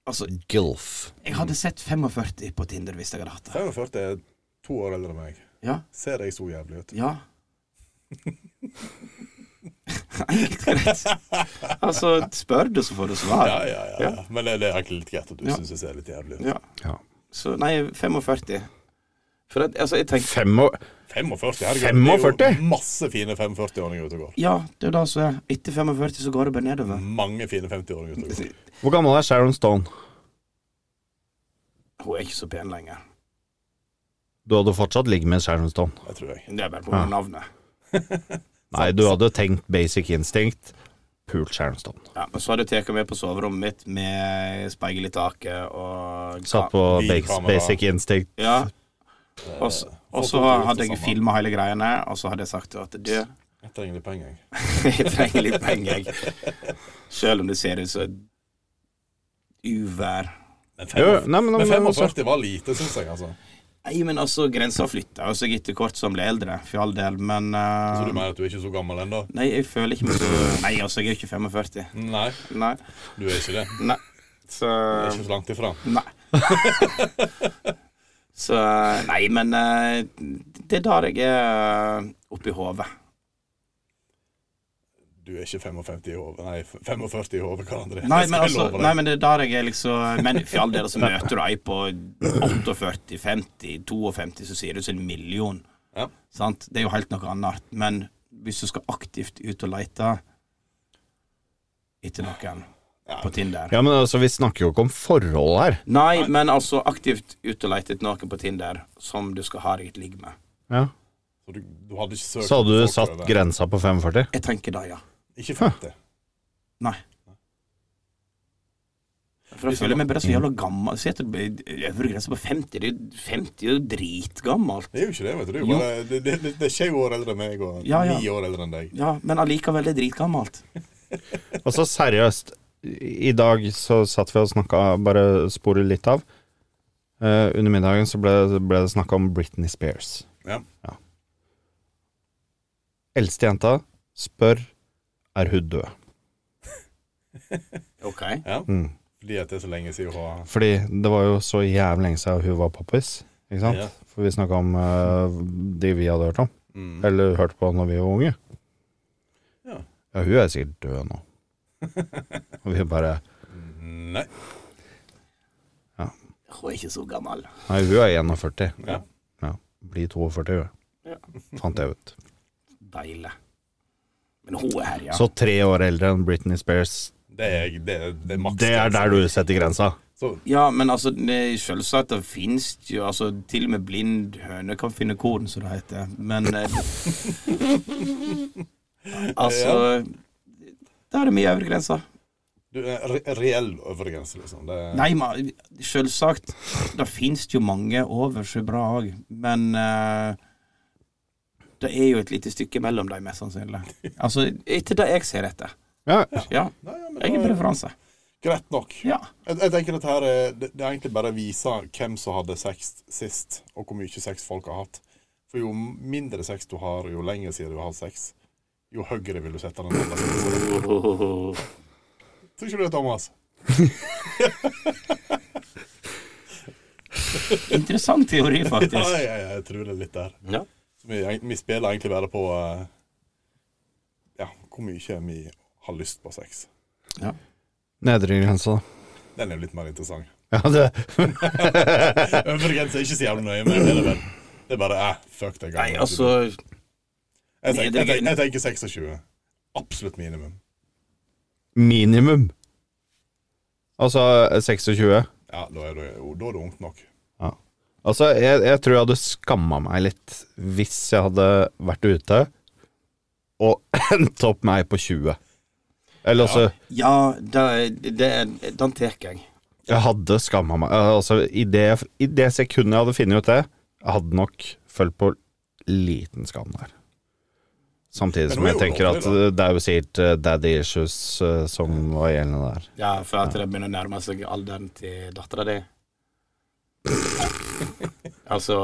[SPEAKER 1] Altså,
[SPEAKER 4] Gilf.
[SPEAKER 1] jeg hadde sett 45 på Tinder hvis jeg hadde hatt det.
[SPEAKER 2] 45 er to år eldre enn meg.
[SPEAKER 1] Ja,
[SPEAKER 2] Ser jeg så jævlig ut?
[SPEAKER 1] ja. Enkelt og greit. Altså, spør du, så får du svar.
[SPEAKER 2] Ja, ja, ja. ja. Men det, det er egentlig litt greit at du
[SPEAKER 1] Ja.
[SPEAKER 2] synes jeg ser litt jævlig ut.
[SPEAKER 1] Ja. Så nei, 45. For at, altså, jeg tenkte
[SPEAKER 4] Fem og
[SPEAKER 2] 45? herregud, Det er
[SPEAKER 4] 45?
[SPEAKER 2] jo masse fine 45-åringer ute og går.
[SPEAKER 1] Ja, det er det som er. Etter 45 så går det bare nedover.
[SPEAKER 2] Mange fine 50-åringer ute og går.
[SPEAKER 4] Hvor gammel er Sharon Stone?
[SPEAKER 1] Hun er ikke så pen lenger.
[SPEAKER 4] Du hadde fortsatt ligget med Sharon Stone.
[SPEAKER 2] Det tror jeg.
[SPEAKER 1] Det er bare på grunn av navnet.
[SPEAKER 4] Nei, du hadde tenkt basic instinct. Pult Sharon Stone.
[SPEAKER 1] Ja, men så hadde jeg tatt henne med på soverommet mitt med speil i taket og
[SPEAKER 4] Satt på
[SPEAKER 2] Vi
[SPEAKER 4] bas-
[SPEAKER 2] kamera.
[SPEAKER 4] basic instinct.
[SPEAKER 1] Ja. Og s- og så
[SPEAKER 2] folk
[SPEAKER 1] hadde
[SPEAKER 2] gjør
[SPEAKER 1] jeg
[SPEAKER 2] det
[SPEAKER 1] filma hele greiene, og så hadde jeg sagt at du,
[SPEAKER 2] Jeg trenger litt penger, jeg.
[SPEAKER 1] jeg trenger litt penger, jeg. Selv om det ser ut som et uvær.
[SPEAKER 2] Men
[SPEAKER 4] Jo, nei, men,
[SPEAKER 2] Men
[SPEAKER 4] men, også,
[SPEAKER 2] 45 var lite, syns jeg, altså.
[SPEAKER 1] Nei, men altså, grensa flytter jo seg etter hvert som jeg blir eldre, for all del, men eh,
[SPEAKER 2] Så du mener at du er ikke så gammel ennå?
[SPEAKER 1] Nei, jeg føler ikke meg så Nei, altså, jeg er jo ikke 45.
[SPEAKER 2] Nei,
[SPEAKER 1] Nei.
[SPEAKER 2] du er ikke det. Du
[SPEAKER 1] Nei. Så
[SPEAKER 2] er ikke så langt ifra.
[SPEAKER 1] Nei. Så Nei, men eh, det er der jeg er oppi hodet.
[SPEAKER 2] Du er ikke 55 i hodet, nei, 45 i hodet, Karl André.
[SPEAKER 1] Nei, men
[SPEAKER 2] Det skal jeg
[SPEAKER 1] altså,
[SPEAKER 2] love deg.
[SPEAKER 1] nei, men det er der jeg er liksom Men for all del, så møter du ei på 48, 50, 52, så sier du til en million.
[SPEAKER 2] Ja.
[SPEAKER 1] Sant? Det er jo helt noe annet. Men hvis du skal aktivt ut og leite etter noen på Tinder
[SPEAKER 4] ja, men altså, vi snakker jo ikke om forhold her.
[SPEAKER 1] Nei, men altså aktivt ut og leite etter noen på Tinder som du skal ha deg et ligg med.
[SPEAKER 4] Ja.
[SPEAKER 2] Så du, du hadde ikke søkt
[SPEAKER 4] Så hadde
[SPEAKER 2] på
[SPEAKER 4] du
[SPEAKER 2] folk
[SPEAKER 4] satt
[SPEAKER 2] over-
[SPEAKER 4] grensa på 45.
[SPEAKER 1] Jeg tenker det, ja.
[SPEAKER 2] Ikke 50.
[SPEAKER 1] Nei. For jeg føler meg bare så jævla gammel. Se etter øvre grense på 50. Det er jo- 50 er jo dritgammelt.
[SPEAKER 2] Det er jo ikke det, vet du. Det er jo
[SPEAKER 1] Jo.
[SPEAKER 2] bare- Det, det, det, det er 20 år eldre enn meg, og
[SPEAKER 1] Ja, ja.
[SPEAKER 2] 9 år eldre enn deg.
[SPEAKER 1] Ja, men allikevel, det er dritgammelt.
[SPEAKER 4] Altså seriøst, i dag så satt vi og snakka, bare sporet litt av. Eh, under middagen så ble, ble det snakka om Britney Spears.
[SPEAKER 2] Ja.
[SPEAKER 4] Eldste jenta spør er hun død.
[SPEAKER 1] Ok.
[SPEAKER 2] ja.
[SPEAKER 4] Mm.
[SPEAKER 2] Fordi at det er så lenge siden hun har
[SPEAKER 4] Fordi det var jo så jævlig lenge siden hun var poppis. Ikke sant?
[SPEAKER 2] Ja.
[SPEAKER 4] For vi snakka om eh, de vi hadde hørt om.
[SPEAKER 2] Mm.
[SPEAKER 4] Eller hørt på når vi var unge.
[SPEAKER 2] Ja.
[SPEAKER 4] ja hun er sikkert død nå. og vi bare
[SPEAKER 2] Nei.
[SPEAKER 1] Hun er ikke så gammel.
[SPEAKER 4] Nei, hun er 41.
[SPEAKER 2] Ja.
[SPEAKER 4] Ja. Blir 42, hun.
[SPEAKER 1] Ja.
[SPEAKER 4] Fant jeg ut.
[SPEAKER 1] Deilig. Men hun er her, ja.
[SPEAKER 4] Så tre år eldre enn Britney Spears.
[SPEAKER 2] Det er, det, er- det er maks.
[SPEAKER 4] Det er der du setter grensa.
[SPEAKER 2] Så
[SPEAKER 1] Ja, men altså, det er selvsagt, det finnes jo altså, Til og med blind høne kan finne korn, som det heter. Men eh, Altså Da er det mye øvre grenser.
[SPEAKER 2] du er re reell øvre grense, liksom. Det, er-
[SPEAKER 1] Nei, men selvsagt. Det finnes jo mange over så bra òg, men eh, det er jo et lite stykke mellom dem, mest sannsynlig. Altså, etter det jeg ser etter.
[SPEAKER 4] Ja.
[SPEAKER 1] Ja.
[SPEAKER 2] Nei, ja, men
[SPEAKER 1] Jeg
[SPEAKER 2] da-
[SPEAKER 1] har preferanse.
[SPEAKER 2] Greit nok.
[SPEAKER 1] Ja.
[SPEAKER 2] Jeg, jeg tenker dette her er, det, det er egentlig bare å vise hvem som hadde sex sist, og hvor mye sex folk har hatt. For jo mindre sex du har, jo lenger siden du har hatt sex, jo høyere vil du sette den. andre sexen. Tror ikke du det, Thomas?
[SPEAKER 1] Interessant teori,
[SPEAKER 2] Ja,
[SPEAKER 1] faktisk.
[SPEAKER 2] jeg, jeg tror det er litt der.
[SPEAKER 1] Ja.
[SPEAKER 2] Så vi, vi spiller egentlig bare på eh, ja, hvor mye vi har lyst på sex.
[SPEAKER 4] Nedre grensa, da.
[SPEAKER 2] Den er jo litt mer interessant.
[SPEAKER 4] Ja, det,
[SPEAKER 2] Øvre grense er ikke så jævlig nøye med, er det vel? Det er bare eh, fuck det.
[SPEAKER 1] Nei, altså
[SPEAKER 2] jeg, tenker, jeg, tenker, jeg tenker 26. Absolutt minimum.
[SPEAKER 4] minimum. Altså 26.
[SPEAKER 2] Ja, da er du, jo, da er du ungt nok.
[SPEAKER 4] Altså, jeg, jeg tror jeg hadde skamma meg litt hvis jeg hadde vært ute og endt opp med ei på 20. Eller altså
[SPEAKER 1] Ja, det, det, den tar jeg.
[SPEAKER 4] Jeg hadde skamma meg. Eh, Altså, i det, I det sekundet jeg hadde funnet ut det, jeg hadde nok følt på liten skam der. Samtidig som
[SPEAKER 2] hun er
[SPEAKER 4] jeg
[SPEAKER 2] jo
[SPEAKER 4] tenker at
[SPEAKER 2] lovlig,
[SPEAKER 4] eh, det er jo sikkert eh, daddy issues eh, som var gjeldende der.
[SPEAKER 1] Ja, for at det begynner å nærme seg alderen til dattera di. altså,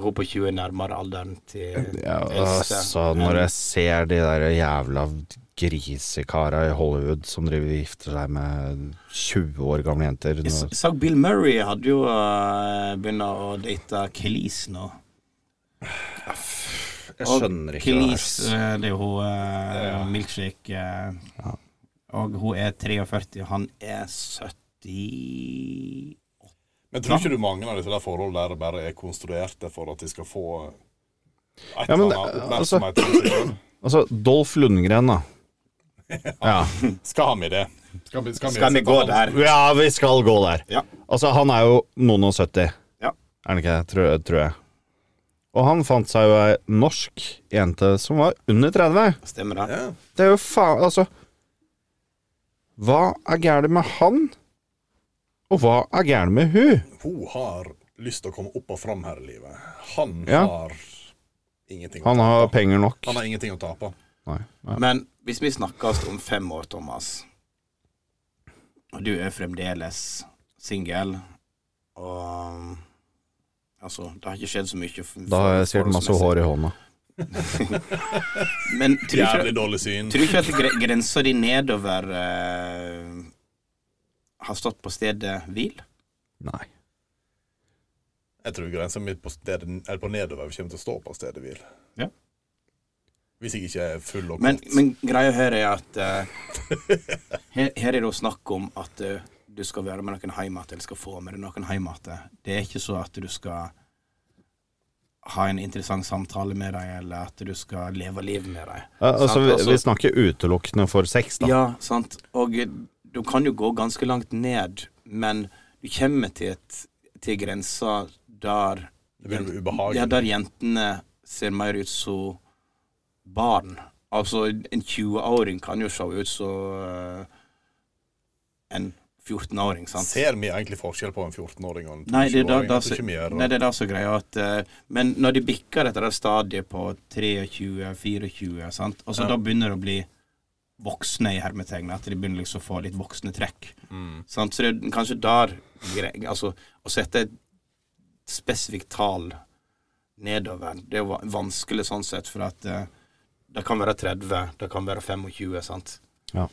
[SPEAKER 1] hun på 20 er nærmere alderen til
[SPEAKER 4] Ja,
[SPEAKER 1] eldste.
[SPEAKER 4] altså, når jeg ser de der jævla grisekara i Hollywood som driver og gifter seg med 20 år gamle jenter
[SPEAKER 1] Jeg s-
[SPEAKER 4] nå-
[SPEAKER 1] så Bill Murray hadde jo uh, begynt å date Kelis nå.
[SPEAKER 4] Jeg
[SPEAKER 1] Og
[SPEAKER 4] skjønner ikke det.
[SPEAKER 1] Kelis,
[SPEAKER 4] der.
[SPEAKER 1] eh, det er jo hun eh, milkshake eh, Og hun er 43, og han er 70
[SPEAKER 2] Men tror ikke du mange av disse der forholdene der bare er konstruerte for at de skal få et
[SPEAKER 4] Ja,
[SPEAKER 2] eller
[SPEAKER 4] men,
[SPEAKER 2] annet oppmerksomhet? om seg selv?
[SPEAKER 4] Altså, Dolf Lundgren, da. Ja.
[SPEAKER 2] Skal vi det? Skal vi, skal vi,
[SPEAKER 1] Skal vi gå der?
[SPEAKER 4] ja, vi skal gå der.
[SPEAKER 1] Ja.
[SPEAKER 4] Altså, han er jo noen og 70,
[SPEAKER 1] Ja.
[SPEAKER 4] er han ikke det? Tror, tror jeg. Og han fant seg jo ei norsk jente som var under 30.
[SPEAKER 1] Stemmer det?
[SPEAKER 4] Det er jo faen Altså Hva er gærent med han? Og hva er gærent med hun?
[SPEAKER 2] Hun har lyst til å komme opp og fram her i livet. Han
[SPEAKER 4] Ja.
[SPEAKER 2] har ingenting
[SPEAKER 4] Han
[SPEAKER 2] å
[SPEAKER 4] har
[SPEAKER 2] tape.
[SPEAKER 4] penger nok.
[SPEAKER 2] Han har ingenting å tape.
[SPEAKER 4] Nei, nei.
[SPEAKER 1] Men hvis vi snakkes om fem år, Thomas, og du er fremdeles singel, og Altså, det har ikke skjedd så mye. for-
[SPEAKER 4] Da har jeg sikkert masse hår i hånda.
[SPEAKER 1] Men tror du ikke-
[SPEAKER 2] Jævlig dårlig syn.
[SPEAKER 1] tror du ikke at gre- grensa di nedover eh, har stått på stedet hvil?
[SPEAKER 4] Nei.
[SPEAKER 2] Jeg tror grensa mi på, stedet- eller på nedover kommer til å stå på stedet hvil.
[SPEAKER 1] Ja.
[SPEAKER 2] Hvis jeg ikke er full og
[SPEAKER 1] Men,
[SPEAKER 2] kåt.
[SPEAKER 1] men greia her er at eh, her, her er det jo snakk om at eh, du skal være med noen hjem igjen, eller skal få med deg noen hjem igjen. Det er ikke så at du skal ha en interessant samtale med dem, eller at du skal leve livet med dem.
[SPEAKER 4] Ja, altså,
[SPEAKER 1] Sant,
[SPEAKER 4] vi,
[SPEAKER 1] altså-
[SPEAKER 4] vi snakker utelukkende for sex, da.
[SPEAKER 1] Ja, sant. Og eh, du kan jo gå ganske langt ned, men du kommer til, et, til grensa der
[SPEAKER 2] Det blir
[SPEAKER 1] Ja,
[SPEAKER 2] ubehagelig.
[SPEAKER 1] der jentene ser mer ut som barn. Altså, en 20-åring kan jo se ut som eh, en 14-åring, sant?
[SPEAKER 2] Ser vi egentlig forskjell på en 14-åring og en 20-åring?
[SPEAKER 1] Nei, det er da, da,
[SPEAKER 2] Jeg tror ikke vi gjør
[SPEAKER 1] nei, det er da så greia at eh, Men når de bikker dette der stadiet på 23-24, sant, altså da begynner det å bli voksne i hermetegnet, at de begynner liksom å få litt voksne trekk. Sant? Så det er kanskje der gre- Altså, å sette et spesifikt tall nedover, det er jo va- vanskelig sånn sett, for at eh, det kan være 30, det kan være 25, sant.
[SPEAKER 4] Ja.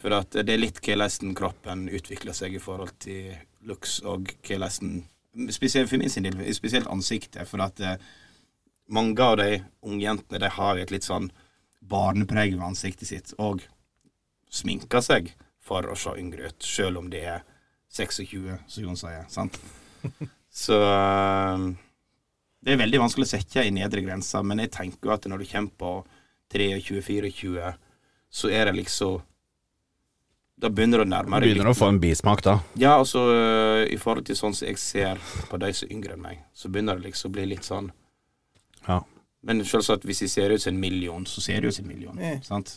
[SPEAKER 1] For at det er litt hvordan kroppen utvikler seg i forhold til looks og hvordan Spesielt for min sin del, spesielt ansiktet. For at eh, mange av de ungjentene de har jo et litt sånn barnepreg ved ansiktet sitt, og sminker seg for å se yngre ut, sjøl om det er 26, som Jon sier. sant? Så eh, det er veldig vanskelig å sette i nedre grensa, men jeg tenker jo at når du kommer på 23-24, så er det liksom Da begynner det å nærme
[SPEAKER 4] Man
[SPEAKER 1] deg
[SPEAKER 4] begynner å få en bismak, da.
[SPEAKER 1] ja, altså øh, i forhold til sånn som jeg ser på de som er yngre enn meg, så begynner det liksom å bli litt sånn
[SPEAKER 4] Ja.
[SPEAKER 1] Men selvsagt, hvis jeg ser ut som en million, så ser jeg ut som en million, sant?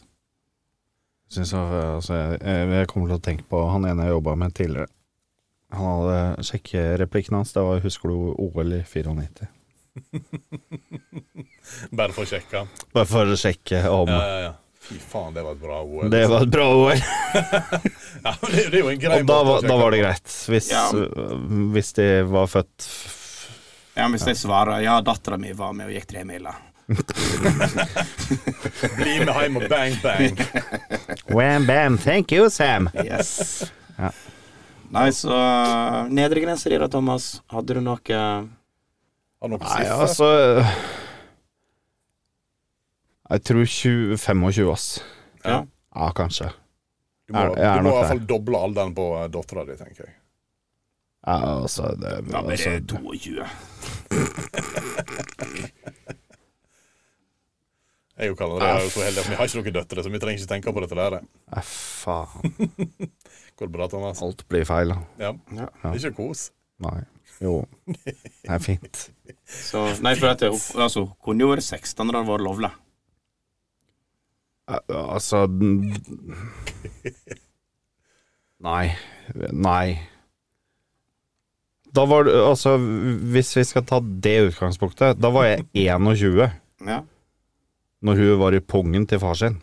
[SPEAKER 4] Synes jeg, altså, jeg, jeg kommer til å tenke på han ene jeg jobba med tidligere. Han hadde sjekkereplikken hans. Det var 'Husker du OL i 94'?
[SPEAKER 2] det. Bare for å sjekke.
[SPEAKER 4] Bare for å sjekke om
[SPEAKER 2] Ja, ja, ja. Fy faen, det var et bra OL.
[SPEAKER 4] Det var et bra OL!
[SPEAKER 2] Ja, men det, det er jo en grei
[SPEAKER 4] Og da,
[SPEAKER 2] måte å
[SPEAKER 4] var- da
[SPEAKER 2] sjekke
[SPEAKER 4] var det
[SPEAKER 2] på.
[SPEAKER 4] greit. Hvis,
[SPEAKER 1] Ja.
[SPEAKER 4] øh, hvis de var født
[SPEAKER 1] Ja, men hvis jeg svarer ja, dattera mi var med og gikk tre miler,
[SPEAKER 2] Bli med hjem og bang, bang.
[SPEAKER 4] Wam bam, thank you, Sam.
[SPEAKER 1] yes.
[SPEAKER 4] Ja.
[SPEAKER 1] Nei, så øh, Nedre grense di da, Thomas. Hadde du noe
[SPEAKER 2] Har noe
[SPEAKER 4] Nei,
[SPEAKER 2] siffer?
[SPEAKER 4] altså Jeg tror 20, 25, ass.
[SPEAKER 1] Ja.
[SPEAKER 4] Ja, kanskje.
[SPEAKER 2] Du må,
[SPEAKER 4] er- jeg er
[SPEAKER 2] du må i
[SPEAKER 4] nok
[SPEAKER 2] hvert fall doble alderen på eh, dattera di, tenker jeg.
[SPEAKER 4] Ja, altså, det,
[SPEAKER 1] Da blir
[SPEAKER 4] altså,
[SPEAKER 1] det 22.
[SPEAKER 2] Jeg er jo kaller det, jeg er jo så heldig at Vi har ikke noen døtre, så vi trenger ikke tenke på dette der.
[SPEAKER 4] nei, faen.
[SPEAKER 2] Går det bra, Thomas?
[SPEAKER 4] Alt blir feil, da.
[SPEAKER 2] Ja.
[SPEAKER 1] Ja.
[SPEAKER 2] Det er Ikke kos.
[SPEAKER 4] Nei. Jo. Det er fint.
[SPEAKER 1] Så, nei, for at hun altså, hun kunne jo vært 16 da det var lovlig.
[SPEAKER 4] Al- Altså den- Nei. Nei. Da var det Altså, hvis vi skal ta det utgangspunktet, da var jeg 21.
[SPEAKER 1] Ja.
[SPEAKER 4] når hun var i pungen til far sin.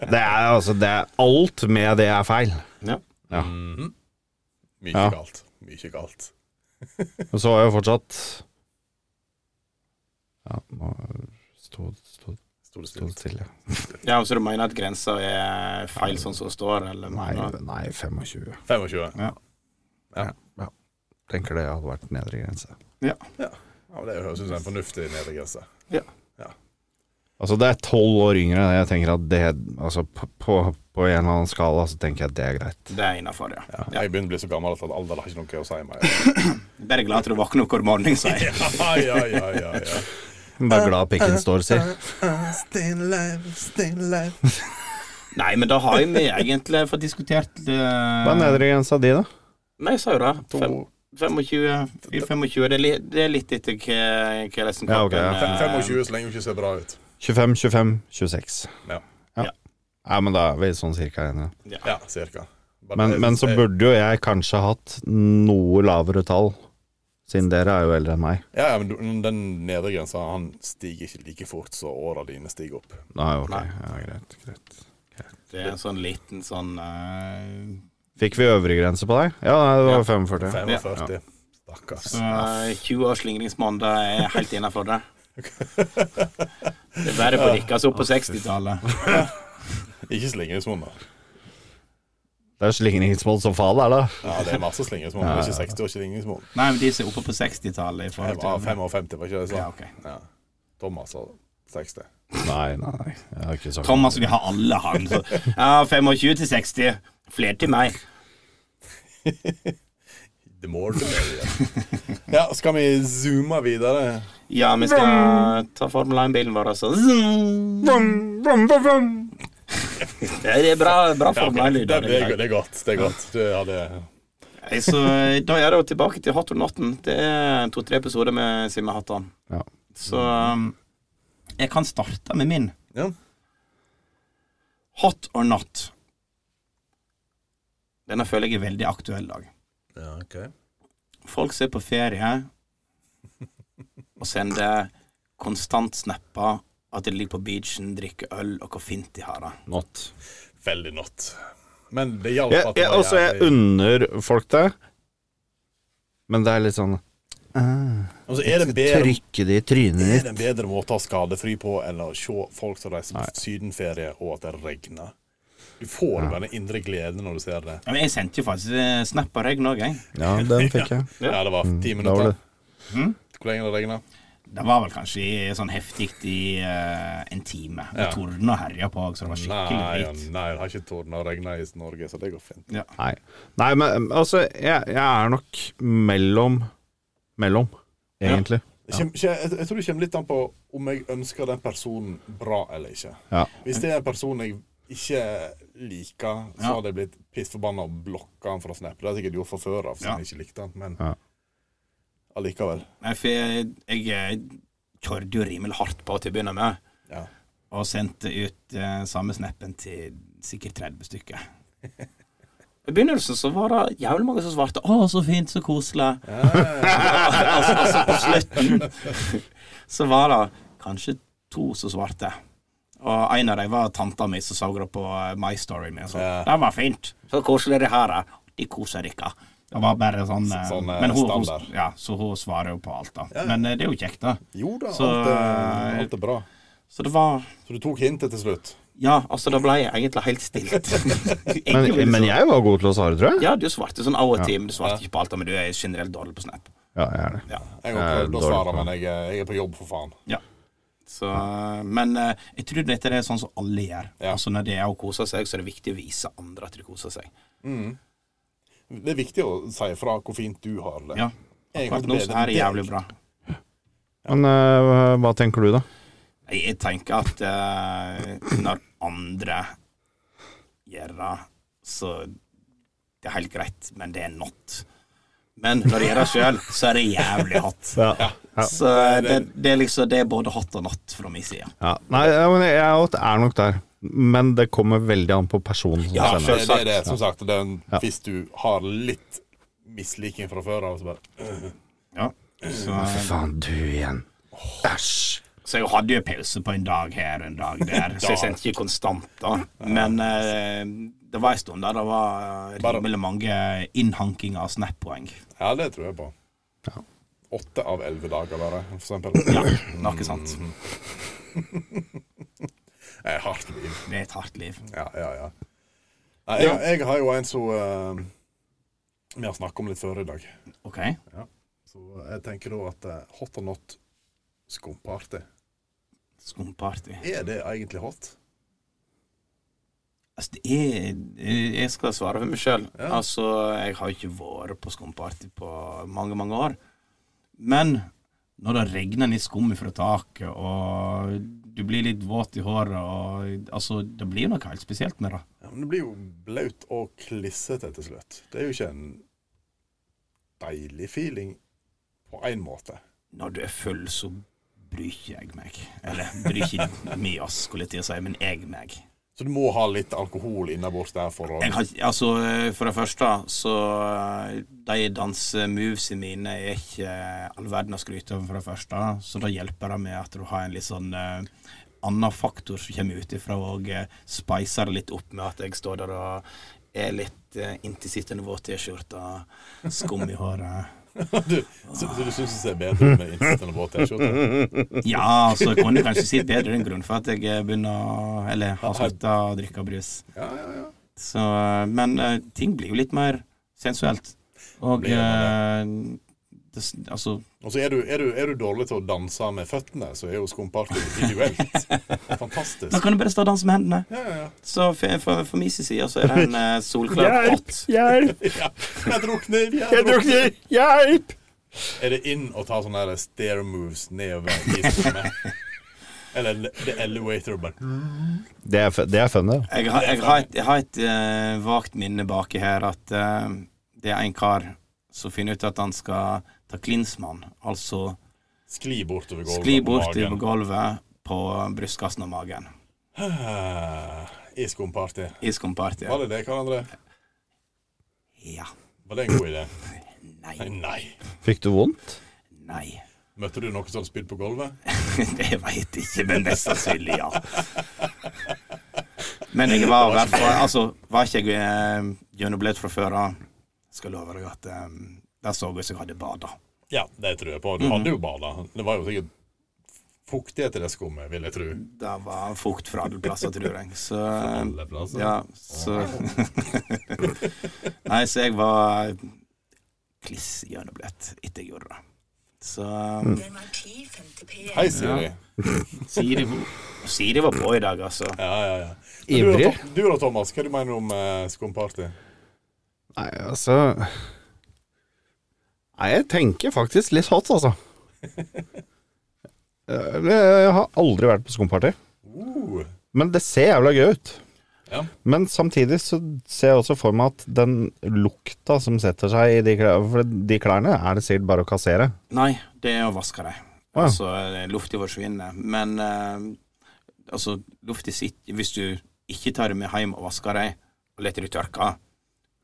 [SPEAKER 4] det er altså det er, Alt med det er feil.
[SPEAKER 2] Mye
[SPEAKER 4] Ja.
[SPEAKER 2] galt. Mye galt.
[SPEAKER 4] Og så var jeg jo fortsatt Ja, nå stod, stod,
[SPEAKER 2] Sto det
[SPEAKER 4] stod
[SPEAKER 2] stille.
[SPEAKER 4] det stille.
[SPEAKER 1] Ja, Så du mener at grensa er feil sånn som det står? Eller
[SPEAKER 4] Nei,
[SPEAKER 1] mener du-
[SPEAKER 4] nei, 25.
[SPEAKER 2] 25. Ja,
[SPEAKER 4] Tenker det hadde vært nedre grense.
[SPEAKER 2] men Det høres ut som en fornuftig nedregrense.
[SPEAKER 4] Altså, det er tolv år yngre. og Jeg tenker at det Altså, på, på, på en eller annen skala så tenker jeg at det er greit.
[SPEAKER 1] Det er innafor, ja.
[SPEAKER 2] Ja. Jeg begynner å bli så gammel at alder har ikke noe å si mer.
[SPEAKER 1] Bare glad at du våkner opp hver morgen, sier jeg.
[SPEAKER 2] Ja, ja, ja, ja, ja.
[SPEAKER 4] Bare glad pikken står, si.
[SPEAKER 1] Nei, men da har jeg vi egentlig fått diskutert eh,
[SPEAKER 4] Hva er nedre grensa di, da?
[SPEAKER 1] Nei, jeg sa jo det. Fem- 25, i 25 det, er li, det er litt etter hva hvordan
[SPEAKER 4] Ja, ok, ja.
[SPEAKER 1] kroppen, eh,
[SPEAKER 2] 25 så lenge hun ikke ser bra ut.
[SPEAKER 4] 25, 25, 26.
[SPEAKER 2] Ja.
[SPEAKER 1] Ja.
[SPEAKER 4] ja. ja men da er vi sånn cirka enige.
[SPEAKER 2] Ja, cirka. Bare-
[SPEAKER 4] Men, men så
[SPEAKER 2] jeg-
[SPEAKER 4] burde jo jeg kanskje hatt noe lavere tall, siden dere er jo eldre enn meg.
[SPEAKER 2] Ja, ja, men du- den nedre grensa han stiger ikke like fort så åra dine stiger opp.
[SPEAKER 4] Nei, ok, ja, greit, greit.
[SPEAKER 1] Det er en sånn liten sånn eh,
[SPEAKER 4] Fikk vi øvre grense på deg? Ja, nei, det var 45.
[SPEAKER 2] 45. Stakkars.
[SPEAKER 1] eh, 20 års slingringsmåned det er helt innafor det. Det er bare på dere som er oppe på 60-tallet.
[SPEAKER 2] Ikke slingringsmål, da.
[SPEAKER 4] Det er slingringsmål som faen er, da.
[SPEAKER 2] Ja, det er masse slingringsmål, men ikke 60 og ikke slingringsmål.
[SPEAKER 1] Nei, men de som er oppe på 60-tallet i
[SPEAKER 2] Jeg
[SPEAKER 1] forhold
[SPEAKER 2] var
[SPEAKER 1] til
[SPEAKER 2] 55, var ikke det
[SPEAKER 1] ja,
[SPEAKER 2] sånn?
[SPEAKER 1] ok.
[SPEAKER 2] Ja. Thomas sa 60.
[SPEAKER 4] Nei, nei, nei. Jeg har ikke sagt
[SPEAKER 1] Thomas, vi har alle han. Så, ja, 25 til 60. Flere til meg.
[SPEAKER 2] The more the merrier. Ja, skal vi zoome videre?
[SPEAKER 1] Ja, vi skal ta Formel 1-bilen vår, altså. Det er bra, bra Formel 1-lyder.
[SPEAKER 2] det,
[SPEAKER 1] i
[SPEAKER 2] er,
[SPEAKER 1] dag.
[SPEAKER 2] det er godt. Det er godt. Det, ja, det,
[SPEAKER 1] Nei, Så eh, da er det jo tilbake til Hot or Notten. Det er to-tre episoder med Simme Hattan.
[SPEAKER 4] Ja.
[SPEAKER 1] Så um, jeg kan starte med min.
[SPEAKER 2] Ja.
[SPEAKER 1] Hot or not. Denne føler jeg er veldig aktuell i dag.
[SPEAKER 2] ja, ok.
[SPEAKER 1] Folk som er på ferie og sender konstant snapper at de ligger på beachen, drikker øl, og hvor fint de har det.
[SPEAKER 4] Not.
[SPEAKER 2] Veldig not. Men det hjalp
[SPEAKER 4] Jeg,
[SPEAKER 2] at det
[SPEAKER 4] jeg, også, jeg unner folk det, men det er litt sånn
[SPEAKER 2] altså, er, det bedre,
[SPEAKER 4] Trykke det i trynet
[SPEAKER 2] er
[SPEAKER 4] ditt.
[SPEAKER 2] det en bedre måte å ha skadefri på enn å se folk som reiser på
[SPEAKER 4] Nei.
[SPEAKER 2] sydenferie, og at det regner? Du får jo bare den indre gleden når du ser det.
[SPEAKER 1] Ja, men jeg sendte jo faktisk eh, snap av regn òg, jeg.
[SPEAKER 4] Ja, den fikk jeg.
[SPEAKER 2] Ja, det var ti
[SPEAKER 4] Mm. Da var
[SPEAKER 2] minutter.
[SPEAKER 4] det
[SPEAKER 1] Hm?
[SPEAKER 2] Hvor lenge det regna?
[SPEAKER 1] Det var vel kanskje i- sånn heftig i eh, en time. Og
[SPEAKER 2] Ja.
[SPEAKER 1] torden og herja på, så det var
[SPEAKER 2] Nei,
[SPEAKER 1] skikkelig
[SPEAKER 2] ja,
[SPEAKER 1] dritt.
[SPEAKER 2] nei, det har ikke tordna og regna i Norge, så det går fint.
[SPEAKER 1] Ja.
[SPEAKER 4] Nei. Nei, men altså, jeg, jeg er nok mellom Mellom, egentlig.
[SPEAKER 2] Det kjem- kje- jeg, jeg tror det kommer litt an på om jeg ønsker den personen bra eller ikke.
[SPEAKER 4] Ja.
[SPEAKER 2] Hvis det er en person jeg ikke liker, så
[SPEAKER 1] Ja.
[SPEAKER 2] hadde jeg blitt pissforbanna og blokka han fra Snap. Det hadde jeg sikkert gjort fra før av, siden
[SPEAKER 1] Ja.
[SPEAKER 2] jeg ikke likte han, men
[SPEAKER 4] Ja.
[SPEAKER 2] allikevel.
[SPEAKER 1] Nei, for jeg, jeg, eh, kjørte jo rimelig hardt på til å begynne med,
[SPEAKER 2] Ja.
[SPEAKER 1] og sendte ut eh, samme snappen til sikkert 30 stykker. I begynnelsen så var det jævlig mange som svarte 'Å, så fint, så koselig'. Og så- og så på slutten så var det kanskje to som svarte. Og en av dem var tanta mi som så det på eh, My Story min. Så
[SPEAKER 2] Ja.
[SPEAKER 1] det var fint. Så koselig det her er. De koser dere. Det var bare sånn, eh,
[SPEAKER 2] Sånn, eh,
[SPEAKER 1] men hun, hun,
[SPEAKER 2] standard.
[SPEAKER 1] ja, Så hun svarer jo på alt, da. Men eh, det er jo kjekt, da.
[SPEAKER 2] Jo da,
[SPEAKER 1] Så- eh,
[SPEAKER 2] alt, er, alt er bra.
[SPEAKER 1] Så det var
[SPEAKER 2] Så du tok hintet til slutt?
[SPEAKER 1] Ja, altså, det ble jeg egentlig helt stilt.
[SPEAKER 4] Men,
[SPEAKER 1] Egentlig
[SPEAKER 4] men
[SPEAKER 1] så-
[SPEAKER 4] jeg var god til å svare, tror jeg.
[SPEAKER 1] Ja, du svarte sånn av og til, men du svarte ikke på alt, men du er generelt dårlig på Snap.
[SPEAKER 4] Ja, jeg er det.
[SPEAKER 2] Jeg
[SPEAKER 4] Jeg
[SPEAKER 2] har
[SPEAKER 4] er
[SPEAKER 2] prøvd å
[SPEAKER 4] dårlig
[SPEAKER 2] svare,
[SPEAKER 4] på-
[SPEAKER 2] men jeg, er- jeg er på jobb, for faen.
[SPEAKER 1] Så, men eh, jeg tror dette er sånn som alle gjør.
[SPEAKER 2] Ja.
[SPEAKER 1] Altså Når det er å kose seg, så er det viktig å vise andre at de koser seg.
[SPEAKER 2] Det er viktig å si fra hvor fint du har det.
[SPEAKER 1] Ja.
[SPEAKER 2] Jeg
[SPEAKER 1] Akkurat
[SPEAKER 2] kan
[SPEAKER 1] nå
[SPEAKER 2] ikke
[SPEAKER 1] så
[SPEAKER 2] bedre
[SPEAKER 1] er det
[SPEAKER 2] enn
[SPEAKER 1] jævlig
[SPEAKER 2] deg.
[SPEAKER 1] bra.
[SPEAKER 4] Men eh, hva tenker du, da?
[SPEAKER 1] Nei, Jeg tenker at eh, når andre gjør det, så det er helt greit, men det er not. Men når de gjør det sjøl, så er det jævlig hot. Så det, det er liksom Det er både hot og not fra min side.
[SPEAKER 4] Ja. Nei, ja, men jeg er nok der. Men det kommer veldig an på personen som
[SPEAKER 1] Ja,
[SPEAKER 4] sender.
[SPEAKER 2] Det, det er det, som sagt. Det er en,
[SPEAKER 4] Ja.
[SPEAKER 2] Hvis du har litt misliking fra før av, så bare
[SPEAKER 1] Ja. Så,
[SPEAKER 4] Faen, du igjen. Æsj.
[SPEAKER 1] Så jeg hadde jo pause på en dag her og en dag der, så jeg sendte ikke konstant, da. Men eh, det var en stund der det var eh,
[SPEAKER 2] Bare-
[SPEAKER 1] rimelig mange innhankinger av snap-poeng.
[SPEAKER 2] Ja, det tror jeg på. Åtte av elleve dager, bare, for eksempel.
[SPEAKER 1] Ja, noe sant.
[SPEAKER 2] Det er hardt liv.
[SPEAKER 1] Det er et hardt liv.
[SPEAKER 2] Ja, ja, ja. Nei, jeg, jeg har jo en som eh, vi har snakket om litt før i dag.
[SPEAKER 1] OK.
[SPEAKER 2] Så jeg tenker da at eh, hot or not skumparty.
[SPEAKER 1] Skumparty.
[SPEAKER 2] Er det egentlig hot?
[SPEAKER 1] Altså, det er eh, Jeg skal svare for meg sjøl.
[SPEAKER 2] Ja.
[SPEAKER 1] Altså, jeg har ikke vært på skumparty på mange, mange år. Men når det regner litt skum fra taket, og du blir litt våt i håret, og altså Det blir noe helt spesielt med det.
[SPEAKER 2] Ja, men det blir jo blaut og klissete til slutt. Det er jo ikke en deilig feeling på én måte.
[SPEAKER 1] Når du er full, så bryr ikke jeg meg. Eller bryr ikke vi oss, skulle jeg til å si, men jeg meg.
[SPEAKER 2] Så du må ha litt alkohol innabords der for å
[SPEAKER 1] Jeg har, ikke- altså, eh, for det første, så eh, de dansemovesene mine er ikke eh, all verden å skryte av, for det første. Så da hjelper det med at du har en litt sånn eh, annen faktor som kommer utifra og eh, spicer det litt opp med at jeg står der og er litt eh, inntil sittende våt T-skjorte, skum i håret.
[SPEAKER 2] du, så, så du syns det ser bedre ut med innsittende våt T-skjorte?
[SPEAKER 1] Ja, altså, så jeg kunne kanskje si bedre enn grunn for at jeg eh, begynner å Eller har slutta å drikke brus.
[SPEAKER 2] Ja, ja, ja.
[SPEAKER 1] Så, men eh, ting blir jo litt mer sensuelt. Og
[SPEAKER 2] Blir det
[SPEAKER 1] eh, det, s- altså
[SPEAKER 2] Og så er du, er, du, er du dårlig til å danse med føttene, så er jo skumparty individuelt fantastisk.
[SPEAKER 1] Da kan du bare stå og danse med hendene.
[SPEAKER 2] Ja, ja, ja.
[SPEAKER 1] Så for, for, for min sin side så er det en eh, solklar pott.
[SPEAKER 4] Hjelp!
[SPEAKER 2] ja. Jeg drukner!
[SPEAKER 4] Jeg drukner! Hjelp!
[SPEAKER 2] Er det inn å ta sånne her stair moves nedover isrommet? Eller le- the elevator, bare
[SPEAKER 4] Det er, fun- det er fun, det.
[SPEAKER 1] Jeg, har- jeg har et, jeg har et eh, vagt minne baki her at eh, det er en kar som finner ut at han skal ta klinsmann, altså
[SPEAKER 2] skli bortover gulvet.
[SPEAKER 1] skli
[SPEAKER 2] på
[SPEAKER 1] bort
[SPEAKER 2] magen.
[SPEAKER 1] over gulvet på brystkassen og magen.
[SPEAKER 2] Ah, I skumparty.
[SPEAKER 1] I skumparty.
[SPEAKER 2] Var det det, Karl André?
[SPEAKER 1] Ja.
[SPEAKER 2] Var det en god idé?
[SPEAKER 1] Nei.
[SPEAKER 2] Nei.
[SPEAKER 4] Fikk du vondt?
[SPEAKER 1] Nei.
[SPEAKER 2] Møtte du noe sånt spyd på gulvet?
[SPEAKER 1] Det veit jeg ikke, men mest sannsynlig ja. Men jeg var i hvert fall Altså, var ikke jeg eh, gjennomblødd fra før av, skal love deg at eh, der så jeg ut som jeg hadde bada.
[SPEAKER 2] Ja, det tror jeg på.
[SPEAKER 1] Mm.
[SPEAKER 2] Du hadde jo bada. Det var jo sikkert fuktighet i det skummet, vil jeg tro.
[SPEAKER 1] Det var fukt fra alle plasser, tror jeg. Så
[SPEAKER 2] Alle plasser.
[SPEAKER 1] Ja, så Nei, så jeg var kliss gjennomblødd etter jeg gjorde det. Så
[SPEAKER 2] Hei, Siri.
[SPEAKER 1] Siri, Siri var på i dag, altså.
[SPEAKER 2] Ja, ja, ja. Men Du, da,
[SPEAKER 4] Ivrig?
[SPEAKER 2] Tom- du da, Thomas. Hva du mener om eh, skumparty?
[SPEAKER 4] Nei, altså Nei, jeg tenker faktisk litt hot, altså. Jeg jeg har aldri vært på skumparty. Oh.
[SPEAKER 2] Uh,
[SPEAKER 4] Men det ser jævla gøy ut.
[SPEAKER 2] Ja.
[SPEAKER 4] Men samtidig så ser jeg også for meg at den lukta som setter seg i de klærne For de klærne er det sikkert bare å kassere.
[SPEAKER 1] Nei, det er å vaske dem.
[SPEAKER 4] Å ja.
[SPEAKER 1] Altså, lufta forsvinner. Men eh, altså, lufta sitter Hvis du ikke tar det med hjem og vasker dem, og lar det tørke,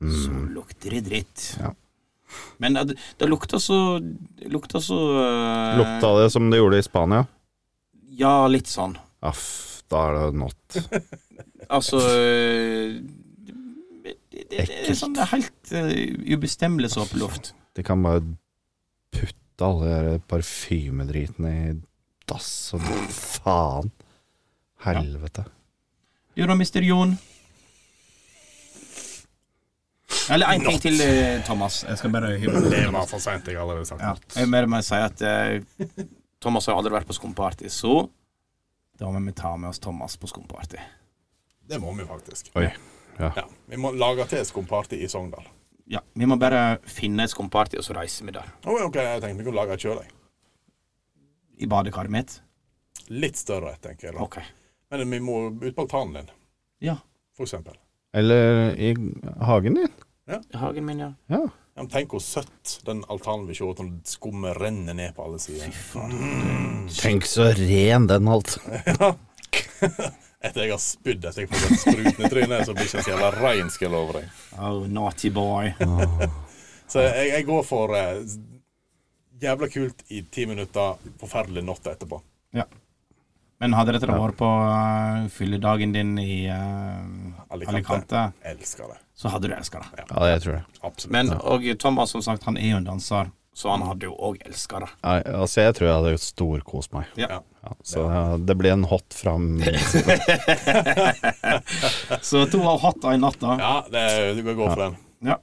[SPEAKER 1] så
[SPEAKER 4] Mm.
[SPEAKER 1] lukter det dritt.
[SPEAKER 4] Ja.
[SPEAKER 1] Men det, det lukter så det Lukter så eh,
[SPEAKER 4] Lukta det som det gjorde i Spania?
[SPEAKER 1] Ja, litt sånn.
[SPEAKER 4] Aff, da er det not.
[SPEAKER 1] Altså eh, det, det, det, det er sånn det er helt eh, ubestemmelig såpeluft.
[SPEAKER 4] De kan bare putte alle de der parfymedritene i dass og faen. Helvete.
[SPEAKER 1] Jo da, mister Jon. Eller én ting til, eh, Thomas. Jeg skal bare hive
[SPEAKER 2] det var for seint, jeg har allerede sagt.
[SPEAKER 1] Ja. Jeg mer med å si at eh, Thomas har aldri vært på skumparty, så da må vi ta med oss Thomas på skumparty.
[SPEAKER 2] Det må vi faktisk.
[SPEAKER 4] Oi. Ja.
[SPEAKER 2] Ja, Vi må lage til skumparty i Sogndal.
[SPEAKER 1] Ja, vi må bare finne et skumparty, og så reiser vi der.
[SPEAKER 2] Å, ok, jeg tenkte vi kunne lage et sjøl, jeg.
[SPEAKER 1] I badekaret mitt.
[SPEAKER 2] Litt større, tenker jeg. da.
[SPEAKER 1] Ok.
[SPEAKER 2] Men vi må ut på altanen din,
[SPEAKER 1] Ja.
[SPEAKER 2] for eksempel.
[SPEAKER 4] Eller i hagen din.
[SPEAKER 1] I hagen min, ja.
[SPEAKER 4] Ja.
[SPEAKER 2] Ja, men tenk hvor søtt den altanen vil se ut når skummet renner ned på alle sider.
[SPEAKER 4] Tenk så ren den alt.
[SPEAKER 2] Etter jeg har spydd etter jeg har fått et sprutende tryne, så blir ikke så jævla rein, skal jeg love deg.
[SPEAKER 1] Oh, naughty boy.
[SPEAKER 2] Så jeg, jeg går for eh, jævla kult i ti minutter, forferdelig natt etterpå.
[SPEAKER 1] Ja. Men hadde dette vært på uh, fylledagen din i eh,
[SPEAKER 2] Alicante.
[SPEAKER 1] Alicante,
[SPEAKER 2] Elsker det.
[SPEAKER 1] så hadde du elska det.
[SPEAKER 4] Ja, det tror jeg.
[SPEAKER 2] Absolutt.
[SPEAKER 1] Men og Thomas, som sagt, han er jo en danser, så han hadde jo òg elska det.
[SPEAKER 4] Nei, altså, jeg tror jeg hadde storkost meg.
[SPEAKER 1] Ja.
[SPEAKER 4] Ja, så ja, det blir en hot fram
[SPEAKER 1] Så to av hatta i natta.
[SPEAKER 2] ja, det, du kan gå for den.
[SPEAKER 1] Ja.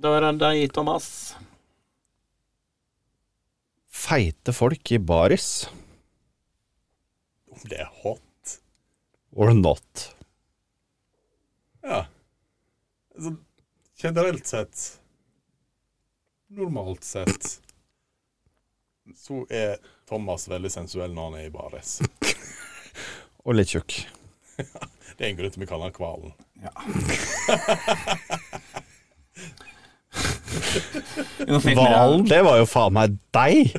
[SPEAKER 1] Da er det deg, Thomas.
[SPEAKER 4] Feite folk i baris
[SPEAKER 2] Om det er hot
[SPEAKER 4] or not.
[SPEAKER 2] Ja. Altså, generelt sett Normalt sett så er Thomas veldig sensuell når han er i bares.
[SPEAKER 4] Og litt tjukk.
[SPEAKER 2] Det er en grunn til vi kaller han Kvalen.
[SPEAKER 1] Nå fikk vi det.
[SPEAKER 4] Hvalen, det var jo faen meg deg!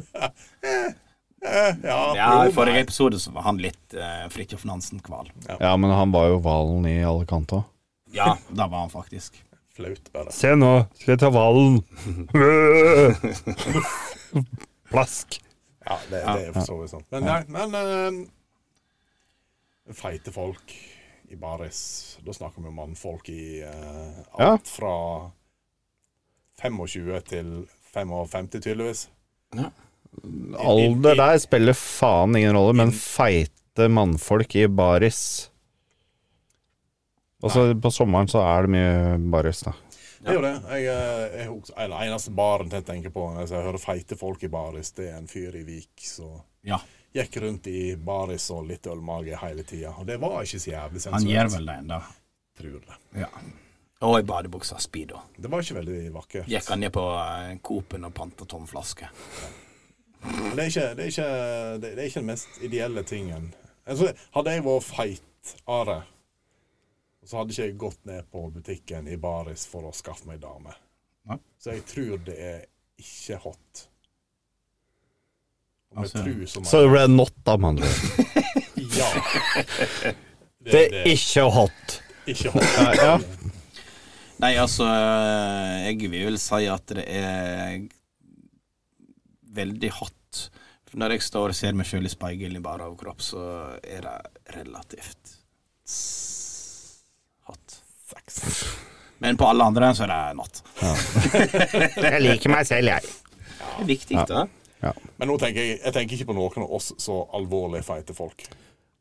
[SPEAKER 1] Ja, I forrige episode så var han litt uh, Fridtjof Nansen-kval.
[SPEAKER 4] Ja, men han var jo hvalen i alle kanter.
[SPEAKER 1] Ja, det var han faktisk.
[SPEAKER 2] Flaut, bare.
[SPEAKER 4] Se nå, skal jeg ta hvalen? Plask.
[SPEAKER 2] Ja, det, det er for så vidt sant. Men, nei, men eh, feite folk i baris Da snakker vi om mannfolk i eh,
[SPEAKER 4] Ja.
[SPEAKER 2] alt fra 25 til 55, tydeligvis.
[SPEAKER 4] Alder der spiller faen ingen rolle, men feite mannfolk i baris Altså, på sommeren så er det mye baris, da.
[SPEAKER 2] Det er jo det. Jeg, eh, jeg, husker- eller, eneste baren jeg tenker på når jeg hører feite folk i baris, det er en fyr i Vik som
[SPEAKER 1] Ja,
[SPEAKER 2] gikk rundt i baris og litt ølmage hele tida. Og det var ikke så jævlig
[SPEAKER 1] han gjør
[SPEAKER 2] sensuelt.
[SPEAKER 1] vel det ennå.
[SPEAKER 2] Tror det.
[SPEAKER 1] Ja. Og i badebuksa Speedo.
[SPEAKER 2] det var ikke veldig vakkert.
[SPEAKER 1] Gikk han ned på eh, Coop-en og panta tom flaske.
[SPEAKER 2] Men Det er, ikke, det, er ikke, det det er ikke den mest ideelle tingen. Altså, hadde jeg vært feit are, så hadde ikke jeg gått ned på butikken i baris for å skaffe meg dame.
[SPEAKER 1] Nei.
[SPEAKER 2] Så jeg tror det er ikke hot. Om
[SPEAKER 1] Altså-
[SPEAKER 2] jeg tror som
[SPEAKER 4] Så det ble not, da, med andre ord.
[SPEAKER 2] Ja. Det,
[SPEAKER 4] Det
[SPEAKER 2] det
[SPEAKER 4] er ikke hot.
[SPEAKER 2] er ikke hot.
[SPEAKER 4] Ja.
[SPEAKER 1] Nei, altså, eh, jeg vil vel si at det er veldig hot. For når jeg står og ser meg sjøl i speilet i bare overkropp, så er det relativt s- hot. Men på alle andre så er det natt.
[SPEAKER 4] Jeg liker meg selv, jeg.
[SPEAKER 1] Det er viktig, det.
[SPEAKER 2] Men nå tenker jeg, jeg tenker ikke på noen av oss så alvorlig feite folk.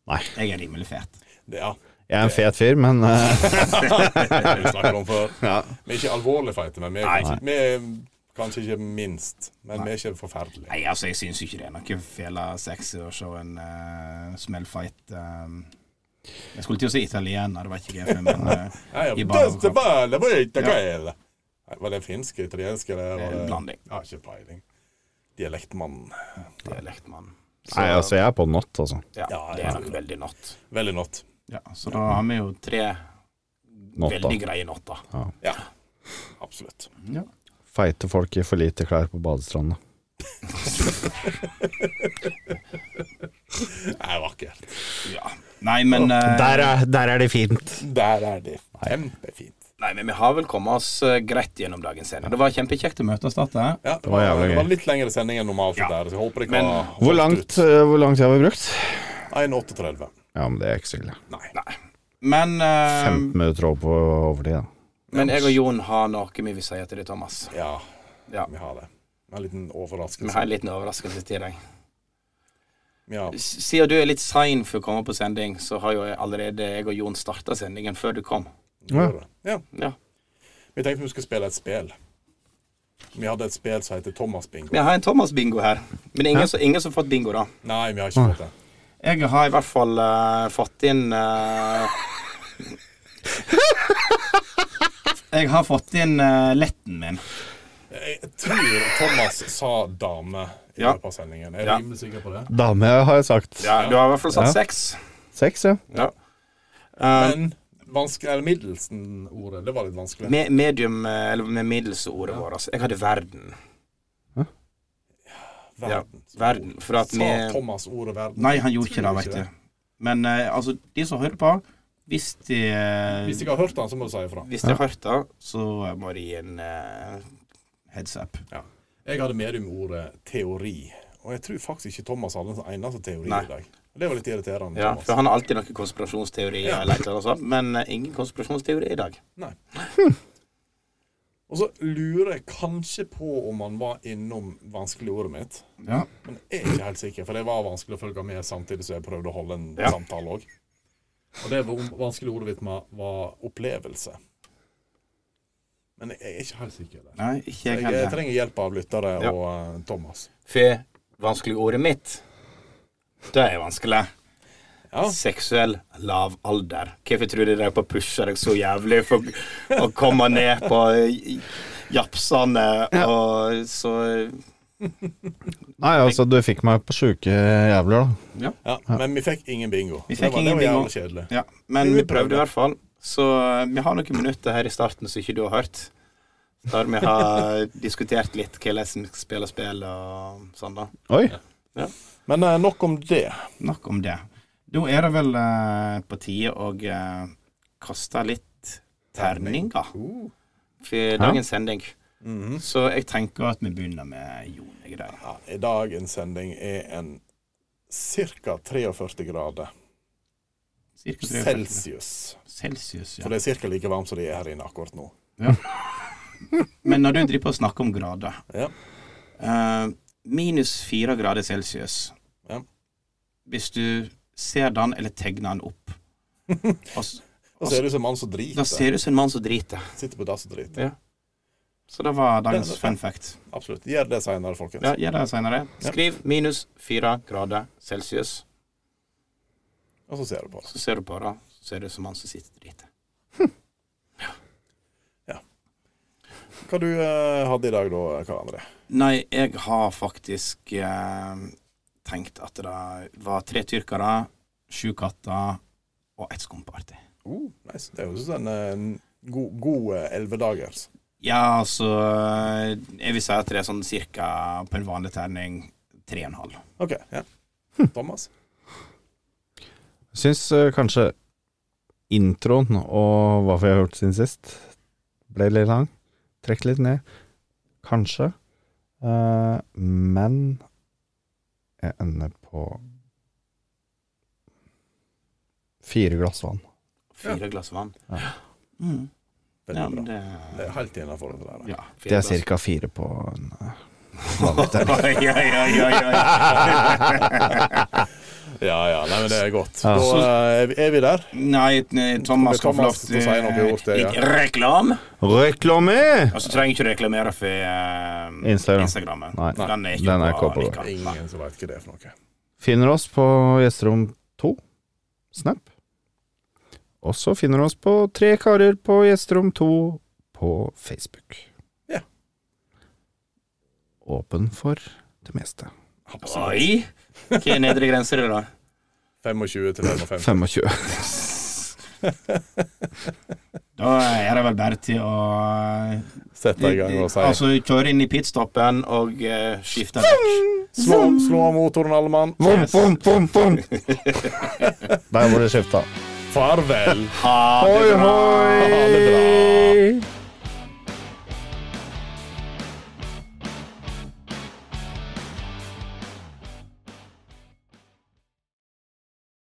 [SPEAKER 4] Nei.
[SPEAKER 1] Jeg er rimelig fet.
[SPEAKER 2] Det, ja.
[SPEAKER 4] Jeg er en fet fyr, men eh,
[SPEAKER 2] Det har vi snakket om før. Vi er ikke alvorlig feite, men vi er, kanskje, vi er kanskje ikke minst. Men vi er ikke forferdelige.
[SPEAKER 1] Nei, altså, jeg syns ikke det er noe fela sexy å se en uh, smellfight eh, Jeg skulle til å si italiener, det var ikke jeg, men eh,
[SPEAKER 2] Nei, ja,
[SPEAKER 1] I bare-
[SPEAKER 2] det- det var- det var ikke gale. Nei, Var det finsk, italiensk eller var
[SPEAKER 1] Eh,
[SPEAKER 2] det
[SPEAKER 1] blanding.
[SPEAKER 2] Ja, ikke peiling. Dialektmann.
[SPEAKER 1] dialektmann.
[SPEAKER 4] Nei, altså, jeg er på not, altså.
[SPEAKER 1] Ja, det er nok veldig natt.
[SPEAKER 2] Veldig not.
[SPEAKER 1] Ja, så da har vi jo tre
[SPEAKER 4] Notter.
[SPEAKER 1] veldig greie notter.
[SPEAKER 2] Ja, absolutt.
[SPEAKER 4] Feite folk i for lite klær på badestranda.
[SPEAKER 2] Nei, vakkert.
[SPEAKER 1] Ja. Nei, men eh,
[SPEAKER 4] Der er, der er det fint.
[SPEAKER 2] Der er det kjempefint.
[SPEAKER 1] nei, men vi har vel kommet oss eh, greit gjennom dagens sending. Det var kjempekjekt å møtes, dette.
[SPEAKER 2] Ja, det,
[SPEAKER 4] var
[SPEAKER 2] var,
[SPEAKER 4] jævlig
[SPEAKER 2] det var
[SPEAKER 4] gøy.
[SPEAKER 2] litt lengre sending enn normalt.
[SPEAKER 1] Ja.
[SPEAKER 2] Der, så jeg håper det
[SPEAKER 1] Men-
[SPEAKER 2] kan ha
[SPEAKER 4] Hvor
[SPEAKER 2] holdt
[SPEAKER 4] langt,
[SPEAKER 2] ut.
[SPEAKER 4] eh, hvor lang tid har vi brukt?
[SPEAKER 2] 1,38.
[SPEAKER 4] Ja, men det er ikke så ille.
[SPEAKER 2] Nei.
[SPEAKER 1] Men, eh,
[SPEAKER 4] 15 minutter over på overtid, da.
[SPEAKER 1] men jeg og Jon har noe vi vil si til deg, Thomas.
[SPEAKER 2] Ja,
[SPEAKER 1] Ja.
[SPEAKER 2] vi har det. En liten
[SPEAKER 1] Vi har
[SPEAKER 2] overraskelse.
[SPEAKER 1] en liten overraskelse til deg.
[SPEAKER 2] Ja.
[SPEAKER 1] S- Siden du er litt sein for å komme på sending, så har jo jeg allerede jeg og Jon starta sendingen før du kom.
[SPEAKER 2] Ja. ja.
[SPEAKER 1] Ja.
[SPEAKER 2] Vi tenkte vi skulle spille et spill. Vi hadde et spill som heter Thomas Bingo.
[SPEAKER 1] Vi har en Thomas-bingo her, men det er ingen, som- ingen som har fått bingo, da.
[SPEAKER 2] Nei, vi har ikke fått det.
[SPEAKER 1] Jeg har i hvert fall eh, fått inn eh, Jeg har fått inn eh, letten min.
[SPEAKER 2] Jeg tror Thomas sa dame i
[SPEAKER 1] Ja.
[SPEAKER 2] løpet av sendingen. Er du
[SPEAKER 1] Ja.
[SPEAKER 2] rimelig sikker på det?
[SPEAKER 4] Dame, har jeg sagt.
[SPEAKER 1] Ja, du har i hvert fall satt seks.
[SPEAKER 4] Seks, ja.
[SPEAKER 1] Ja.
[SPEAKER 2] Men vanskelig, eller middelsen-ordet, det var litt vanskelig.
[SPEAKER 1] Med medium, eh, eller med middels ordet vårt. Altså. Jeg hadde verden. Ja,
[SPEAKER 2] Verden.
[SPEAKER 1] verden. For at
[SPEAKER 2] Sa
[SPEAKER 1] vi
[SPEAKER 2] Thomas ordet verden?
[SPEAKER 1] Nei, han gjorde ikke det,
[SPEAKER 2] Tror
[SPEAKER 1] veit du. Men eh, altså, de som hører på, hvis de eh,
[SPEAKER 2] Hvis jeg har hørt den, så må du si ifra.
[SPEAKER 1] Hvis de har hørt det, så må de gi en eh, heads up.
[SPEAKER 2] Ja. Jeg hadde medium-ordet teori, og jeg tror faktisk ikke Thomas hadde en eneste teori
[SPEAKER 1] Nei.
[SPEAKER 2] i dag. Det var litt irriterende.
[SPEAKER 1] Ja,
[SPEAKER 2] Thomas.
[SPEAKER 1] for han har alltid noen konspirasjonsteorier,
[SPEAKER 2] Ja.
[SPEAKER 1] eller et eller annet sånt, men eh, ingen konspirasjonsteori i dag.
[SPEAKER 2] Nei. Og så lurer jeg kanskje på om han var innom vanskeligordet mitt.
[SPEAKER 1] Ja.
[SPEAKER 2] Men jeg er ikke helt sikker, for det var vanskelig å følge med samtidig som jeg prøvde å holde en
[SPEAKER 1] Ja.
[SPEAKER 2] samtale òg. Og det var- vanskeligordet mitt var- var opplevelse. Men jeg er ikke helt sikker. Der.
[SPEAKER 1] Nei, ikke jeg
[SPEAKER 2] Jeg, jeg
[SPEAKER 1] heller.
[SPEAKER 2] trenger hjelp av lyttere
[SPEAKER 1] Ja.
[SPEAKER 2] og eh, Thomas.
[SPEAKER 1] For vanskelig ordet mitt, det er vanskelig.
[SPEAKER 2] Ja.
[SPEAKER 1] Seksuell lav alder. Hvorfor tror du de på pusher deg så jævlig for å komme ned på j- japsene og så eh,
[SPEAKER 4] Nei, altså, du fikk meg på sjuke jævler, da.
[SPEAKER 2] Ja, men vi fikk ingen bingo.
[SPEAKER 1] Vi
[SPEAKER 2] det
[SPEAKER 1] fikk
[SPEAKER 2] var,
[SPEAKER 1] ingen
[SPEAKER 2] det var
[SPEAKER 1] bingo.
[SPEAKER 2] jævlig kjedelig.
[SPEAKER 1] Ja, men vi prøvde i hvert fall. Så eh, vi har noen minutter her i starten som ikke du har hørt. Der vi har diskutert litt hvordan vi spiller spill og sånn, da.
[SPEAKER 4] Oi.
[SPEAKER 2] Men eh, nok om det.
[SPEAKER 1] Nok om det. Da er det vel eh, på tide å eh, kaste litt terninger
[SPEAKER 2] Oh.
[SPEAKER 1] for dagens sending.
[SPEAKER 2] Mhm.
[SPEAKER 1] Så jeg tenker at vi begynner med Jon. jeg er der.
[SPEAKER 2] Ja, I dagens sending er en ca. 43 grader
[SPEAKER 1] Cirka tre-
[SPEAKER 2] celsius.
[SPEAKER 1] Celsius,
[SPEAKER 2] For
[SPEAKER 1] ja.
[SPEAKER 2] det er ca. like varmt som det er her inne akkurat nå.
[SPEAKER 1] Men når du driver på å snakke om grader
[SPEAKER 2] Ja.
[SPEAKER 1] eh, Minus fire grader celsius.
[SPEAKER 2] Ja.
[SPEAKER 1] Hvis du ser den eller tegner den opp, og s-
[SPEAKER 2] Da ser du ut som en mann som driter.
[SPEAKER 1] Altså, da ser du ut som en mann som driter.
[SPEAKER 2] Sitter på dass og driter.
[SPEAKER 1] Så det var dagens
[SPEAKER 2] Det- det-
[SPEAKER 1] fun fact.
[SPEAKER 2] Absolutt. Gjør det seinere, folkens.
[SPEAKER 1] Ja, gjør det senere.
[SPEAKER 2] Ja.
[SPEAKER 1] Skriv minus fire grader celsius,
[SPEAKER 2] Og så ser du på det.
[SPEAKER 1] så ser du på det. Så ser du ut som han som sitter og driter.
[SPEAKER 2] Hva du eh, hadde i dag da, Karl André?
[SPEAKER 1] Nei, jeg har faktisk eh, tenkt at det var tre tyrkere, sju katter og ett skumparty.
[SPEAKER 2] Uh, nice. Det høres ut som en eh, god, god eh, elvedagers.
[SPEAKER 1] Ja, altså Jeg vil si at det er sånn cirka på en vanlig terning tre og en halv.
[SPEAKER 2] OK. Ja.
[SPEAKER 1] Hm.
[SPEAKER 2] Thomas?
[SPEAKER 4] Syns eh, kanskje introen og hva vi har gjort siden sist, ble litt lang. Trekk litt ned. Kanskje. Eh, men jeg ender på fire glass vann.
[SPEAKER 1] Fire glass vann.
[SPEAKER 4] Ja.
[SPEAKER 1] Mm.
[SPEAKER 2] Veldig
[SPEAKER 1] Ja,
[SPEAKER 2] bra.
[SPEAKER 1] men det
[SPEAKER 2] Det er helt innafor det der.
[SPEAKER 1] ja,
[SPEAKER 4] Det er ca. fire på en eh, vanlig
[SPEAKER 1] Oi,
[SPEAKER 4] terning.
[SPEAKER 1] oi, oi, oi, oi.
[SPEAKER 2] Ja ja, nei, men det er godt.
[SPEAKER 4] Ja.
[SPEAKER 2] Da eh, er vi- er vi der.
[SPEAKER 1] Nei, nei, Thomas skal få lov
[SPEAKER 2] Thomas
[SPEAKER 1] til
[SPEAKER 2] skal si noe i ordet, ja.
[SPEAKER 1] Litt Reklam!
[SPEAKER 4] Reklame!
[SPEAKER 1] Og så trenger ikke Altså, du reklamere for eh,
[SPEAKER 4] Instagram.
[SPEAKER 1] Instagrammen.
[SPEAKER 4] Nei,
[SPEAKER 1] den er ikke
[SPEAKER 4] den er
[SPEAKER 1] bra.
[SPEAKER 4] ikke oppe.
[SPEAKER 1] likevel. Nei.
[SPEAKER 2] Ingen som veit hva det er for noe.
[SPEAKER 4] Finner oss på Gjesterom 2, Snap. Og så finner du oss på Tre karer på Gjesterom 2 på Facebook.
[SPEAKER 2] Ja.
[SPEAKER 4] Åpen for det meste.
[SPEAKER 1] Oi! Hva er nedre grense, det, da?
[SPEAKER 2] 25 til 55.
[SPEAKER 4] 25.
[SPEAKER 1] Da er det vel bare til å eh,
[SPEAKER 2] Sett deg i gang og si
[SPEAKER 1] Altså, kjøre inn i pitstoppen og eh, skifte dekk.
[SPEAKER 2] Slå, slå av motoren, alle mann.
[SPEAKER 4] Vom, vom, vom, vom. Der var det skifta.
[SPEAKER 2] Farvel.
[SPEAKER 1] Ha det
[SPEAKER 4] Hoi,
[SPEAKER 1] bra.
[SPEAKER 4] hoi!
[SPEAKER 2] Ha det